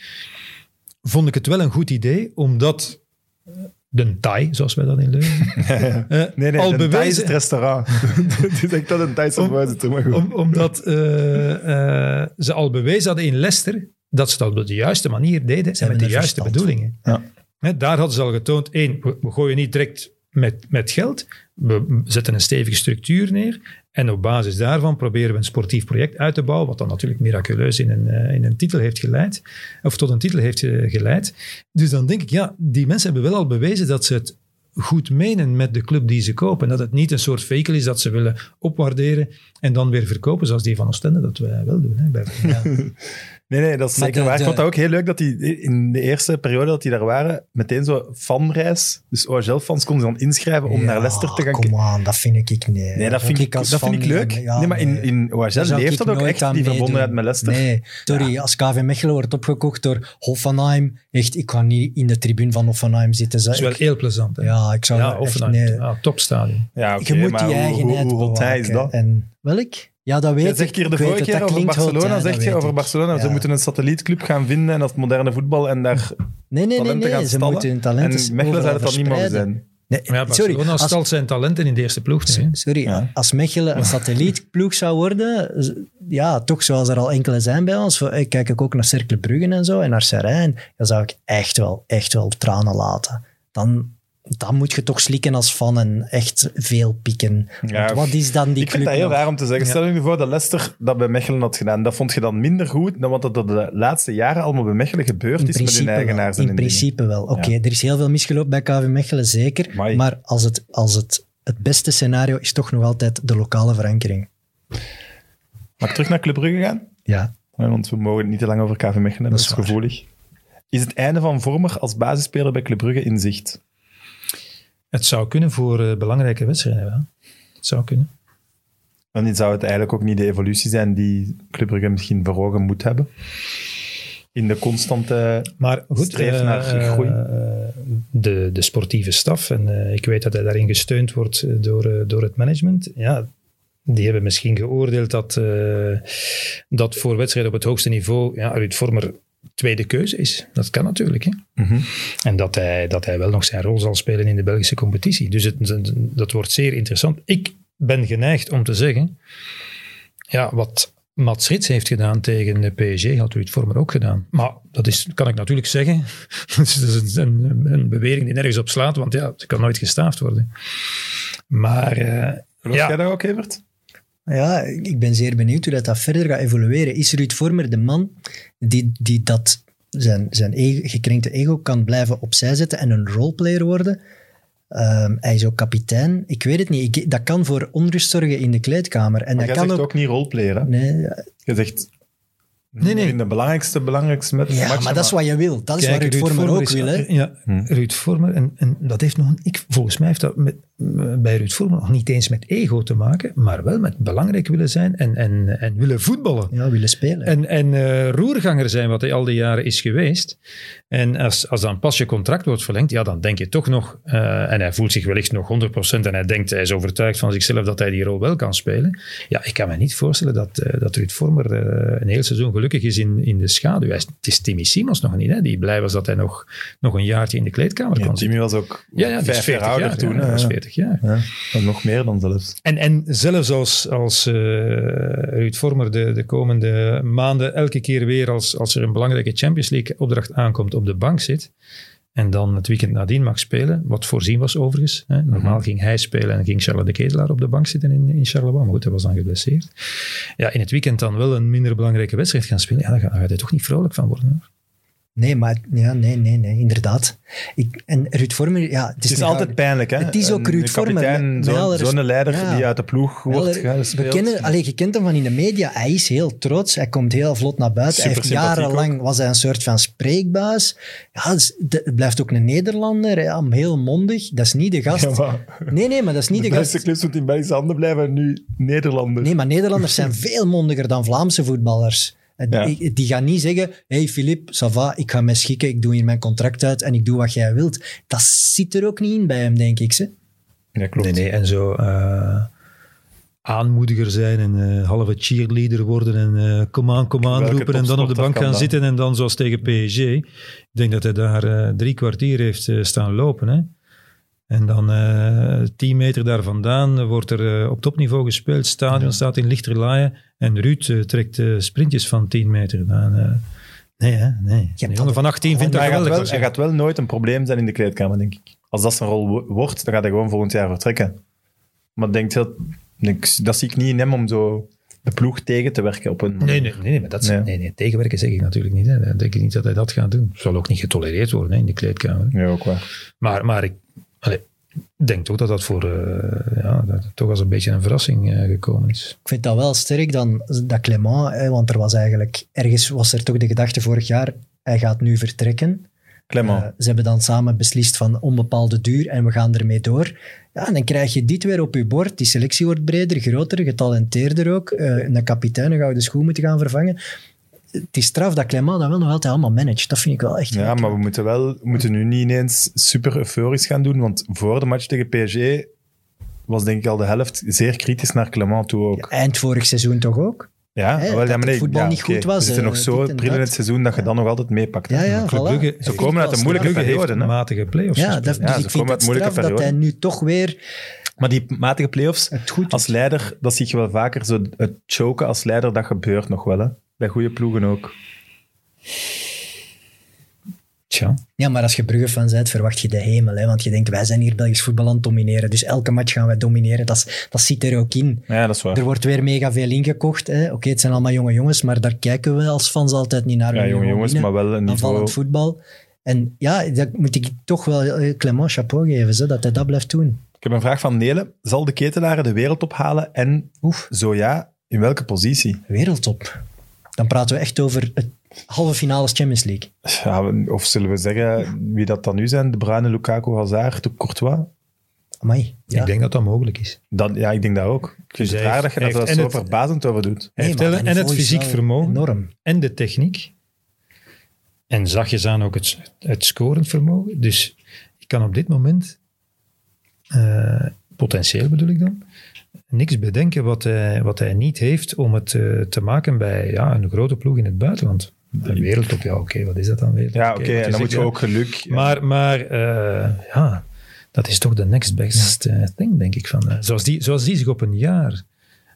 D: vond ik het wel een goed idee, omdat eh, de Thai, zoals wij dat in Leuven... eh,
A: Nee, nee,
D: al
A: een
D: bewezen,
A: Thais het restaurant. Het is echt dat een Thaise
D: Om-
A: verwijzing toe, maar goed.
D: Om- omdat eh, eh, ze al bewezen hadden in Leicester dat ze dat op de juiste manier deden en
B: hebben
D: met de
B: er
D: juiste
B: verstand
D: bedoelingen.
A: Ja.
D: Hè, daar hadden ze al getoond, één, we, we gooien niet direct met, met geld, we zetten een stevige structuur neer en op basis daarvan proberen we een sportief project uit te bouwen, wat dan natuurlijk miraculeus in een, eh, in een titel heeft geleid, of tot een titel heeft eh, geleid. Dus dan denk ik, ja, die mensen hebben wel al bewezen dat ze het goed menen met de club die ze kopen. Dat het niet een soort vehikel is dat ze willen opwaarderen en dan weer verkopen, zoals die van Oostende dat wij wel doen. Hè, bij,
A: Nee, nee, dat is
B: Maar
A: zeker
B: de-
A: waar. Ik
B: de-
A: vond dat ook heel leuk dat die in de eerste periode dat die daar waren, meteen zo'n fanreis. Dus OHL-fans konden ze dan inschrijven om
B: Ja,
A: naar Leicester te gaan
B: Kom aan, dat vind ik nee.
A: Nee, dat vind ik,
B: als
A: dat vind
B: fan
A: ik
B: niet
A: leuk.
B: aan- ja,
A: nee, maar in,
B: nee.
A: in OHL
B: Daar zou
A: leeft
B: ik
A: dat ook
B: nooit
A: echt,
B: aan
A: die
B: meedoen.
A: verbondenheid met Leicester.
B: Nee, sorry, als KV Mechelen wordt opgekocht door Hoffenheim, echt, ik ga niet in de tribune van Hoffenheim zitten.
D: dat is wel
B: ik,
D: heel plezant. Hè?
B: ja, ik zou
D: Ja,
B: echt, eh,
D: of een
B: nee.
D: ja, topstadion.
A: Ja, Ah, oké,
B: je moet
A: maar
B: die
A: hoe-
B: eigenheid
A: Hoe, hoe, hot hij is
B: bewaken.
A: dat?
B: En welk? Ja, dat weet
A: Je
B: ik.
A: zegt hier de
B: Ik weet
A: vorige
B: het,
A: keer
B: dat
A: over
B: klinkt
A: Barcelona,
B: hot, hè,
A: zeg
B: dat
A: je
B: weet
A: over
B: ik.
A: Barcelona. Ze
B: Ja.
A: moeten een satellietclub gaan vinden en dat moderne voetbal en daar
B: Nee, nee, nee,
A: talenten
B: nee.
A: gaan
B: ze
A: stallen.
B: moeten hun talenten
A: en Mechelen zou
B: overal
A: dat dan niet mogen
B: verspreiden.
A: zijn.
B: Nee,
D: Ja,
B: Eh, sorry,
D: Barcelona
B: als,
D: stalt zijn talenten in de eerste ploeg. nu, hè.
B: sorry
A: Ja.
B: als Mechelen een satellietploeg zou worden, z- ja, toch zoals er al enkele zijn bij ons, voor- ik kijk ik ook naar Cercle Bruggen en zo en naar Serijn, dan zou ik echt wel, echt wel tranen laten. Dan, dan moet je toch slikken als fan en echt veel pieken. Want
A: Ja,
B: wat is dan die
A: ik vind
B: club
A: dat heel
B: nog?
A: raar om te zeggen.
D: Ja.
A: Stel je voor dat Leicester dat bij Mechelen had gedaan. Dat vond je dan minder goed dan wat er de laatste jaren allemaal bij Mechelen gebeurd
B: In
A: is met hun
B: principe
A: eigenaars.
B: wel.
A: en
B: In
A: hun dingen.
B: principe wel. Oké, er is heel veel misgelopen bij KV Mechelen, zeker.
A: Amai.
B: Maar als het, als het, het beste scenario is toch nog altijd de lokale verankering.
A: Mag ik terug naar Club Brugge gaan?
B: Ja,
A: Ja, Want we mogen het niet te lang over KV Mechelen hebben, dat is
B: is waar.
A: gevoelig. Is het einde van Vormer als basisspeler bij Club Brugge in zicht?
D: Het zou kunnen voor eh, belangrijke wedstrijden. ja. Het zou kunnen.
A: Dan zou het eigenlijk ook niet de evolutie zijn die Club Brugge misschien voor ogen moet hebben. In de constante...
D: Maar goed,
A: Streef
D: eh,
A: naar groei.
D: eh, de, de sportieve staf, en eh, ik weet dat hij daarin gesteund wordt eh, door, eh, door het management, ja, die hebben misschien geoordeeld dat, eh, dat voor wedstrijden op het hoogste niveau ja, Ruud Vormer tweede keuze is. Dat kan natuurlijk. Hè? En dat hij, dat hij wel nog zijn rol zal spelen in de Belgische competitie. Dus het, het- dat wordt zeer interessant. Ik ben geneigd om te zeggen, ja, wat Mats Rits heeft gedaan tegen de PSG, had Ruud Vormer ook gedaan. Maar dat is, kan ik natuurlijk zeggen, dat is dat is een, een bewering die nergens op slaat, want ja, het kan nooit gestaafd worden. Maar eh,
A: Geloof jij
D: ja,
A: dat ook, Evert?
B: Ja, ik ben zeer benieuwd hoe dat, dat verder gaat evolueren. Is Ruud Vormer de man die, die dat zijn, zijn ego, gekrenkte ego kan blijven opzij zetten en een roleplayer worden? Ehm, hij is ook kapitein. Ik weet het niet. Ik, dat kan voor onrust zorgen in de kleedkamer.
A: Maar
B: En
A: jij
B: dat kan
A: zegt
B: ook...
A: ook niet roleplayer, hè?
B: Nee, ja,
A: Je zegt
D: Nee, nee.
A: In de belangrijkste, belangrijkste met
B: Ja, maar,
A: matchen,
B: dat is wat je wil. Dat is
D: Kijk,
B: waar Ruud Vormer ook
D: is- eh,
B: wil. Hè?
D: Ja, Ruud Vormer, en, en dat heeft nog, een- ik, volgens mij heeft dat met, eh, bij Ruud Vormer nog niet eens met ego te maken, maar wel met belangrijk willen zijn en, en, en willen voetballen.
B: Ja, willen spelen.
D: En, en eh, roerganger zijn, wat hij al die jaren is geweest. En als, als dan pas je contract wordt verlengd, ja, dan denk je toch nog. eh, en hij voelt zich wellicht nog 100% en hij denkt, hij is overtuigd van zichzelf dat hij die rol wel kan spelen. Ja, ik kan me niet voorstellen dat, eh dat Ruud Vormer eh, een heel seizoen gelukkig is in, in de schaduw. Hij is, het is Timmy Simons nog niet, hè, die blij was dat hij nog, nog een jaartje in de kleedkamer
A: Ja,
D: kan zitten.
A: Jimmy was ook
D: Ja, ja, die is
A: vijf jaar
D: 40
A: ouder
D: jaar,
A: toen. eh.
D: ja,
A: hè,
D: hij is
A: ja.
D: 40 jaar.
A: Ja, nog meer dan zelfs.
D: En, en zelfs als, als eh, Ruud Vormer de, de komende maanden elke keer weer als, als er een belangrijke Champions League opdracht aankomt op de bank zit en dan het weekend nadien mag spelen, wat voorzien was overigens. Hè. Normaal ging hij spelen en ging Charles de Ketelaar op de bank zitten in, in Charleroi, maar goed, hij was dan geblesseerd. Ja, in het weekend dan wel een minder belangrijke wedstrijd gaan spelen, ja, dan ga, dan ga je er toch niet vrolijk van worden. hoor.
B: Nee, maar ja, nee, nee, nee, inderdaad. Ik, en Ruud Vormer, ja,
A: Het
B: het is,
A: is
B: een
A: altijd
B: gouden-
A: pijnlijk, hè?
B: Het is ook
A: Een-
B: Ruud
A: een
B: Vormer,
A: kapitein,
B: met- met alle
A: Zo'n
B: res-
A: zo'n leider
B: Ja.
A: die uit de ploeg wordt
B: Wel,
A: gespeeld.
B: we kennen, allee, je kent hem van in de media. Hij is heel trots. Hij komt heel vlot naar buiten. Hij heeft
A: Supersympathiek
B: jarenlang was hij een soort van spreekbuis. Ja, dus de- het blijft ook een Nederlander. Ja, heel mondig. Dat is niet de gast.
A: Ja, maar
B: nee, nee, maar dat is niet
A: de
B: de,
A: beste
B: gast.
A: clubs moeten in Belgische handen blijven en nu Nederlanders.
B: Nee, maar Nederlanders zijn veel mondiger dan Vlaamse voetballers. En
A: Ja.
B: Die, die gaan niet zeggen, hey Filip, ça va, ik ga mij schikken, ik doe hier mijn contract uit en ik doe wat jij wilt. Dat zit er ook niet in bij hem, denk ik. Ze.
A: Ja, klopt.
D: Nee, nee, en zo eh, aanmoediger zijn en eh, halve cheerleader worden en eh kom aan, kom aan
A: Welke
D: roepen en dan op de
A: topsporter
D: bank
A: kan
D: gaan
A: dat?
D: zitten en dan zoals tegen PSG. Ik denk dat hij daar eh, drie kwartier heeft eh, staan lopen. Hè? En dan eh tien meter daar vandaan wordt er eh, op topniveau gespeeld. Stadion staat in lichterlaaien en Ruud eh, trekt eh, sprintjes van tien meter. Dan, eh, nee, hè? nee.
B: dat
D: Een jongen van 18 vindt
A: Maar
D: dat
A: hij, gaat
D: geweldig.
A: wel,
D: als je-
A: hij gaat wel nooit een probleem zijn in de kleedkamer, denk ik. Als dat zijn rol wo- wordt, dan gaat hij gewoon volgend jaar vertrekken. Maar denkt heel, denk, dat zie ik niet in hem om zo de ploeg tegen te werken op een
D: Nee, nee, nee, nee, maar dat is-
A: Nee.
D: nee, nee, tegenwerken zeg ik natuurlijk niet. Hè. Dan denk ik niet dat hij dat gaat doen. Zal ook niet getolereerd worden hè, in de kleedkamer.
A: Ja, ook waar.
D: Maar, maar ik allee, denk toch dat dat voor eh, ja, dat het toch als een beetje een verrassing eh, gekomen is.
B: Ik vind dat wel sterk dan dat Clement, hè, want er was eigenlijk, ergens was er toch de gedachte vorig jaar, hij gaat nu vertrekken.
A: Clement.
B: Eh, ze hebben dan samen beslist van onbepaalde duur en we gaan ermee door. Ja, en dan krijg je dit weer op je bord. Die selectie wordt breder, groter, getalenteerder ook. Eh, een kapitein, een gouden schoen moeten gaan vervangen. Het is straf dat Clement dat wel nog altijd allemaal managt. Dat vind ik wel echt...
A: ja, maar we moeten, wel, we moeten nu niet ineens super euforisch gaan doen, want voor de match tegen PSG was denk ik al de helft zeer kritisch naar Clement toe ook.
B: Eind vorig seizoen toch ook?
A: Ja,
B: Hè,
A: wel, ja,
B: dat
A: maar
B: het
A: nee,
B: voetbal
A: ja,
B: niet
A: oké.
B: goed was,
A: We zitten
B: eh,
A: nog zo
B: dit en
A: pril in
B: dat.
A: het seizoen dat je dan nog altijd meepakt. hè.
B: Ja, ja,
D: Club
B: voilà.
D: Brugge-
B: Ik
A: Ze
D: Ze
B: vind
A: komen
B: het
A: uit een
B: wel
A: moeilijke
B: straf.
D: Brugge heeft
A: periode. hè.
D: matige play-offs
B: Ja,
D: gespeeld.
B: dat, dus
A: Ja, ze
B: ik
A: komen
B: vind
A: uit
B: het
A: moeilijke
B: straf dat hij
A: perioden.
B: nu toch weer
A: Maar die matige play-offs,
B: het goed
A: als leider, dat zie je wel vaker. Zo het choken als leider, dat gebeurt nog wel. Hè? Bij goede ploegen ook.
D: Tja.
B: Ja, maar als je Brugge-fan bent, verwacht je de hemel. Hè? Want je denkt, wij zijn hier Belgisch voetbal aan het domineren. Dus elke match gaan wij domineren. Dat, is- dat zit er ook in.
A: Ja, dat is waar.
B: Er wordt weer mega veel ingekocht. hè. Oké, het zijn allemaal jonge jongens, maar daar kijken we als fans altijd niet naar.
A: Ja,
B: We
A: jonge
B: willen
A: jongens,
B: winnen.
A: maar wel een
B: Aanvallend
A: niveau.
B: voetbal. En ja, dat moet ik toch wel eh, Clement chapeau geven, zo, dat hij dat blijft doen.
A: Ik heb een vraag van Nele. Zal de ketelaren de wereld ophalen? En
B: Oef,
A: zo ja, in welke positie?
B: wereldtop. Dan praten we echt over het halve finale Champions League.
A: Ja, we- of zullen we zeggen wie dat dan nu zijn? De Bruyne, Lukaku, Hazard, de Courtois?
B: Amai. Ja.
D: ik denk dat dat mogelijk is.
A: Dan, ja, ik denk dat ook. Ik vind
D: Dus
A: het
D: hij
A: raar dat
D: heeft-
A: je dat
D: hij
A: daar
D: heeft
A: zo
D: en het-
A: verbazend over doet.
D: Hij heeft
B: Nee,
D: en-
B: maar
D: en het
B: niveau is
D: fysiek
B: wel
D: vermogen
B: Enorm.
D: en de techniek. En zachtjes aan ook het, het scorend vermogen. Dus ik kan op dit moment, eh, potentieel bedoel ik dan, niks bedenken wat hij, wat hij niet heeft om het eh, te maken bij ja, een grote ploeg in het buitenland. Een wereldtop, ja oké, wat is dat dan weer?
A: Ja, oké. en dan moet je ook geluk... ja.
D: Maar, maar eh, ja, dat is toch de next best eh, thing, denk ik. Van, eh, zoals, die, zoals die zich op een jaar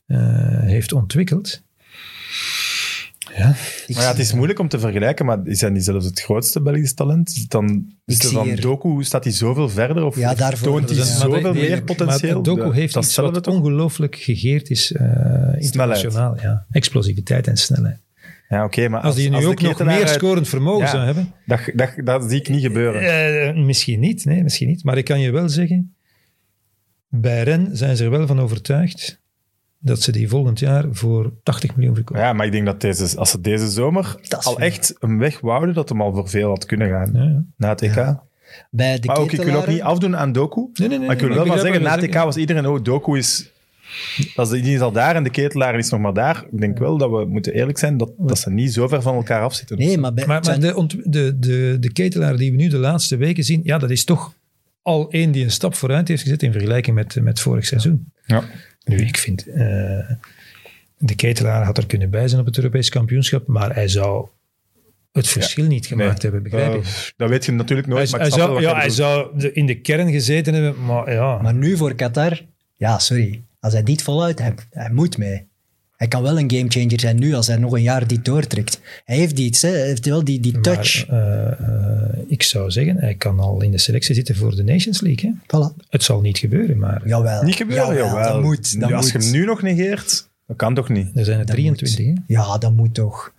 D: eh, heeft ontwikkeld. Ja,
B: Ik-
A: Maar ja, het is moeilijk om te vergelijken, maar is hij niet zelfs het grootste Belgisch talent? Is het dan, is
B: Ik
A: er
B: zie
A: dan
B: hier-
A: Doku, staat hij zoveel verder? Of
B: Ja,
A: of
B: daarvoor-
A: toont hij
D: Dus
B: dat is- maar
A: zoveel
D: de- de-
A: meer potentieel?
D: Maar Doku
A: Ja,
D: heeft
A: dat
D: iets
A: stellen we
D: wat
A: toch?
D: ongelooflijk gegeerd is eh, internationaal. Ja. Explosiviteit en snelheid.
A: Ja, oké, maar
D: Als die nu
A: de
D: ook nog
A: Ketelaar
D: meer
A: uit-
D: scorend vermogen
A: Ja.
D: zou hebben,
A: Dat, dat, dat zie ik niet gebeuren.
D: Eh, misschien niet, nee, misschien niet. Maar ik kan je wel zeggen, bij Ren zijn ze er wel van overtuigd dat ze die volgend jaar voor 80 miljoen verkopen.
A: Ja, maar ik denk dat deze, als ze deze zomer
B: Dat is
A: al
B: veel.
A: echt een weg wouden, dat hem al voor veel had kunnen gaan.
D: Ja, ja.
A: Na het EK.
B: Bij de
A: Maar ook, ik wil ook
B: ketelaren-
A: niet afdoen aan Doku.
D: Nee, nee, nee,
A: maar ik wil
D: nee,
A: wel
D: ik
A: maar
D: begrijp
A: zeggen, na
D: wat je
A: het EK
D: zegt,
A: was iedereen, oh, Doku is... Dat is, die is al daar en de ketelaar is nog maar daar. Ik denk wel dat we moeten eerlijk zijn dat, dat ze niet zo ver van elkaar af zitten.
B: Nee, maar, bij,
D: Maar, maar
B: zijn-
D: de, ont- de, de, de ketelaar die we nu de laatste weken zien, ja, dat is toch al één die een stap vooruit heeft gezet in vergelijking met, met vorig seizoen.
A: Ja.
D: Nu, ik vind, eh, de ketelaar had er kunnen bij zijn op het Europees kampioenschap, maar hij zou het verschil niet gemaakt
A: Nee.
D: hebben, begrijp
A: Eh,
D: ik.
A: dat weet je natuurlijk nooit,
D: Hij,
A: maar
D: hij
A: ik snap wel
D: zou,
A: wat
D: ja,
A: je
D: hij
A: bedoelt.
D: zou de- in de kern gezeten hebben, maar ja.
B: maar nu voor Qatar, ja, sorry. Als hij dit voluit heeft, hij moet mee. Hij kan wel een gamechanger zijn nu als hij nog een jaar dit doortrekt. Hij heeft iets, hè. hij heeft wel die, die
D: Maar,
B: touch.
D: eh, eh, ik zou zeggen, hij kan al in de selectie zitten voor de Nations League. Hè?
B: voilà.
D: Het zal niet gebeuren, maar
B: Jawel.
A: Niet gebeuren,
B: Jawel,
A: jawel.
B: Dat moet. Dat
A: Nu, als
B: moet.
A: je hem nu nog negeert, dat kan toch niet?
D: er zijn er
B: Dat
D: 23.
B: moet.
D: hè.
B: Ja, dat moet toch.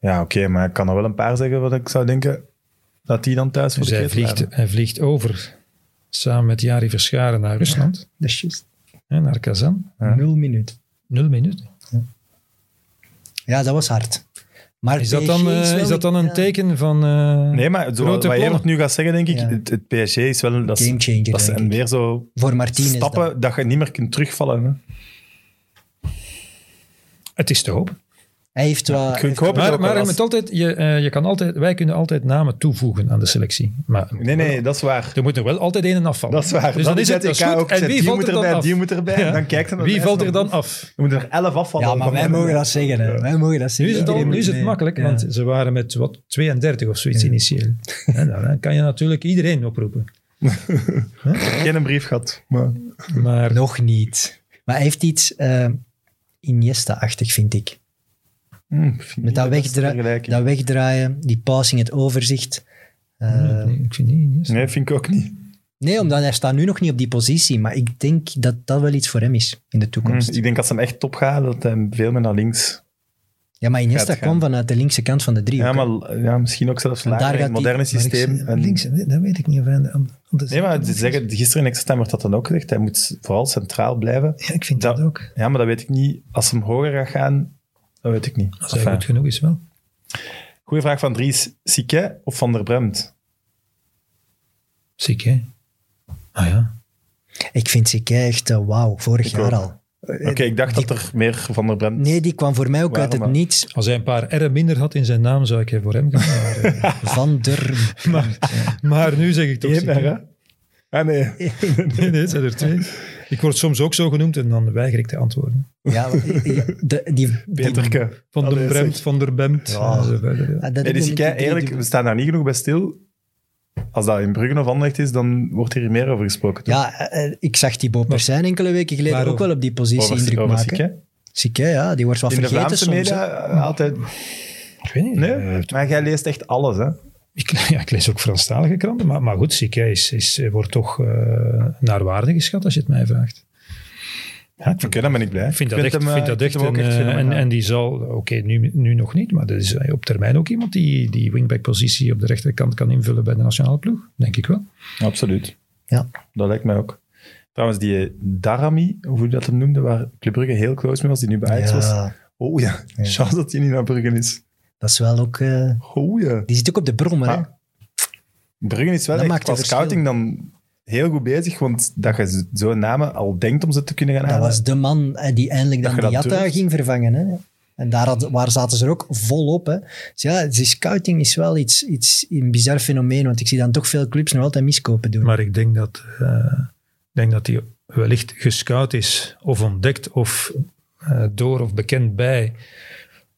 A: Ja, oké, maar ik kan er wel een paar zeggen wat ik zou denken dat die dan thuis voor
D: Dus
A: de
D: hij
A: ketelaar
D: vliegt, hij vliegt over samen met Jari Verscharen naar Rusland,
B: Dat is juist.
D: hè, naar Kazan.
A: Ja.
B: Nul minuut.
D: Nul minuten.
B: Ja, dat was hard. Maar
D: Is dat
B: PSG
D: dan, eh,
B: wel
D: is dat dan een
B: ja,
D: teken van... eh,
A: Nee, maar zo, wat
D: Grote
A: jij
D: plannen.
A: nog nu gaat zeggen, denk ik,
B: Ja.
A: het, het PSG is wel... een- Dat is,
B: Gamechanger,
A: dat is-
B: denk
A: en
B: ik.
A: weer zo
B: Voor Martinez
A: stappen
B: dan.
A: dat. je niet meer kunt terugvallen. Hè.
D: Het is te hopen.
B: Hij heeft wel...
A: Ik, ik hoop het
D: Maar,
A: ook
D: maar
A: wel als-
D: je moet altijd, je, eh, je kan altijd, wij kunnen altijd namen toevoegen aan de selectie. Maar
A: Nee, nee, dat is waar.
D: er moet er wel altijd één en afvallen.
A: Dat is waar.
D: Dus
A: dat
D: dan is het,
A: EK
D: dat is goed.
A: ook.
D: En wie
A: die
D: valt
A: moet
D: er dan
A: erbij,
D: af?
A: die moet erbij.
D: Ja.
A: En dan kijkt er naar
D: Wie
A: mij
D: valt er
A: en
D: dan af?
A: We moeten er elf afvallen.
B: Ja, maar wij mogen dat zeggen. Hè. Wij mogen dat
D: Nu
B: zeggen.
D: is het, al, nu is het
B: Nee.
D: makkelijk,
B: Ja.
D: want ze waren met wat, 32 of zoiets initieel. En dan kan je natuurlijk iedereen oproepen.
A: Geen een brief gehad. Maar...
D: Maar
B: Nog niet. Maar hij heeft iets eh, Iniesta-achtig, vind ik. Met dat, wegdra- dat wegdraaien, die passing, het overzicht. Eh,
D: nee, ik vind niet. niet.
A: Nee, vind ik ook niet.
B: nee, omdat hij staat nu nog niet op die positie. Maar ik denk dat dat wel iets voor hem is in de toekomst.
A: Mm, Ik denk als ze hem echt top gaat, dat hij veel meer naar links.
B: Ja, maar Iniesta
A: Gaat gaan.
B: kwam vanuit de linkse kant van de driehoek.
A: Ja,
B: hè.
A: maar ja, misschien ook zelfs
B: En
A: lager
B: daar
A: in het
B: gaat
A: moderne
D: Maar ik
A: systeem.
D: zeg-
A: En-
D: links, dat weet ik niet of hij aan de aan- aan de
A: Nee, maar ze
D: zijkant
A: zeggen, gisteren in Extra Time werd dat dan ook gezegd. Hij moet vooral centraal blijven.
D: is. Ja, ik vind dat,
A: dat-
D: ook.
A: Ja, maar dat weet ik niet. Als hem hoger gaat gaan, dat weet ik niet.
D: Als hij
A: Enfin,
D: goed genoeg is wel.
A: goeie vraag van Dries. Sique of Van der Bremt?
D: Ziek, hè? Ah ja.
B: Ik vind ze echt eh, wauw, vorig
A: Ik
B: jaar
A: ook.
B: al.
D: Eh,
A: Oké, ik dacht dat er meer Van der Bremt...
B: Nee, die kwam voor mij ook
A: Waarom
B: uit het
A: maar?
B: niets.
D: Als hij een paar R minder had in zijn naam, zou ik er voor hem gaan. Maar, eh,
B: Van der...
D: maar nu zeg ik toch.
A: Eén
D: Ziek, hè?
A: maar, hè? Ah, nee.
D: Eh, Nee, nee, het zijn er twee. Ik word soms ook zo genoemd en dan weiger ik te antwoorden.
B: Ja, de, die, die-
A: Peterke.
D: Van der
A: Allee,
D: Bremt,
A: zeg.
D: van der Bemt.
B: Ja.
D: en zo verder, ja.
B: Ah, dat
A: Nee,
B: is
A: dus ik, eerlijk, we staan daar niet genoeg bij stil. Als dat in Bruggen of Anderlecht is, dan wordt hier meer over gesproken. toch?
B: Ja, eh, eh, ik zag Thibaut Persijn enkele weken geleden
D: waarover?
B: ook wel op die positie
A: Over-
B: indruk
A: over
B: maken.
A: Sique.
B: Sikke? ja, die wordt wel
A: In de
B: vergeten
A: Vlaamse
B: soms. hè.
A: media eh, altijd...
D: Ik weet niet.
A: Nee,
D: eh,
A: maar jij leest echt alles, hè?
D: Ik, ja, ik lees ook Franstalige kranten, maar, maar goed, Ziek hè, is, is, wordt toch eh, naar waarde geschat als je het mij vraagt. Ja, ik
A: Oké, dan ben ik blij.
D: Ik vind dat echt,
A: hem, eh,
D: vind dat
A: ik
D: echt
A: vind hem
D: een,
A: ook
D: eh, en,
A: fenomenaal.
D: en die zal, oké, nu, nu nog niet, maar dat is eh, op termijn ook iemand die die wingback-positie op de rechterkant kan invullen bij de nationale ploeg, denk ik wel.
A: Absoluut.
B: Ja.
A: Dat lijkt mij ook. Trouwens, die eh, Darami, hoe je dat hem noemde, waar Club Brugge heel close mee was, die nu bij Ajax was.
B: Ja,
A: Oh ja, chance dat hij niet naar Bruggen is.
B: dat is wel ook... eh,
A: Oh ja.
B: die zit ook op de brommer, hè.
A: Ah, Bruggen is wel
B: Dat
A: echt
B: maakt
A: qua
B: een verschil.
A: scouting dan heel goed bezig, want dat je zo'n namen al denkt om ze te kunnen gaan
B: Dat
A: halen.
B: was de man eh, die eindelijk
A: Dat
B: dan
A: je dat
B: Diatta
A: durft.
B: ging vervangen. Hè? En daar, had, waar zaten ze er ook volop. Hè? Dus ja, die scouting is wel iets, iets een bizar fenomeen, want ik zie dan toch veel clubs nog altijd miskopen doen.
D: Maar ik denk dat, eh, ik denk dat die wellicht gescout is of ontdekt of eh, door of bekend bij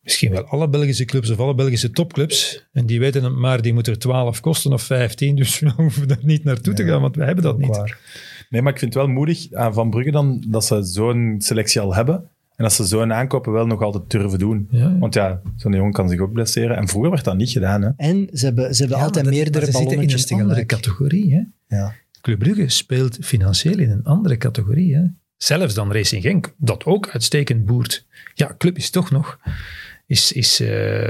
D: misschien wel alle Belgische clubs of alle Belgische topclubs. En die weten het maar, die moeten er 12 kosten of 15, dus we hoeven daar niet naartoe te gaan, want we hebben dat
B: Ook
D: niet.
B: waar.
A: Nee, maar ik vind het wel moedig aan Van Brugge dan dat ze zo'n selectie al hebben. En dat ze zo'n aankopen wel nog altijd durven doen.
D: Ja.
A: Want ja, zo'n jongen kan zich ook blesseren. En vroeger werd dat niet gedaan. Hè?
B: En ze hebben, ze hebben
D: Ja,
B: altijd
D: maar dat-
B: meerdere
D: maar ze zitten
B: ballonnetjes
D: in een andere
B: tegelijk.
D: categorie. Hè?
B: Ja.
D: Club Brugge speelt financieel in een andere categorie. Hè? Zelfs dan Racing Genk, dat ook uitstekend boert. Ja, club is toch nog... Is, is, eh,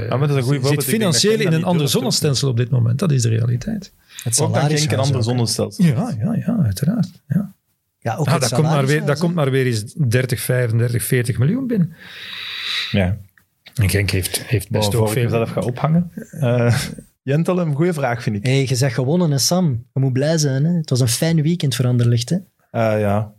A: maar dat is een goed voorbeeld. Ik denk
D: zit
A: dat
D: financieel
A: Genk
D: in
A: dat
D: een
A: niet
D: ander
A: durft.
D: zonnestelsel op dit moment. Dat is de realiteit.
B: Het
A: Ook dan
B: salaris
A: denk ik een ander zonnestelsel.
D: Ja, Ah, ja, ja, uiteraard. Ja.
B: Ja, ook
F: Nou, dat,
B: het
F: komt maar
B: salaris
F: weer, dat
B: wel,
F: komt maar weer eens 30, 35, 40 miljoen binnen.
A: Ja.
F: En Genk heeft, heeft best
A: Voor
F: ook
A: ik
F: veel.
A: mezelf ga ophangen. Eh Jentel, een goede vraag vind ik.
B: Hey, je zegt gewonnen, hè, Sam. Je moet blij zijn. Hè? Het was een fijn weekend voor Anderlecht. Hè?
A: Eh, ja.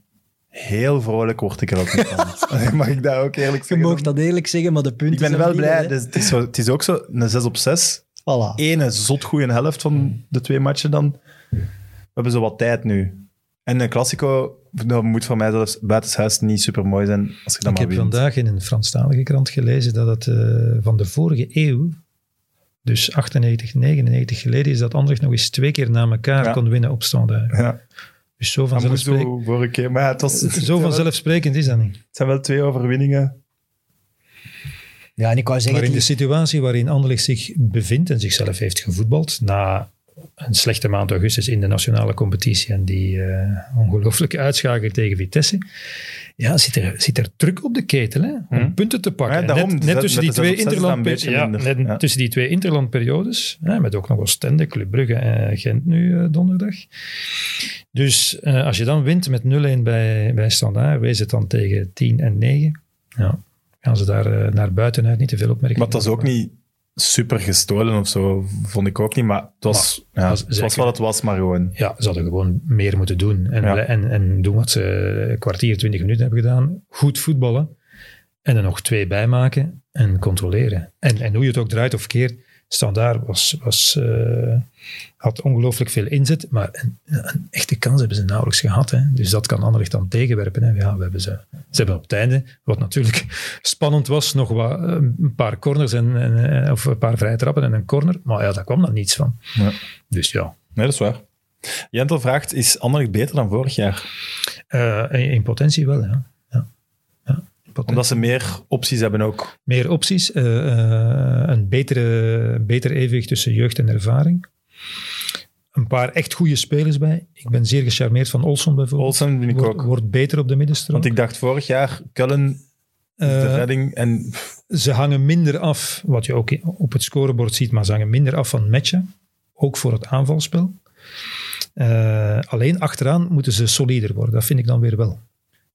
A: Heel vrolijk word ik er ook niet van. Mag ik daar ook eerlijk
B: Je
A: zeggen?
B: mag dat eerlijk zeggen, maar de punten
A: Ik ben
B: zijn
A: wel blij.
B: verdiend, hè.
A: Dus het, is zo, het is ook zo een 6 op 6.
B: Voilà.
A: Ene zot goede helft van de twee matchen dan. We hebben zo wat tijd nu. En een Classico dat moet voor mij zelfs buitenshuis niet super mooi zijn als je dat
D: Ik
A: maar
D: heb
A: wint.
D: vandaag in een Franstalige krant gelezen dat het eh, van de vorige eeuw, dus 98, 99 geleden, is dat Anderlecht nog eens twee keer na elkaar
A: Ja.
D: kon winnen op standaard.
A: Ja,
D: Dus zo
A: dat moest
D: vanzelfsprekend,
A: zo vorige keer. Maar ja, het, was, het
D: zo
A: zijn wel-
D: vanzelfsprekend is dat niet.
A: het zijn wel twee overwinningen.
B: Ja, en ik wou zeggen...
D: Maar in de
B: die-
D: situatie waarin Anderlecht zich bevindt en zichzelf heeft gevoetbald, na een slechte maand augustus in de nationale competitie en die eh, ongelooflijke uitschakel tegen Vitesse, ja, zit er, zit er druk op de ketel hè, om punten te pakken.
A: Hm. Ja,
D: En
A: daarom,
D: net,
A: dus
D: net
A: dat-
D: tussen
A: met
D: die
A: de zes op zes is
D: twee
A: dat een
D: interlandperiodes.
A: beetje
D: Ja,
A: minder.
D: net
A: Ja.
D: Tussen die twee interlandperiodes, hè, met ook nog Oostende, Club Brugge en Gent nu eh, donderdag. Dus eh, als je dan wint met 0-1 bij, bij Standaard, wees het dan tegen 10 en 9. Ja, gaan ze daar eh, naar buiten uit, niet te veel opmerkingen.
A: Maar het was ook niet super gestolen of zo, vond ik ook niet. Maar het was, ja,
D: was
A: het was
D: zeker-
A: wat het was, maar gewoon.
D: Ja, ze hadden gewoon meer moeten doen. En,
A: Ja.
D: en, en doen wat ze een kwartier, twintig minuten hebben gedaan. Goed voetballen. En er nog twee bij maken en controleren. En, en hoe je het ook draait of keert, Standaard was, was, eh, had ongelooflijk veel inzet. Maar een, een echte kans hebben ze nauwelijks gehad. Hè. Dus dat kan Anderlecht dan tegenwerpen. Hè. Ja, we hebben ze, ze hebben op het einde, wat natuurlijk spannend was, nog wat, eh, een paar corners en, en, eh, of een paar vrije trappen en een corner. Maar ja, daar kwam dan niets van.
A: Ja.
D: Dus ja,
A: Nee, dat is waar. Jentel vraagt, is Anderlecht beter dan vorig jaar?
D: Eh, in, in potentie wel, ja. ja. ja. In potentie.
A: Omdat ze meer opties hebben ook.
D: Meer opties, eh, eh, een betere, beter evenwicht tussen jeugd en ervaring. Een paar echt goede spelers bij. Ik ben zeer gecharmeerd van Olson bijvoorbeeld.
A: Olsen vind ik
D: wordt,
A: ook.
D: wordt beter op de middenstrook.
A: Want ik dacht vorig jaar, Cullen is de
D: Eh,
A: redding. En
D: ze hangen minder af, wat je ook op het scorebord ziet, maar ze hangen minder af van matchen. Ook voor het aanvalspel. Eh, alleen achteraan moeten ze solider worden. Dat vind ik dan weer wel.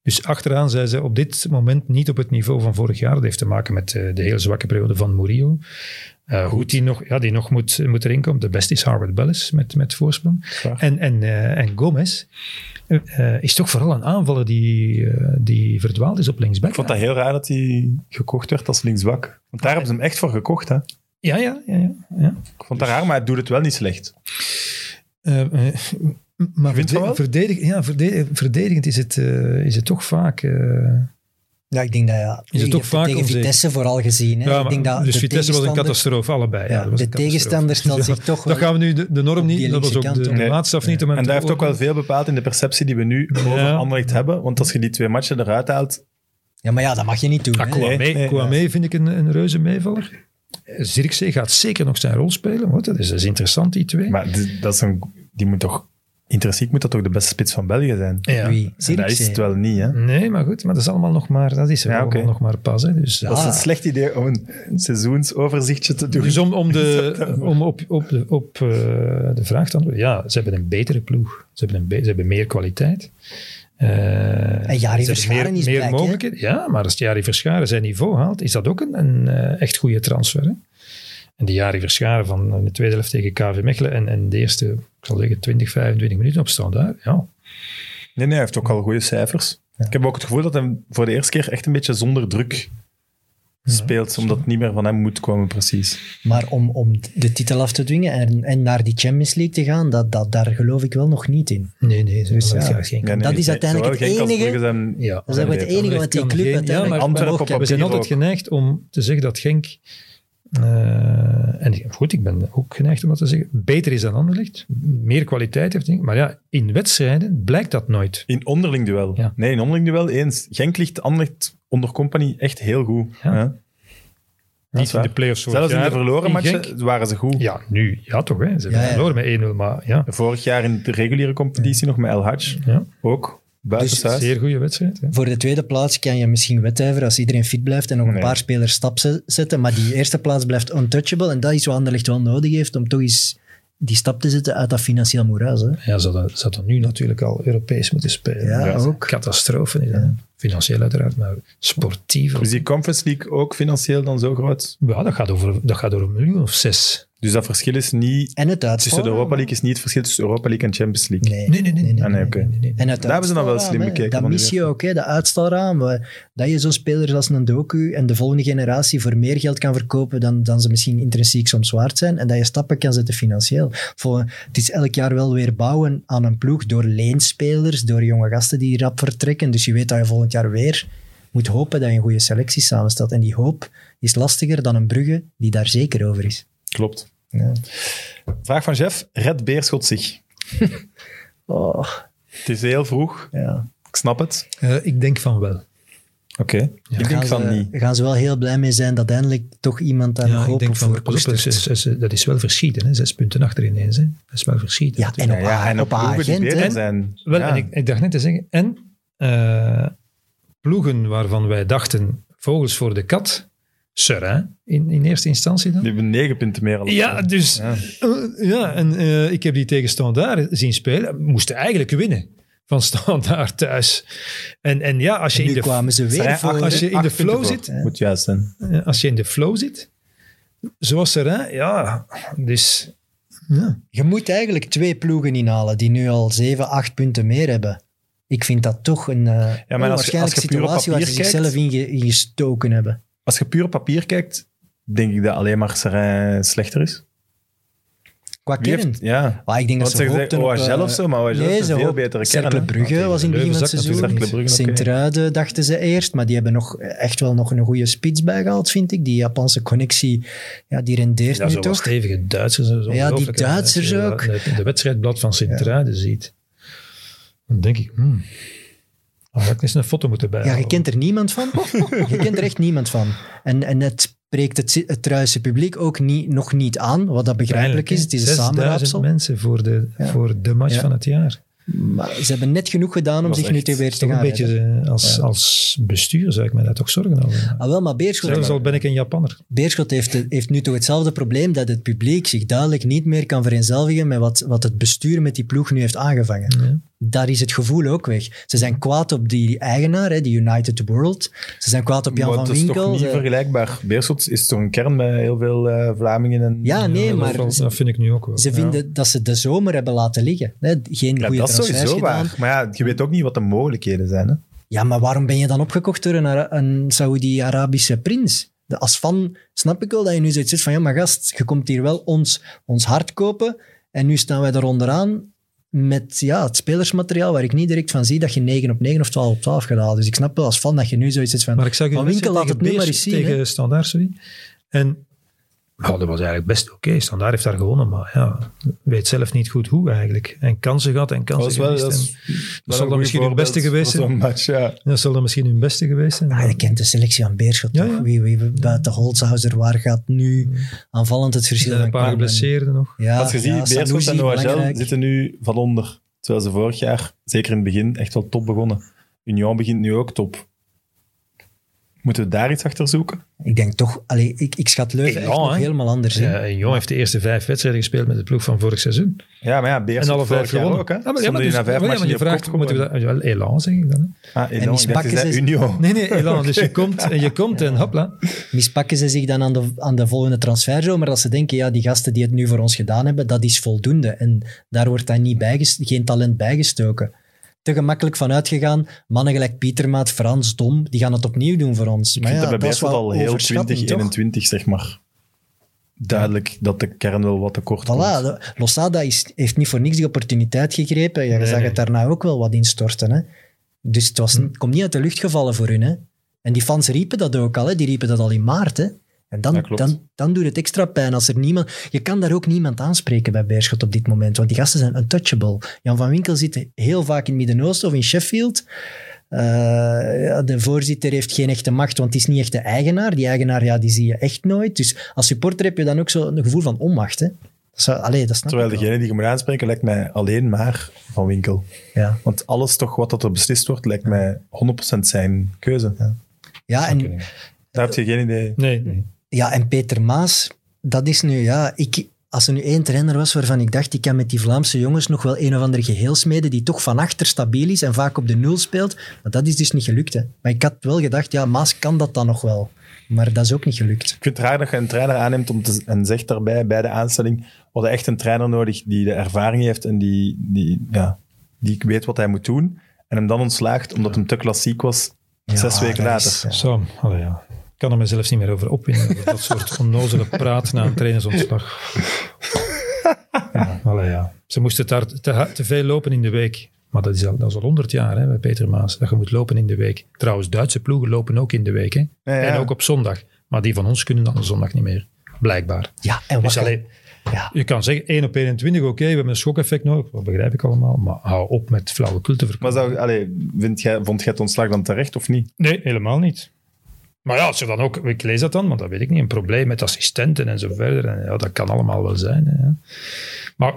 D: Dus achteraan zijn ze op dit moment niet op het niveau van vorig jaar. Dat heeft te maken met eh, de heel zwakke periode van Murillo. Eh hoe die nog, ja, die nog moet, moet erin komen. De beste is Harvard Bellis met, met voorsprong.
A: Waar.
D: En, en, eh, en Gomez eh, eh, is toch vooral een aanvaller die, eh, die verdwaald is op linksback.
A: ik vond dat heel raar dat hij gekocht werd als linksbak. Want daar hebben ze hem echt voor gekocht. Hè.
D: Ja, ja, ja. ja, ja.
A: Ik vond dat raar, maar hij doet het wel niet slecht.
D: Eh, eh, m- maar
A: vindt van
D: verde-
A: wel?
D: verdedig, ja, verde- verdedigend is het, eh, is het toch vaak. eh,
B: Ja, ik denk dat ja.
D: het
B: Ik
D: toch
B: heb
D: vaak
B: tegen
D: onzeker?
B: Vitesse vooral gezien. Hè?
D: ja,
B: ik
D: maar-
B: denk dat
D: dus
B: de
D: Vitesse was een
B: tegenstander-
D: catastrofe, allebei. Ja,
B: Ja,
D: dat was
B: de
D: een catastrofe.
B: tegenstander stelt zich
D: Ja,
B: toch
D: Dan
B: wel-
D: gaan we nu de, de norm
B: op die
D: niet, dat was
B: linkse
D: ook de,
B: kant
D: de
B: op.
A: Nee.
D: maatstaf niet. Om hem
A: En
D: te
A: dat heeft ook wel
D: beoordelen.
A: veel bepaald in de perceptie die we nu over
D: Ja.
A: Anderlecht hebben. Want als je die twee matchen eruit haalt...
B: Ja, maar ja, dat mag je niet doen.
D: Ah,
B: hè.
D: Kouamé,
A: Nee, nee,
D: Kouamé vind ik een, een reuze meevaller. Zirkzee gaat zeker nog zijn rol spelen. Want dat, is, dat is interessant, die twee.
A: Maar d- dat is een, die moet toch... Intrinsiek moet dat toch de beste spits van België zijn?
D: ja. Mm.
B: Wie?
A: En dat is
B: Zirkzee.
A: het wel niet, hè.
D: Nee, maar goed, maar dat is allemaal nog maar, dat is er
A: Ja,
D: allemaal
A: oké.
D: nog maar pas. Hè, dus
A: Dat is
B: Ah.
A: een slecht idee om een seizoensoverzichtje te doen.
D: Dus om, om, de, om op, op, de, op eh, de vraag te antwoorden, ja, ze hebben een betere ploeg. Ze hebben, een be- ze hebben meer kwaliteit. Eh, ze hebben
B: Verscharen
D: meer,
B: is
D: meer
B: blijk, hè?
D: mogelijkheden. Ja, maar als Jari Verscharen zijn niveau haalt, is dat ook een, een eh, echt goede transfer. Hè? En die Jari Verscharen van eh, de tweede helft tegen KV Mechelen en, en de eerste, ik zal zeggen, 20, 25 minuten op standaard. Ja,
A: Nee, nee, hij heeft ook al goede cijfers. Ik heb ook het gevoel dat hij voor de eerste keer echt een beetje zonder druk speelt, omdat het niet meer van hem moet komen, precies.
B: Maar om, om de titel af te dwingen en, en naar die Champions League te gaan, dat, dat, daar geloof ik wel nog niet in. Dus
D: nee, nee, ze
B: ja.
D: gaat geen
A: Ja, nee,
B: Dat
A: nee,
B: is
A: nee,
B: uiteindelijk
A: zowel
B: het
A: Genk als
B: enige-
A: Brugge zijn-
D: Ja.
B: Dat is ook het
A: beter.
B: enige wat die
D: Kan
B: club
D: geen- ja,
B: uiteindelijk...
D: maar-
A: Antwerpen op
D: we
A: papier
D: zijn altijd
A: ook.
D: geneigd om te zeggen dat Genk. eh, en goed, ik ben ook geneigd om dat te zeggen. Beter is dan Anderlecht. Meer kwaliteit heeft. denk ik. Maar ja, in wedstrijden blijkt dat nooit.
A: In onderling duel.
D: Ja.
A: Nee, in onderling duel eens. Genk ligt Anderlecht onder compagnie echt heel goed.
D: Ja.
A: Ja. Dat is
D: Niet in de
A: waar.
D: playoffs vorig
A: Zelfs in de
D: jaar.
A: verloren matchen
D: Genk-
A: waren ze goed.
D: Ja, nu. Ja, toch. Hè. Ze hebben
B: Ja, ja.
D: verloren met 1-0. Maar ja,
A: Vorig jaar in de reguliere competitie nog met El Hadj.
D: Ja.
A: Ook. Buiten thuis.
D: Dus zeer goede wedstrijd. Hè.
B: Voor de tweede plaats kan je misschien wedijveren als iedereen fit blijft en nog een
A: Nee.
B: paar spelers stap ze- zetten. Maar die eerste plaats blijft untouchable. En dat is wat Anderlecht wel nodig heeft om toch eens die stap te zetten uit dat financieel moeras. Hè.
D: Ja, ze hadden, ze hadden nu natuurlijk al Europees moeten spelen.
B: Ja, ook.
D: Catastrofe. is dat, hè? Financieel uiteraard, maar sportief. ook.
A: Is Dus die Conference League ook financieel dan zo groot?
D: Ja, dat gaat over, dat gaat over een miljoen of zes.
A: Dus dat verschil is niet...
B: En het
A: Tussen
B: uitvallen.
A: de Europa League is niet het verschil tussen Europa League en Champions League.
B: Oh. Nee,
D: Nee, nee, nee, nee,
A: Ah, nee, oké.
B: En het
A: Daar hebben ze dan wel
B: uitstelraam,
A: slim
B: hè.
A: bekeken van
B: Dat
A: de
B: mis je ook, hè, dat uitstelraam. waar- Dat je zo'n speler als een Doku en de volgende generatie voor meer geld kan verkopen dan, dan ze misschien intrinsiek soms waard zijn. En dat je stappen kan zetten financieel. Voor, het is elk jaar wel weer bouwen aan een ploeg door leenspelers, door jonge gasten die rap vertrekken. Dus je weet dat je volgend jaar weer moet hopen dat je een goede selectie samenstelt. En die hoop is lastiger dan een Brugge die daar zeker over is.
A: Klopt. Vraag van Jeff. Red Beerschot zich?
B: Oh,
A: Het is heel vroeg.
B: ja.
A: Ik snap het.
D: Eh, ik denk van wel.
A: Oké. Ik denk
B: gaan
A: van
B: ze,
A: niet.
B: gaan ze wel heel blij mee zijn dat eindelijk toch iemand daar nog
D: ik
B: hoop
D: denk van
B: voor
D: wel. Pas op,
B: koestert.
D: dat is- dat is- dat is wel verschieten. Hè. Zes punten achter ineens. Hè. Dat is wel verschieten.
B: Ja, en op,
A: Ja, ja, en op
B: A-
A: ploegen die
B: agent,
A: beter
B: hè.
A: zijn.
D: Wel,
A: Ja.
D: en ik, ik dacht net te zeggen, en eh, ploegen waarvan wij dachten, vogels voor de kat, Seraing in, in eerste instantie dan.
A: Die hebben negen punten meer. al.
D: Ja, dus
A: Ja.
D: eh, ja. en eh, ik heb die tegen Standaard zien spelen. Moesten eigenlijk winnen van Standaard thuis. En, en ja, als je,
B: En
D: in
B: nu
D: de,
B: kwamen ze
A: Ze zijn
B: weer voor.
A: acht-
D: als je in
A: acht
D: de
A: punten
D: flow
A: voor.
D: zit,
A: Moet juist zijn.
D: eh, als je in de flow zit, zoals Seraing, ja, dus ja,
B: Je moet eigenlijk twee ploegen inhalen die nu al zeven, acht punten meer hebben. Ik vind dat toch een eh
A: je-
B: onwaarschijnlijke
A: als je puur op
B: situatie waar ze
A: papier kijkt-
B: zichzelf in ge- in gestoken hebben.
A: Als je puur op papier kijkt, denk ik dat alleen maar Serijn slechter is.
B: Qua
A: Wie
B: kern.
A: heeft- ja.
B: Maar ik denk
A: Wat
B: dat ze
A: zeggen ze?
B: hoopten op...
A: OHL
B: eh,
A: of zo? Maar OHL
B: nee,
A: heeft
B: ze
A: een veel
B: hoop-
A: betere kern.
B: Cercle
A: hè?
B: Brugge was in het begin van het
D: Leuven zakt
B: seizoen.
A: natuurlijk. Cercle Brugge, oké.
B: Sint-Truiden dachten ze eerst, maar die hebben nog echt wel nog een goede spits bijgehaald, vind ik. Die Japanse connectie, ja, die rendeert
D: ja,
B: nu
D: zo
B: toch.
D: stevige Duitsers. en zo
B: Ja, die
D: ongelooflijk. En
B: Duitsers
D: als je
B: ook.
D: dat in De wedstrijdblad van Sint-Truiden ziet. Dan denk ik, hmm, had ik eens een foto moeten
B: Ja,
D: bijhouden.
B: je kent er niemand van. je kent er echt niemand van. En, en het spreekt het, het Truise publiek ook niet, nog niet aan, wat dat begrijpelijk is. Het is een
D: 6000
B: samenraapsel.
D: mensen voor de,
B: Ja.
D: voor de match
B: Ja.
D: van het jaar.
B: Maar ze hebben net genoeg gedaan om
A: was
B: zich nu
A: echt-
B: te weer
D: is
B: te
D: toch
B: gaan
D: een beetje
B: redden.
D: eh, als, als bestuur zou ik me daar toch zorgen over.
B: Ah, wel, maar Beerschot,
D: Zelfs al ben ik een Japanner.
B: Beerschot heeft, heeft nu toch hetzelfde probleem dat het publiek zich duidelijk niet meer kan vereenzelvigen met wat, wat het bestuur met die ploeg nu heeft aangevangen.
D: Ja.
B: daar is het gevoel ook weg. Ze zijn kwaad op die eigenaar, hè, die United World. Ze zijn kwaad op Jan
A: Maar
B: van eh,
A: het is toch
B: Winkel.
A: niet
B: Ze-
A: vergelijkbaar. Beerschot is toch een kern met heel veel eh, Vlamingen. En,
B: Ja, nee,
D: dat
B: maar
D: valt- dat, vind ik nu ook wel.
B: ze vinden dat ze de zomer hebben laten liggen. Hè. Geen
A: Ja,
B: goede
A: dat is
B: transfers
A: sowieso
B: gedaan.
A: waar. Maar ja, je weet ook niet wat de mogelijkheden zijn. Hè?
B: Ja, maar waarom ben je dan opgekocht door een, Ara- een Saoedi-Arabische prins? De, als fan snap ik wel dat je nu zoiets zegt van ja, maar gast, je komt hier wel ons, ons hart kopen en nu staan wij daar onderaan met ja, het spelersmateriaal waar ik niet direct van zie dat je 9 op 9 of 12 op 12 gaat halen. Dus ik snap wel als fan dat je nu zoiets zegt van...
D: Maar ik zag u
B: Van Winkel
D: wedstrijd
B: laat
D: tegen
B: het nu maar
D: Beersch-
B: eens zien,
D: Tegen Standaard, sorry. En ja, dat was eigenlijk best oké. Standaard heeft daar gewonnen, maar ja, weet zelf niet goed hoe eigenlijk. En kansen gehad en kansen gemist. en zal dan
A: een goed
D: misschien hun
A: eh, voorbeeld
D: beste geweest
A: voor zo'n
D: zijn.
A: match, ja.
D: dat zal dan misschien hun beste geweest zijn.
B: Ah,
D: maar-
B: je kent de selectie aan Beerschot.
D: Ja,
B: toch?
D: ja.
B: Wie, wie buiten Holzhauser, waar gaat nu aanvallend het
D: Er
B: verschil
D: zijn
B: van
D: een paar
B: komen?
D: geblesseerden nog.
B: Ja,
A: Als je ziet,
B: ja,
A: Beerschot en
B: Sanusi,
A: OHL
B: belangrijk.
A: zitten nu van onder. Terwijl ze vorig jaar, zeker in het begin, echt wel top begonnen. Union begint nu ook top. Moeten we daar iets achter zoeken?
B: Ik denk toch, allee, ik, ik schat Leuven echt
D: Ja,
A: nou,
B: nog
D: hè.
B: helemaal anders in.
D: Ja, en Jong heeft de eerste vijf wedstrijden gespeeld met de ploeg van vorig seizoen.
A: Ja, maar ja, Beerschot
D: en alle vijf
A: vorig jaar
D: gewonnen.
A: ook. Hè?
D: Ja, maar, ja,
A: Stonden
D: maar,
A: die
D: dus,
A: na vijf
D: maar ja,
A: matchen
D: maar je
A: niet op
D: vraagt,
A: kop
D: moeten we
A: gewoon?
D: dat... Wel, elan zeg ik dan. hè.
A: Ah,
B: En
A: Elan,
B: die
A: ik dacht, je
B: spakken
A: zei
B: ze-
A: Union.
D: Nee, nee, elan. Dus je komt en je komt en hopla.
B: Mispakken ze zich dan aan de, aan de volgende transferzomer dat ze denken, ja, die gasten die het nu voor ons gedaan hebben, dat is voldoende. En daar wordt dan niet bijges- geen talent bijgestoken. Te gemakkelijk van uitgegaan, mannen gelijk Pietermaat, Frans, Dom, die gaan het opnieuw doen voor ons.
A: Ik
B: Maar
A: vind
B: ja,
A: dat bij
B: dat is
A: Beerschot
B: wel
A: al heel
B: overschatting, toch?
A: 2021, zeg maar. Duidelijk dat de kern wel wat tekort
B: Voilà,
A: komt.
B: de- Losada is, heeft niet voor niks die opportuniteit gegrepen. Ja, je
D: Nee,
B: zag
D: nee.
B: het daarna ook wel wat instorten. Hè? Dus het, was, het komt niet uit de lucht gevallen voor hun. Hè? En die fans riepen dat ook al. Hè? Die riepen dat al in maart. Hè? En dan,
A: Ja, klopt.
B: dan, dan doet het extra pijn als er niemand... Je kan daar ook niemand aanspreken bij Beerschot op dit moment. Want die gasten zijn untouchable. Jan van Winkel zit heel vaak in het Midden-Oosten of in Sheffield. Eh, ja, de voorzitter heeft geen echte macht, want het is niet echt de eigenaar. Die eigenaar, ja, die zie je echt nooit. Dus als supporter heb je dan ook zo'n gevoel van onmacht. Hè? Dat zou, allee, dat snap
A: Terwijl
B: ik wel.
A: degene die je moet aanspreken lijkt mij alleen maar van winkel.
B: Ja,
A: Want alles toch wat dat er beslist wordt, lijkt mij 100% zijn keuze.
B: ja en
A: Daar heb je geen idee.
D: Nee, nee.
B: Ja, en Peter Maas, dat is nu, ja, ik, als er nu één trainer was waarvan ik dacht, die kan met die Vlaamse jongens nog wel een of ander geheel smeden die toch van achter stabiel is en vaak op de nul speelt. Maar dat is dus niet gelukt. Hè. Maar ik had wel gedacht, ja, Maas kan dat dan nog wel. Maar dat is ook niet gelukt.
A: Ik vind het raar dat je een trainer aanneemt om te, en zegt daarbij bij de aanstelling, we hadden echt een trainer nodig die de ervaring heeft en die, die, ja, die weet wat hij moet doen. En hem dan ontslaagt omdat hem te klassiek was zes
B: Ja,
A: weken
B: dat
A: later.
B: is, ja.
D: Zo, allee, ja. Ik kan er mezelf niet meer over opwinden. over dat soort onnozele praat na een trainersontslag. Ja, allee, ja. Ze moesten daar te, ha- te veel lopen in de week. Maar dat is al, dat is al 100 jaar hè, bij Peter Maas. Dat je moet lopen in de week. Trouwens, Duitse ploegen lopen ook in de week. Hè.
A: Ja, ja.
D: En ook op zondag. Maar die van ons kunnen dan op zondag niet meer. Blijkbaar.
B: Ja, en wat
D: Dus alleen,
B: ja.
D: je kan zeggen 1 op 21, oké, we hebben een schokeffect nodig. Dat begrijp ik allemaal. Maar hou op met flauwekul te verkopen.
A: Maar zou, allee, vind jij, vond jij het ontslag dan terecht of niet?
D: Nee, helemaal niet. Maar ja, als je dan ook, ik lees dat dan, want dat weet ik niet, een probleem met assistenten en zo verder. En ja, dat kan allemaal wel zijn. hè, ja. Maar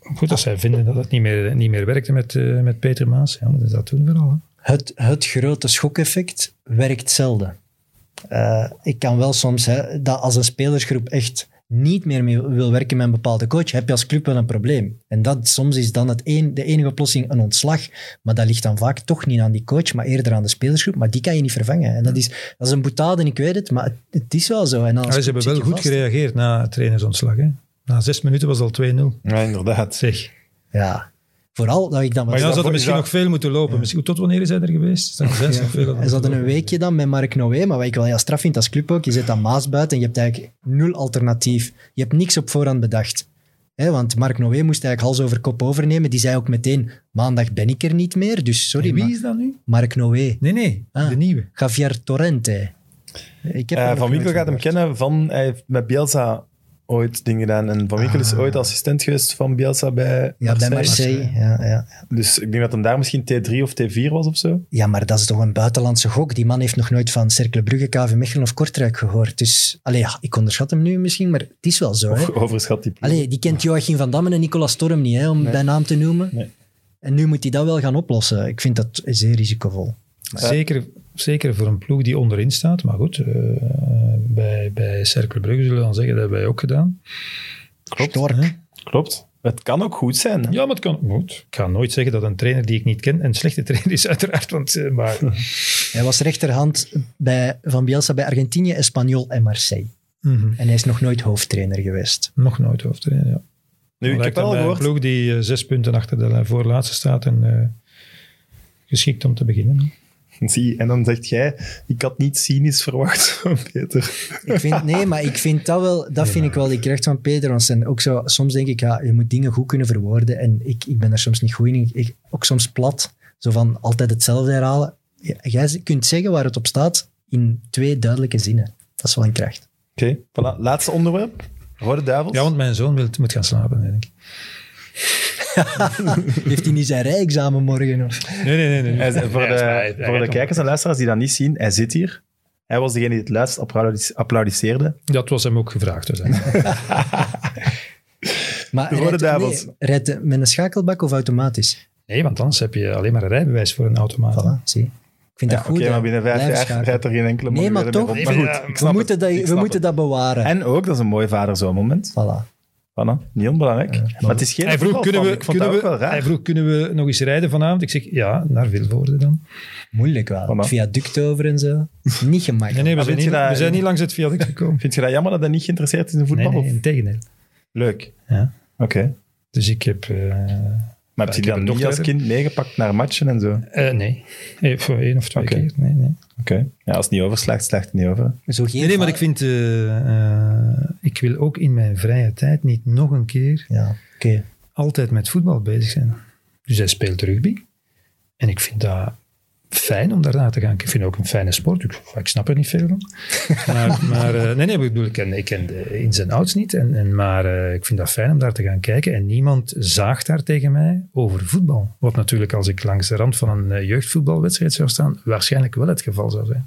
D: goed, als zij vinden dat het niet meer, niet meer werkte met, eh, met Peter Maas, ja, dan is dat toen vooral. Hè.
B: Het, het grote schokeffect werkt zelden. Eh, ik kan wel soms, hè, dat als een spelersgroep echt niet meer mee wil werken met een bepaalde coach, heb je als club wel een probleem. En dat, soms is dan het een, de enige oplossing een ontslag. Maar dat ligt dan vaak toch niet aan die coach, maar eerder aan de spelersgroep. Maar die kan je niet vervangen. En dat is, dat is een boetade, ik weet het, maar het, het is wel zo. En dan als
D: Ja, ze
B: club
D: hebben wel
B: zit je
D: goed
B: vast.
D: gereageerd na het trainersontslag. Hè. Na zes minuten was het al 2-0.
A: Ja, inderdaad.
D: Zeg.
B: Ja. Vooral dat ik dan...
D: Maar ja, ze
A: dat voor-
D: hadden misschien
A: is
D: nog veel moeten lopen. Misschien, tot wanneer is hij er geweest? Ze hadden nog veel
B: En ze hadden een
D: moeten
B: weekje dan met Mark Noé, maar wat ik wel heel straf vind als club ook, je zet dan Maas buiten en je hebt eigenlijk nul alternatief. Je hebt niks op voorhand bedacht. Hè, want Mark Noé moest eigenlijk hals over kop overnemen. Die zei ook meteen, maandag ben ik er niet meer, dus sorry.
D: lopen. Wie
B: maar-
D: is dat nu?
B: Mark Noé.
D: Nee, nee,
B: Ah.
D: de nieuwe.
B: Javier Torrente. Ik heb
A: Eh,
B: hem nog
A: van Winkel
B: nooit
A: gaat hem
B: gehoord.
A: kennen van, hij heeft met Bielsa ooit dingen gedaan. En Van Winkel is ooit assistent geweest van Bielsa bij
B: Ja, bij Marseille. Ja, ja.
A: Dus ik denk dat hem daar misschien T3 of T4 was of zo.
B: ja, maar dat is toch een buitenlandse gok. Die man heeft nog nooit van Cercle Brugge, KV Mechelen of Kortrijk gehoord. Dus, allee, ja, ik onderschat hem nu misschien, maar het is wel zo. hè.
A: Of overschat die ploeg.
B: Allee, die kent Joachim van Damme en Nicolas Storm niet, hè, om bij naam te noemen.
A: Nee.
B: En nu moet hij dat wel gaan oplossen. Ik vind dat zeer risicovol.
D: Zeker, zeker voor een ploeg die onderin staat. Maar goed, eh, bij, bij Cercle Brugge zullen we dan zeggen, dat hebben wij ook gedaan.
A: Klopt.
B: Stork.
D: hè?
A: Klopt. Het kan ook goed zijn.
D: Ja, maar het kan. Goed, ik ga nooit zeggen dat een trainer die ik niet ken een slechte trainer is, uiteraard. Want, eh, maar
B: Hij was rechterhand bij, van Bielsa bij Argentinië, Espanyol en Marseille.
D: Mhm.
B: En hij is nog nooit hoofdtrainer geweest.
D: nog nooit hoofdtrainer. Ja.
A: Nu, ik
D: Lijkt
A: heb wel
D: aan
A: al
D: mij
A: gehoord.
D: Een ploeg die eh, zes punten achter de voorlaatste staat en eh, geschikt om te beginnen.
A: Zie, en dan zegt jij, ik had niet cynisch verwacht van Peter.
B: Ik vind, nee, maar ik vind dat wel, dat vind ik wel, ik recht van Peter. Want zijn ook zo, soms denk ik, ja, je moet dingen goed kunnen verwoorden. En ik, ik ben daar soms niet goed in. Ik, ook soms plat, zo van altijd hetzelfde herhalen. Ja, Jij kunt zeggen waar het op staat in twee duidelijke zinnen. Dat is wel een kracht.
A: Oké, voilà. Laatste onderwerp. Rode Duivels.
D: Ja, want mijn zoon wil, moet gaan slapen, denk ik.
B: Heeft hij niet zijn rijexamen morgen? Of?
D: Nee, nee, nee. nee,
A: Hij
D: nee.
A: is- voor
D: hij is-
A: de,
D: hij- hij
A: voor de
D: rijdt
A: kijkers en luisteraars die dat niet zien, hij zit hier. Hij was degene die het luidst applaudis- applaudisseerde.
D: Dat was hem ook gevraagd. Dus, hè.
B: Maar
A: De rode
B: rijdt-
A: duivels.
B: nee, rijdt het met een schakelbak of automatisch?
D: nee, want anders heb je alleen maar een rijbewijs voor een automaat.
B: Voilà, zie. Ik vind
A: Ja,
B: dat
A: Oké,
B: goed. hè.
A: maar binnen vijf
B: Blijven
A: jaar
B: schakelen.
A: rijdt er geen enkele
B: Nee, maar
A: manuele meer
B: toch.
A: rond. Maar goed, ik
B: We
A: snap
B: moeten,
A: het.
B: dat,
A: Ik
B: we
A: snap
B: moeten
A: het.
B: dat bewaren.
A: En ook, dat is een mooi vaderzoonmoment.
B: Voilà.
A: Voilà, niet onbelangrijk. maar het is geen
D: Hij vroeg,
A: voetbalfan.
D: kunnen we,
A: Ik vond dat
D: kunnen we,
A: ook wel raar.
D: hij vroeg, kunnen we nog eens rijden vanavond? Ik zeg, ja, naar Vilvoorde dan.
B: Moeilijk wel.
A: Voilà.
B: Viaduct over en zo. Niet
D: Nee,
B: gemakkelijk.
D: nee, we,
A: Maar
D: zijn
A: vind
D: niet,
A: Ah, je dat-
D: we zijn niet langs het viaduct gekomen.
A: Vind je dat jammer dat hij niet geïnteresseerd is in
D: Nee,
A: voetbal?
D: nee,
A: Of-
D: integendeel.
A: Leuk.
D: Ja.
A: Oké.
D: Dus ik heb... eh,
A: Maar heb je
D: ik
A: die
D: heb een
A: dan niet
D: dochter.
A: als kind meegepakt naar matchen en zo? Oké.
D: eh, nee, Eh, voor één of twee
A: Oké.
D: keer. Nee, nee.
A: Ja, als het niet overslaagt, slaagt het niet over.
B: Zo geen
D: nee, nee, maar ik
B: va-
D: vind... eh, eh, ik wil ook in mijn vrije tijd niet nog een keer
B: Ja, oké.
D: altijd met voetbal bezig zijn. Dus hij speelt rugby. En ik vind dat fijn om daarna te gaan. Ik vind het ook een fijne sport. Ik, ik snap er niet veel van. Maar, maar eh, nee, nee, ik bedoel, ik ken, ik ken de ins en outs niet. En, en, maar eh, ik vind dat fijn om daar te gaan kijken. En niemand zaagt daar tegen mij over voetbal. Wat natuurlijk als ik langs de rand van een eh, jeugdvoetbalwedstrijd zou staan, waarschijnlijk wel het geval zou zijn.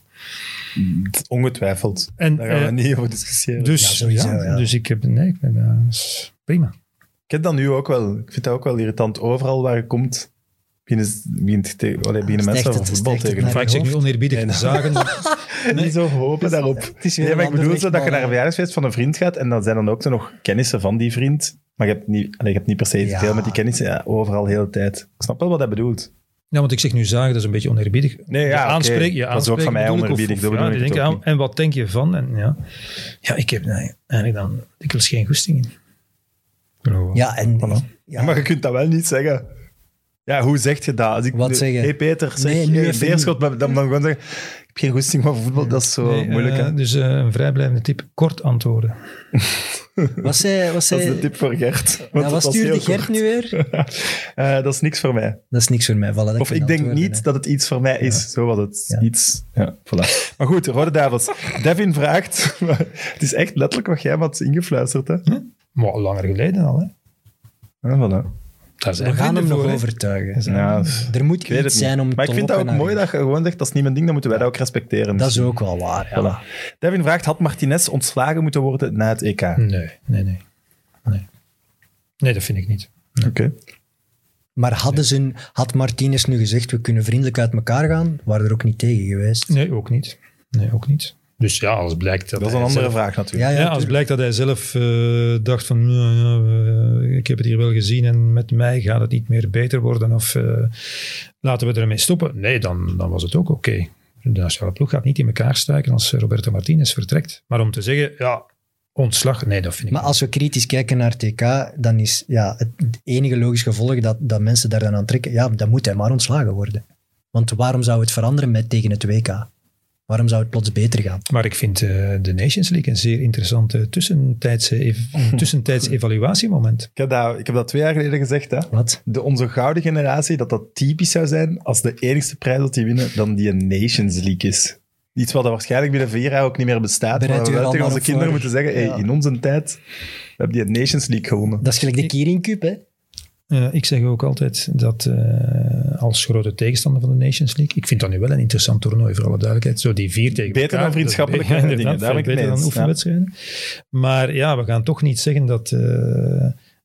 A: Ongetwijfeld.
D: En,
A: Daar gaan we
D: eh,
A: niet over discussiëren.
D: Dus,
B: Ja, sowieso,
D: ja,
B: ja.
D: dus ik heb... Nee, ik ben, eh, prima.
A: Ik heb dat nu ook wel. Ik vind dat ook wel irritant. Overal waar je komt, beginnen, ze- begint te- allee, beginnen
B: Steekt
A: mensen
B: het-
A: van voetbal
B: steekt het
A: tegen
B: naar
A: elkaar.
B: je
D: Enfin, ik zeg nu
B: hoofd?
D: oneerbiedig,
A: Nee, nee.
D: zagen...
A: Niet zo hopen daarop.
B: Het is weer
A: Nee, maar
B: een
A: ik
B: ander
A: bedoel zo dat je
B: lichtbal,
A: naar
B: hè.
A: een verjaardagsfeest van een vriend gaat en dan zijn dan ook zo nog kennissen van die vriend. Maar je hebt niet, allee, je hebt niet per se
B: Ja.
A: veel met die kennissen ja, overal de hele tijd. Ik snap wel wat dat bedoelt.
D: Ja, want ik zeg nu zagen, dat is een beetje oneerbiedig.
A: Nee, ja,
D: je
A: oké.
D: aanspreken, je
A: Dat is ook
D: aanspreken
A: van mij
D: bedoel ik, of-
A: oneerbiedig, dat
D: of-
A: bedoel
D: ja,
A: ik
D: die
A: het
D: denken,
A: ook
D: ja, En wat denk je van? En ja. ja, ik heb nee, eigenlijk dan dikwijls geen goesting in.
B: Ja, en...
A: Ja.
B: Ja.
A: maar je kunt dat wel niet zeggen. Ja, hoe zeg je dat? Als ik
B: Wat
A: nu-
B: zeggen?
A: hey Peter, zeg
B: Nee, nu
A: hey,
B: even
A: Beerschot, maar dan, dan gewoon zeggen, ik heb geen goesting maar voor voetbal, dat is zo
D: Nee,
A: moeilijk. hè.
D: eh, dus eh, een vrijblijvende tip, kort antwoorden.
B: Wat zei... Wat
A: dat
B: zei
A: is de tip voor Gert. want
B: Eh, ja,
A: dat
B: wat
A: was
B: stuurde
A: heel
B: Gert
A: kort.
B: nu weer?
A: Eh, dat is niks voor mij.
B: Dat is niks voor mij. Voilà, dat
A: Of
B: kunnen
A: ik denk
B: antwoorden,
A: niet
B: hè.
A: dat het iets voor mij is. Zo was het.
B: Ja.
A: Iets. Ja, voilà. Maar goed, Rode Duivels. Devin vraagt... het is echt letterlijk wat jij me had ingefluisterd, hè?
D: Maar langer geleden al, hè.
A: Ja, voilà.
D: Daar zijn
B: We gaan hem
D: vrienden
B: nog
D: voor, hè.
B: overtuigen.
A: Ja, pff,
B: Er moet
A: ik weet
B: iets
A: het
B: zijn
A: niet.
B: om
A: Maar
B: te
A: ik vind dat ook
B: lokken
A: mooi
B: naar-
A: dat je gewoon zegt, dat is niet mijn ding, dan moeten wij dat ook respecteren.
B: Dat is ook wel waar, ja.
A: Voilà. Devin vraagt, had Martinez ontslagen moeten worden na het EK?
D: Nee, nee, nee, nee. Nee, dat vind ik niet.
A: Oké.
B: Maar hadden ze, een- had Martinez nu gezegd, we kunnen vriendelijk uit elkaar gaan, waren er ook niet tegen geweest.
D: Nee, ook niet. Nee, ook niet. Dus ja, als blijkt dat
A: Dat is
D: hij
A: een andere
D: zelf-
A: vraag natuurlijk.
B: Ja, Ah ja,
D: Ja, als
B: tuurlijk.
D: blijkt dat hij zelf eh, dacht van, "Nou ja, eh, ik heb het hier wel gezien en met mij gaat het niet meer beter worden of eh, laten we ermee stoppen. Nee, dan, dan was het ook oké. De nationale ploeg gaat niet in elkaar stuiken als Roberto Martinez vertrekt. Maar om te zeggen, ja, ontslag, nee, dat vind ik
B: Maar als we kritisch kijken naar TK, dan is ja, het enige logisch gevolg dat, dat mensen daar dan aan trekken, ja, dan moet hij maar ontslagen worden. Want waarom zou het veranderen met tegen het WK? Waarom zou het plots beter gaan?
D: Maar ik vind eh, de Nations League een zeer e- interessant eh, tussentijdse ev- een tussentijds evaluatiemoment.
A: Ik, heb dat, ik heb dat twee jaar geleden gezegd, hè.
B: Wat?
A: De, onze gouden generatie, dat dat typisch zou zijn als de enigste prijs dat die winnen, dan die een Nations League is. Iets wat er waarschijnlijk binnen vier jaar ook niet meer bestaat.
B: Bereid
A: maar we
B: u er
A: wel tegen
B: allemaal
A: onze
B: op
A: kinderen
B: voor.
A: moeten zeggen, hey,
B: Ja.
A: in onze tijd hebben die een Nations League gewonnen.
B: Dat is gelijk de Kiering Cup, hè?
D: Eh, ik zeg ook altijd dat eh, als grote tegenstander van de Nations League, ik vind dat nu wel een interessant toernooi voor alle duidelijkheid. Zo die vier tegen
A: Beter dan
D: elkaar, dat is
A: vriendschappelijke
D: be- inderdaad,
A: dingen, daar ben ik
D: veel
A: het mee
D: beter dan
A: eens,
D: oefenwedstrijden. Maar ja, we gaan toch niet zeggen dat eh,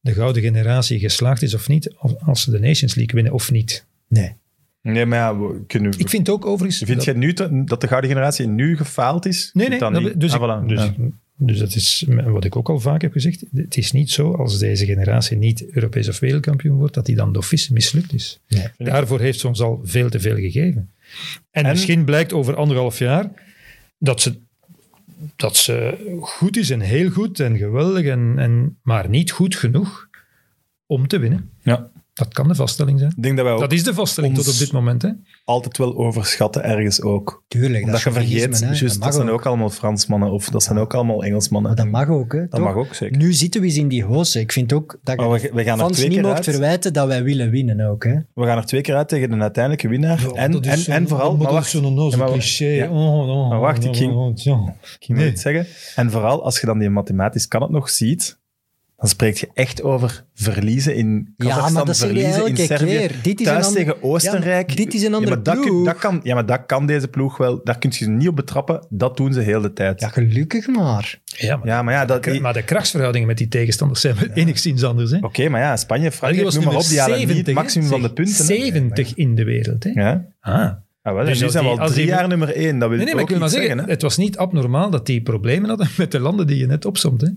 D: de gouden generatie geslaagd is of niet als- als ze de Nations League winnen of niet.
B: Nee.
A: Nee, maar ja, we kunnen...
D: Ik vind ook overigens...
A: Vind
D: dat-
A: jij nu te- dat de gouden generatie nu gefaald is?
D: Nee,
A: Vind
D: nee.
A: dat
D: dat-
A: niet?
D: dus,
A: Ah,
D: ik-
A: voilà.
D: dus,
A: Ja.
D: dus dat is wat ik ook al vaak heb gezegd. Het is niet zo als deze generatie niet Europees of wereldkampioen wordt, dat die dan door vissen mislukt is.
B: Nee.
D: Daarvoor heeft ze ons al veel te veel gegeven. En,
A: En-
D: misschien blijkt over anderhalf jaar dat ze, dat ze goed is en heel goed en geweldig, en, en, maar niet goed genoeg om te winnen.
A: Ja.
D: Dat kan de vaststelling zijn.
A: Ik denk dat wij ook
D: Dat is de vaststelling
A: ons-
D: tot op dit moment. Hè?
A: altijd wel overschatten ergens ook.
B: Tuurlijk,
A: Omdat je
B: dat is
A: vergeet,
B: chauvinisme, hè.
A: juist, dat,
B: mag
A: zijn
B: ook.
A: ook allemaal Fransmannen of dat zijn ook allemaal Engelsmannen.
B: Maar dat mag ook, hè?
A: Dat
B: toch?
A: mag ook, zeker.
B: Nu zitten we eens in die hoos. hè. Ik vind ook dat
A: Maar
B: je
A: we, we gaan er
B: fans
A: twee
B: niet
A: keer
B: mocht
A: uit.
B: verwijten dat wij willen winnen ook, hè?
A: We gaan er twee keer uit tegen de uiteindelijke winnaar. en, en, en vooral... dus Maar wacht, Oh, Ja, maar- ja. Maar wacht, ik ging- ik ging
D: Nee.
A: het zeggen. En vooral als je dan die mathematisch kan het nog ziet, dan spreek je echt over verliezen in
B: Ja, maar
A: Kazachstan,
B: dat zeg je
A: verliezen in
B: elke
A: Servië.
B: keer. Dit is een
A: Thuis
B: ander-
A: tegen Oostenrijk.
B: Ja, maar dit is een andere
A: ja, maar dat kun-
B: ploeg.
A: dat kan, ja, maar dat kan deze ploeg wel. Daar kun je ze niet op betrappen. Dat doen ze heel de tijd.
B: Ja,
A: Ja,
B: gelukkig maar.
D: Ja, maar
A: maar ja, dat...
D: Maar de krachtsverhoudingen met die tegenstanders zijn wel enigszins anders. Hè?
A: Oké, maar ja, Spanje,
D: België
A: Frankrijk,
D: was
A: noem maar op,
D: nummer
A: die halen niet
D: 70,
A: het
D: hè?
A: maximum van de
D: Zeg,
A: punten. hè.
D: 70 in de wereld. Hè?
A: Ja.
D: Ah.
A: Ah, wel,
D: Dus
A: en die
D: als
A: zijn
D: die-
A: al
D: als
A: drie
D: die-
A: jaar nummer één. Dat wil
D: Nee, nee, maar ik
A: ook
D: wil maar
A: iets
D: zeggen,
A: zeggen. hè.
D: het was niet abnormaal dat die problemen hadden met de landen die je net opzomt. Hè?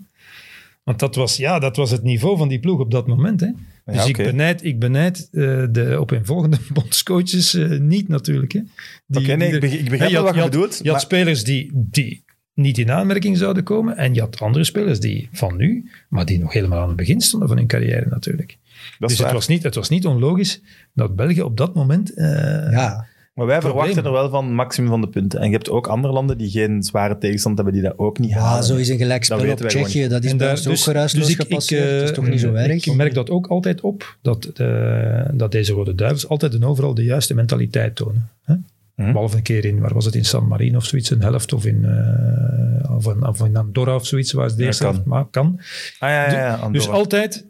D: Want dat was, ja, dat was het niveau van die ploeg op dat moment. Hè? Dus ik
A: oké.
D: benijd, ik benijd eh, de op een volgende bondscoaches eh, niet natuurlijk. Hè? Die-
A: Oké, nee,
D: die
A: ik
D: er-
A: beg- ik begrijp
D: Hè,
A: wel
D: had-
A: wat je
D: had-
A: bedoelt,
D: Je had
A: maar-
D: spelers die, die niet in aanmerking zouden komen en je had andere spelers die van nu, maar die nog helemaal aan het begin stonden van hun carrière natuurlijk.
A: Dat is
D: dus het
A: waar.
D: was, niet, het was niet onlogisch dat België op dat moment... eh,
B: Ja.
A: Maar wij
D: Probleem.
A: verwachten er wel van maximum van de punten. En je hebt ook andere landen die geen zware tegenstand hebben, die dat ook niet
B: Ja,
A: halen.
B: zo is een
A: Dat
B: gelijkspel op
A: weten wij
B: Tsjechië. Dat is
D: En
B: bij
D: daar- dus-
B: ons
A: dus-
B: ook geruisloos
D: ik- ik,
B: gepasseerd.
D: eh,
B: dat is toch niet zo erg?
D: Ik merk dat ook altijd op, dat, eh, dat deze Rode Duivels altijd en overal de juiste mentaliteit tonen. Hè?
A: Mhm.
D: Behalve een keer in, waar was het, in San Marino of zoiets, een helft, of in, eh, of in, of in Andorra of zoiets, waar ze de
A: Ja,
D: eerste
A: kan.
D: helft maar kan.
A: Ah ja, ja, ja Andorra.
D: Dus altijd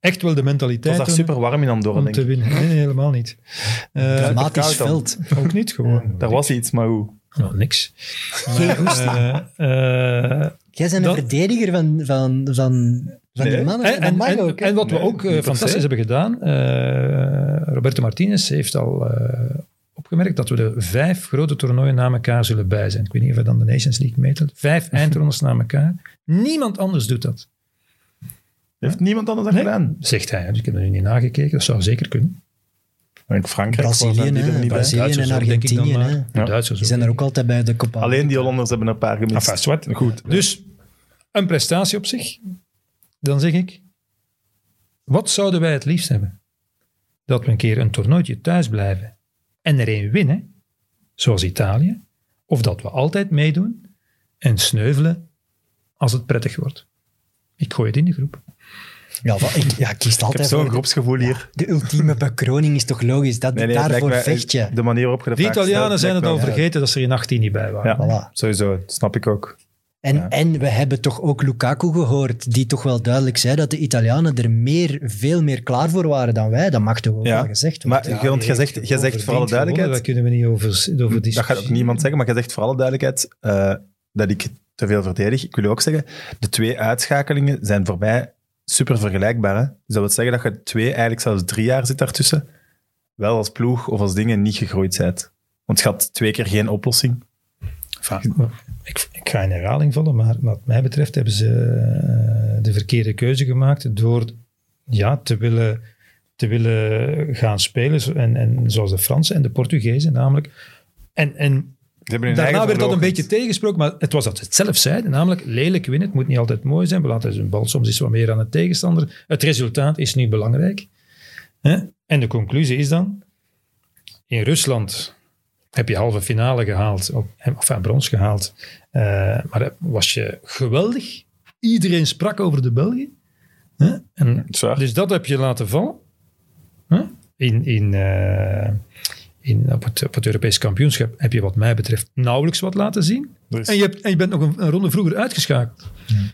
D: echt wel de
A: Het was
D: mentaliteit
A: daar
D: tonen
A: super warm in Andorra,
D: om
A: denk
D: te
A: ik.
D: winnen. Nee, nee, helemaal niet. Eh,
B: Dramatisch
A: koud dan.
B: veld.
D: ook niet gewoon.
A: Daar was iets, maar hoe?
D: Nou, niks. Maar, eh, eh,
B: Jij bent een
D: Dat-
B: verdediger van, van, van, van
A: Nee.
B: die mannen.
D: En,
B: dat
D: en,
B: mag
D: en,
B: ook. hè.
D: en wat
A: Nee,
D: we ook eh,
A: niet per
D: fantastisch
A: se.
D: hebben gedaan, eh Roberto Martinez heeft al eh, opgemerkt dat we de vijf grote toernooien na elkaar zullen bij zijn. Ik weet niet of hij dan de Nations League meetelt. Vijf eindrondes na elkaar. Niemand anders doet dat,
A: Heeft niemand anders dat gedaan?
D: zegt hij. Dus ik heb er nu niet nagekeken. Dat zou zeker kunnen.
A: In Frankrijk
B: Brazilië,
A: waren die er
B: hè.
A: niet bij.
B: Brazilië
D: Duitsers
B: en
D: ook, denk ik dan
B: Argentinië.
D: maar.
B: hè.
D: De
A: Ja.
B: Die
D: Duitsers ook.
B: zijn er ook altijd bij de Copa.
A: Alleen die Hollanders hebben een paar gemist.
D: Enfin, zwart.
A: Goed.
D: Dus een prestatie op zich. Dan zeg ik, wat zouden wij het liefst hebben? Dat we een keer een toernooitje thuis blijven en er een winnen, zoals Italië, of dat we altijd meedoen en sneuvelen als het prettig wordt. Ik gooi het in de groep.
B: Ja, wat- ik, ja, ik kies
A: Ik heb
B: altijd
A: zo'n
B: voor.
A: groepsgevoel hier.
B: De ultieme bekroning is toch logisch? Dat,
A: het lijkt
B: daarvoor
A: mij-
B: vecht je.
A: De manier waarop je de
D: De
A: vraag stelt,
D: Italianen zijn het
A: lijkt
D: al
A: mij-
D: vergeten dat ze er in 18 niet bij waren.
A: Ja,
B: Voilà.
A: sowieso. Dat snap ik ook.
B: En, en we hebben toch ook Lukaku gehoord, die toch wel duidelijk zei dat de Italianen er meer, veel meer klaar voor waren dan wij. Dat mag toch ook
A: Ja,
B: wel gezegd worden.
A: Maar ja, jij zegt, jij zegt voor alle
D: Verdiend gewonnen, Daar
A: duidelijkheid,
D: kunnen we niet over, over
A: dat gaat ook
D: discussiëren.
A: niemand zeggen, maar jij zegt voor alle duidelijkheid eh, dat ik te veel verdedig. Ik wil ook zeggen, de twee uitschakelingen zijn voor mij super vergelijkbaar. Hè? Dus dat wil zeggen dat je twee, eigenlijk zelfs drie jaar zit daartussen, wel als ploeg of als dingen niet gegroeid bent. Want je had twee keer geen oplossing.
D: Enfin, ik, ik ga in herhaling vallen, maar wat mij betreft hebben ze eh, de verkeerde keuze gemaakt door ja, te, willen, te willen gaan spelen, zo- en, en, zoals de Fransen en de Portugezen namelijk. En, en
A: Ze hebben
D: daarna werd dat een beetje tegensproken, maar het was dat ze het zelf zeiden, namelijk lelijk winnen, het moet niet altijd mooi zijn, we laten ze een bal soms iets wat meer aan de tegenstander. Het resultaat is niet belangrijk. Hè? En de conclusie is dan, in Rusland heb je halve finale gehaald, of enfin, brons gehaald. Eh, maar was je geweldig. Iedereen sprak over de Belgen. Hè? En,
A: Zwaar.
D: dus dat heb je laten vallen. Hè? In, in, eh, in, op, het, op het Europese kampioenschap heb je wat mij betreft nauwelijks wat laten zien.
A: Er is-
D: En je, hebt, en je bent nog een, een ronde vroeger uitgeschakeld.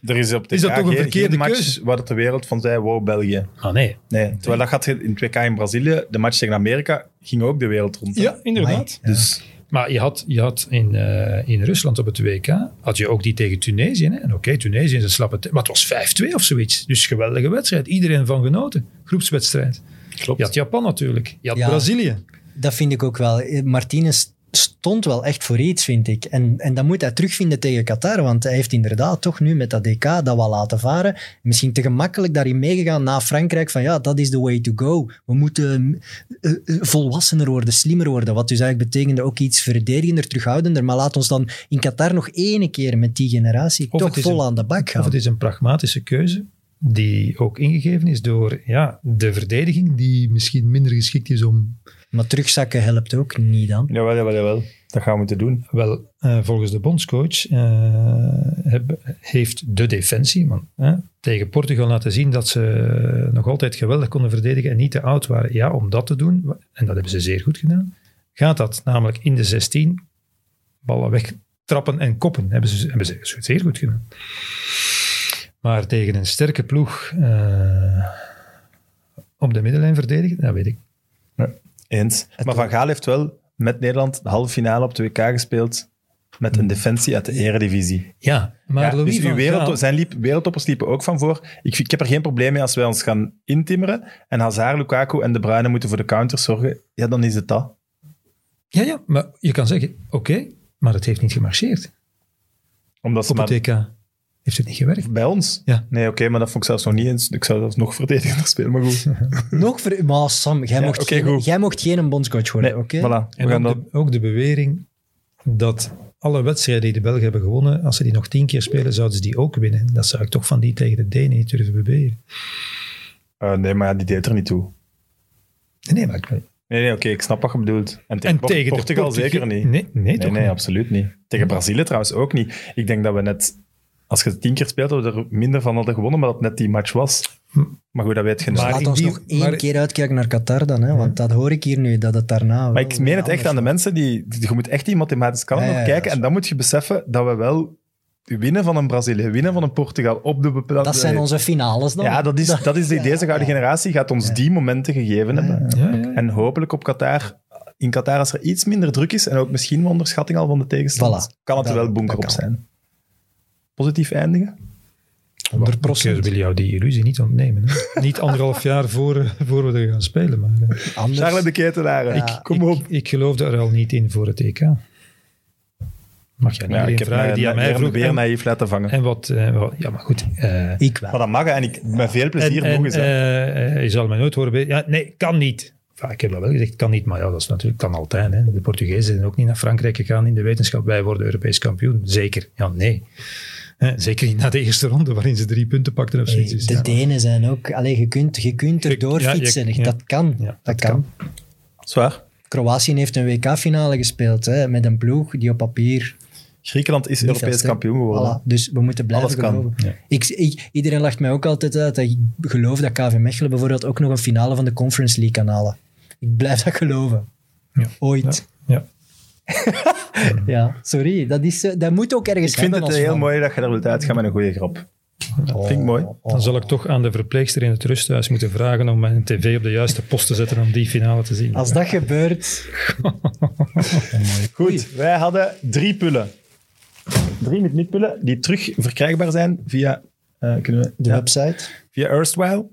A: Er is op de
D: Is dat toch een verkeerde
A: match
D: keuze?
A: waar dat de wereld van zei, wow, België.
D: Ah nee.
A: Nee, terwijl dat gaat in 2K in Brazilië, de match tegen Amerika, ging ook de wereld rond. hè?
D: Ja, inderdaad.
A: Dus...
D: Maar je had, je had in, eh, in Rusland op het WK, had je ook die tegen Tunesië. Hè? En oké, Tunesië is een slappe... te- Maar het was 5-2 of zoiets. Dus geweldige wedstrijd. Iedereen van genoten. Groepswedstrijd.
A: Klopt.
D: Je had Japan natuurlijk. Je had
B: Ja.
D: Brazilië.
B: Dat vind ik ook wel. Eh, Martinez stond wel echt voor iets, vind ik. En, en dat moet hij terugvinden tegen Qatar, want hij heeft inderdaad toch nu met dat DK dat wel laten varen. Misschien te gemakkelijk daarin meegegaan na Frankrijk, van ja, dat is the way to go. We moeten eh, eh, volwassener worden, slimmer worden, wat dus eigenlijk betekende ook iets verdedigender, terughoudender. Maar laat ons dan in Qatar nog één keer met die generatie
D: Of het
B: toch
D: is
B: vol
D: een-
B: aan de bak
D: Of
B: gaan.
D: het is een pragmatische keuze die ook ingegeven is door ja, de verdediging, die misschien minder geschikt is om...
B: Maar terugzakken helpt ook niet dan.
A: Jawel, jawel, jawel. Dat gaan we moeten doen.
D: Wel, eh, volgens de bondscoach eh, heb- heeft de defensie want, hè, tegen Portugal laten zien dat ze nog altijd geweldig konden verdedigen en niet te oud waren. Ja, om dat te doen, en dat hebben ze zeer goed gedaan, gaat dat namelijk in de 16 ballen wegtrappen en koppen. Hebben ze, hebben ze zeer goed gedaan. Maar tegen een sterke ploeg eh, op de middenlijn verdedigen, dat weet ik.
A: Eens. Maar Van Gaal heeft wel met Nederland de halve finale op de WK gespeeld met een defensie uit de eredivisie.
D: Ja, Hmm. maar
A: Ja,
D: Louis
A: dus uw
D: van
A: wereld,
D: Gaal-
A: zijn liep, wereldtoppers liepen ook van voor. Ik, ik heb er geen probleem mee als wij ons gaan intimmeren en Hazard, Lukaku en De Bruyne moeten voor de counters zorgen. Ja, dan is het dat.
D: Ja, ja, maar je kan zeggen, oké, maar het heeft niet gemarcheerd.
A: Omdat ze
D: Op
A: maar
D: het TK heeft het niet gewerkt.
A: bij ons...
D: Ja.
A: Nee, oké, maar dat vond ik zelfs nog niet eens. Ik zou zelfs nog verdedigender spelen, maar goed.
B: Nog ver... Maar Sam, jij,
A: Ja,
B: mocht,
A: oké,
B: geen,
A: goed.
B: jij mocht geen bondscoach worden,
A: Nee,
B: oké?
A: voilà. We
D: En
A: gaan
D: ook
A: dat...
D: de, ook de bewering dat alle wedstrijden die de Belgen hebben gewonnen, als ze die nog tien keer spelen, zouden ze die ook winnen. Dat zou ik toch van die tegen de Denen niet durven beweren.
A: Eh, nee, maar ja, die deed er niet toe.
D: Nee, Nee, maar ik,
A: Nee, nee, oké, ik snap wat je bedoelt. En tegen,
D: en
A: Por-
D: tegen de
A: Portugal
D: Portuge-
A: zeker niet.
D: Nee, nee,
A: Nee,
D: toch
A: nee,
D: niet.
A: absoluut niet. Tegen Brazilië trouwens ook niet. Ik denk dat we net, als je het tien keer speelt, dat we er minder van hadden gewonnen, maar dat het net die match was.
B: Hm.
A: Maar goed, dat weet je niet.
D: Maar-
A: Maar,
B: Laat
D: in
B: ons
D: die-
B: nog één
D: maar-
B: keer uitkijken naar Qatar dan, hè? want dat hoor ik hier nu, dat het daarna... wel
A: ik meen het
B: anders
A: echt aan de
B: was.
A: mensen, die, die- je moet echt die mathematische kalender
B: Ja, ja, ja,
A: kijken
B: dat
A: en dan moet je beseffen dat we wel winnen van een Brazilië, winnen van een Portugal op de bepaalde...
B: Dat zijn onze finales dan.
A: eh, Ja, dat is, dat is de, deze gouden
B: ja.
A: generatie gaat ons die momenten gegeven hebben.
D: Ja, ja, ja.
A: En hopelijk op Qatar, in Qatar als er iets minder druk is en ook misschien wel onderschatting al van de tegenstander,
B: Voilà.
A: kan het er
B: Dat-
A: wel bunker
B: dat
A: op
B: kan.
A: zijn. Positief eindigen?
D: 100 procent. wil jou die illusie niet ontnemen. Hè? niet anderhalf jaar voor, eh, voor we er gaan spelen. Maar, eh,
B: Anders.
A: Charles de Ketelaar,
B: Dus- Ja.
A: kom
D: ik,
A: op.
D: Ik geloofde er al niet in voor het EK. Mag jij niet
A: Ja, ik heb
D: vragen
A: mij,
D: die aan mij vroeg.
A: weer
D: En,
A: naïef laten vangen.
D: en wat, eh, wat- ja maar goed. eh,
B: Ik wel.
A: maar dat mag hè, en ik, met veel plezier
D: en,
A: nog eens.
D: en,
A: hè.
D: eh, eh, je zal mij nooit horen. be- Ja, nee, kan niet. Enfin, ik heb dat wel gezegd, kan niet. Maar ja, dat is natuurlijk, kan altijd. Hè. De Portugezen zijn ook niet naar Frankrijk gegaan in de wetenschap. Wij worden Europees kampioen. Zeker. Ja, nee. Eh, Zeker niet na de eerste ronde waarin ze drie punten pakten of
B: Hey,
D: zoiets. Dus
B: de
D: ja.
B: Denen zijn ook... Allee, je kunt, je kunt erdoor
D: ja, je-
B: fietsen.
D: ja.
B: Dat kan.
D: Ja,
B: dat,
D: dat
B: kan.
D: kan.
A: Zwaar.
B: Kroatië heeft een WK-finale gespeeld hè, met een ploeg die op papier...
A: Griekenland is
B: niet
A: Europees
B: vast, hè.
A: kampioen geworden.
B: Voilà, Dus we moeten blijven
A: Alles kan.
B: geloven.
D: Ja.
B: Ik, ik- iedereen lacht mij ook altijd uit. dat Ik geloof dat KV Mechelen bijvoorbeeld ook nog een finale van de Conference League kan halen. Ik blijf dat geloven.
D: Ja.
B: Ooit.
D: Ja.
B: Ja. sorry. Dat, is, eh, dat moet ook ergens
A: Ik vind het
B: hebben als
A: heel
B: fan.
A: mooi dat je er wilt uitgaan met een goede grap. Dat vind ik
B: Oh,
A: mooi.
D: Dan zal ik toch aan de verpleegster in het rusthuis moeten vragen om mijn tv op de juiste post te zetten om die finale te zien.
B: Als dat gebeurt...
A: Goed, wij hadden drie pullen. Drie met midpullen die terug verkrijgbaar zijn via, eh kunnen we,
B: De
A: ja,
B: website.
A: via Erstwhile.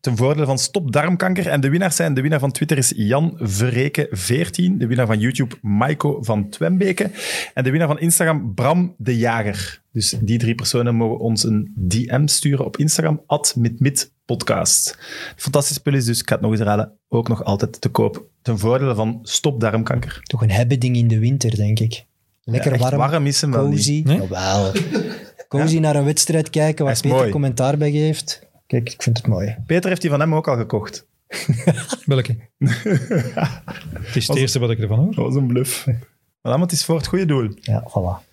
A: Ten voordele van Stop Darmkanker. En de winnaars zijn, de winnaar van Twitter is Jan Verreken 14. De winnaar van YouTube, Maiko van Twembeke. En de winnaar van Instagram, Bram de Jager. Dus die drie personen mogen ons een DM sturen op Instagram, at mitmitpodcast. Fantastisch spul is dus, ik ga het nog eens raden, ook nog altijd te koop. Ten voordele van Stop Darmkanker.
B: Toch een hebben ding in de winter, denk ik. Lekker
A: Ja, echt
B: warm,
A: warm is hem wel niet.
B: cozy.
D: Nee?
B: Jawel. Cozy naar een wedstrijd kijken
A: Hij
B: waar
A: is
B: Peter
A: mooi.
B: commentaar bij geeft. Kijk, ik vind het mooi.
A: Peter heeft die van hem ook al gekocht.
D: Welke? het is het eerste wat ik ervan hoor.
A: Dat was een bluff. Maar dan, het is voor het goede doel.
B: Ja, voilà.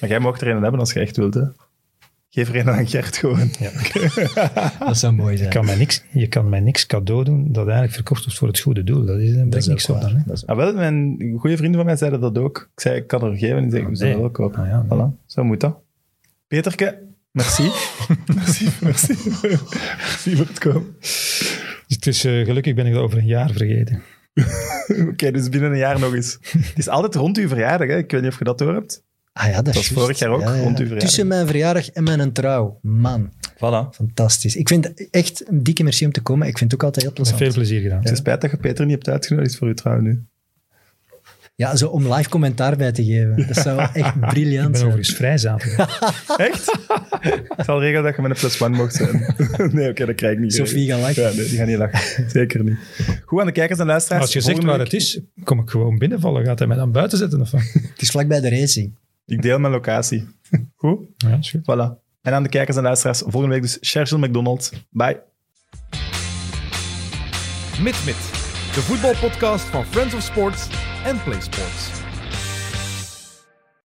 A: Maar jij mag er een hebben als je echt wilt, hè. Geef er een aan Gert gewoon.
B: Dat zou mooi zijn.
D: Je kan, mij niks, je kan mij niks cadeau doen dat eigenlijk verkocht wordt voor het goede doel. Dat is, daar ben ik
B: ook
D: niks van.
B: waar.
D: hè.
B: Dat is
A: Ah, wel, mijn goede vrienden van mij zeiden dat ook. Ik zei, ik kan er geven. En die zei, we zullen
D: nee.
A: wel kopen.
D: Ah, ja, nee.
A: Voilà, zo moet dat. Peterke, merci. merci, merci. merci voor het komen.
D: Het is, eh, gelukkig ben ik dat over een jaar vergeten.
A: Oké, dus binnen een jaar nog eens. Het is altijd rond uw verjaardag, hè. Ik weet niet of je dat door hebt.
B: Ah ja, dat, is
A: was
B: juist.
A: vorig jaar ook, rond uw verjaardag.
B: Tussen mijn verjaardag en mijn trouw. Man,
A: Voilà.
B: fantastisch. Ik vind echt een dikke merci om te komen. Ik vind het ook altijd heel plezant.
D: Veel plezier gedaan.
A: Het is spijt dat je Peter niet hebt uitgenodigd voor uw trouw nu.
B: Ja, zo om live commentaar bij te geven. Dat zou wel echt
D: Ik
B: briljant
D: ben
B: zijn.
D: overigens vrij zaterdag.
A: Echt? ik zal regelen dat je met een plus one mocht zijn. nee, oké, dat krijg ik niet.
B: Sophie gaat lachen.
A: Ja, nee, die gaan niet lachen. Zeker niet. Goed aan de kijkers en luisteraars.
D: Als je zegt
A: Volgende
D: waar
A: week-
D: het is, kom ik gewoon binnenvallen. Gaat hij mij dan buiten zetten? Of wat?
B: Het is vlakbij de racing.
A: Ik deel mijn locatie. Goed?
D: Ja, is goed.
A: Voilà. En aan de kijkers en luisteraars, volgende week dus Churchill McDonald. Bye.
C: Mit Mit, de voetbalpodcast van Friends of Sports en Play Sports.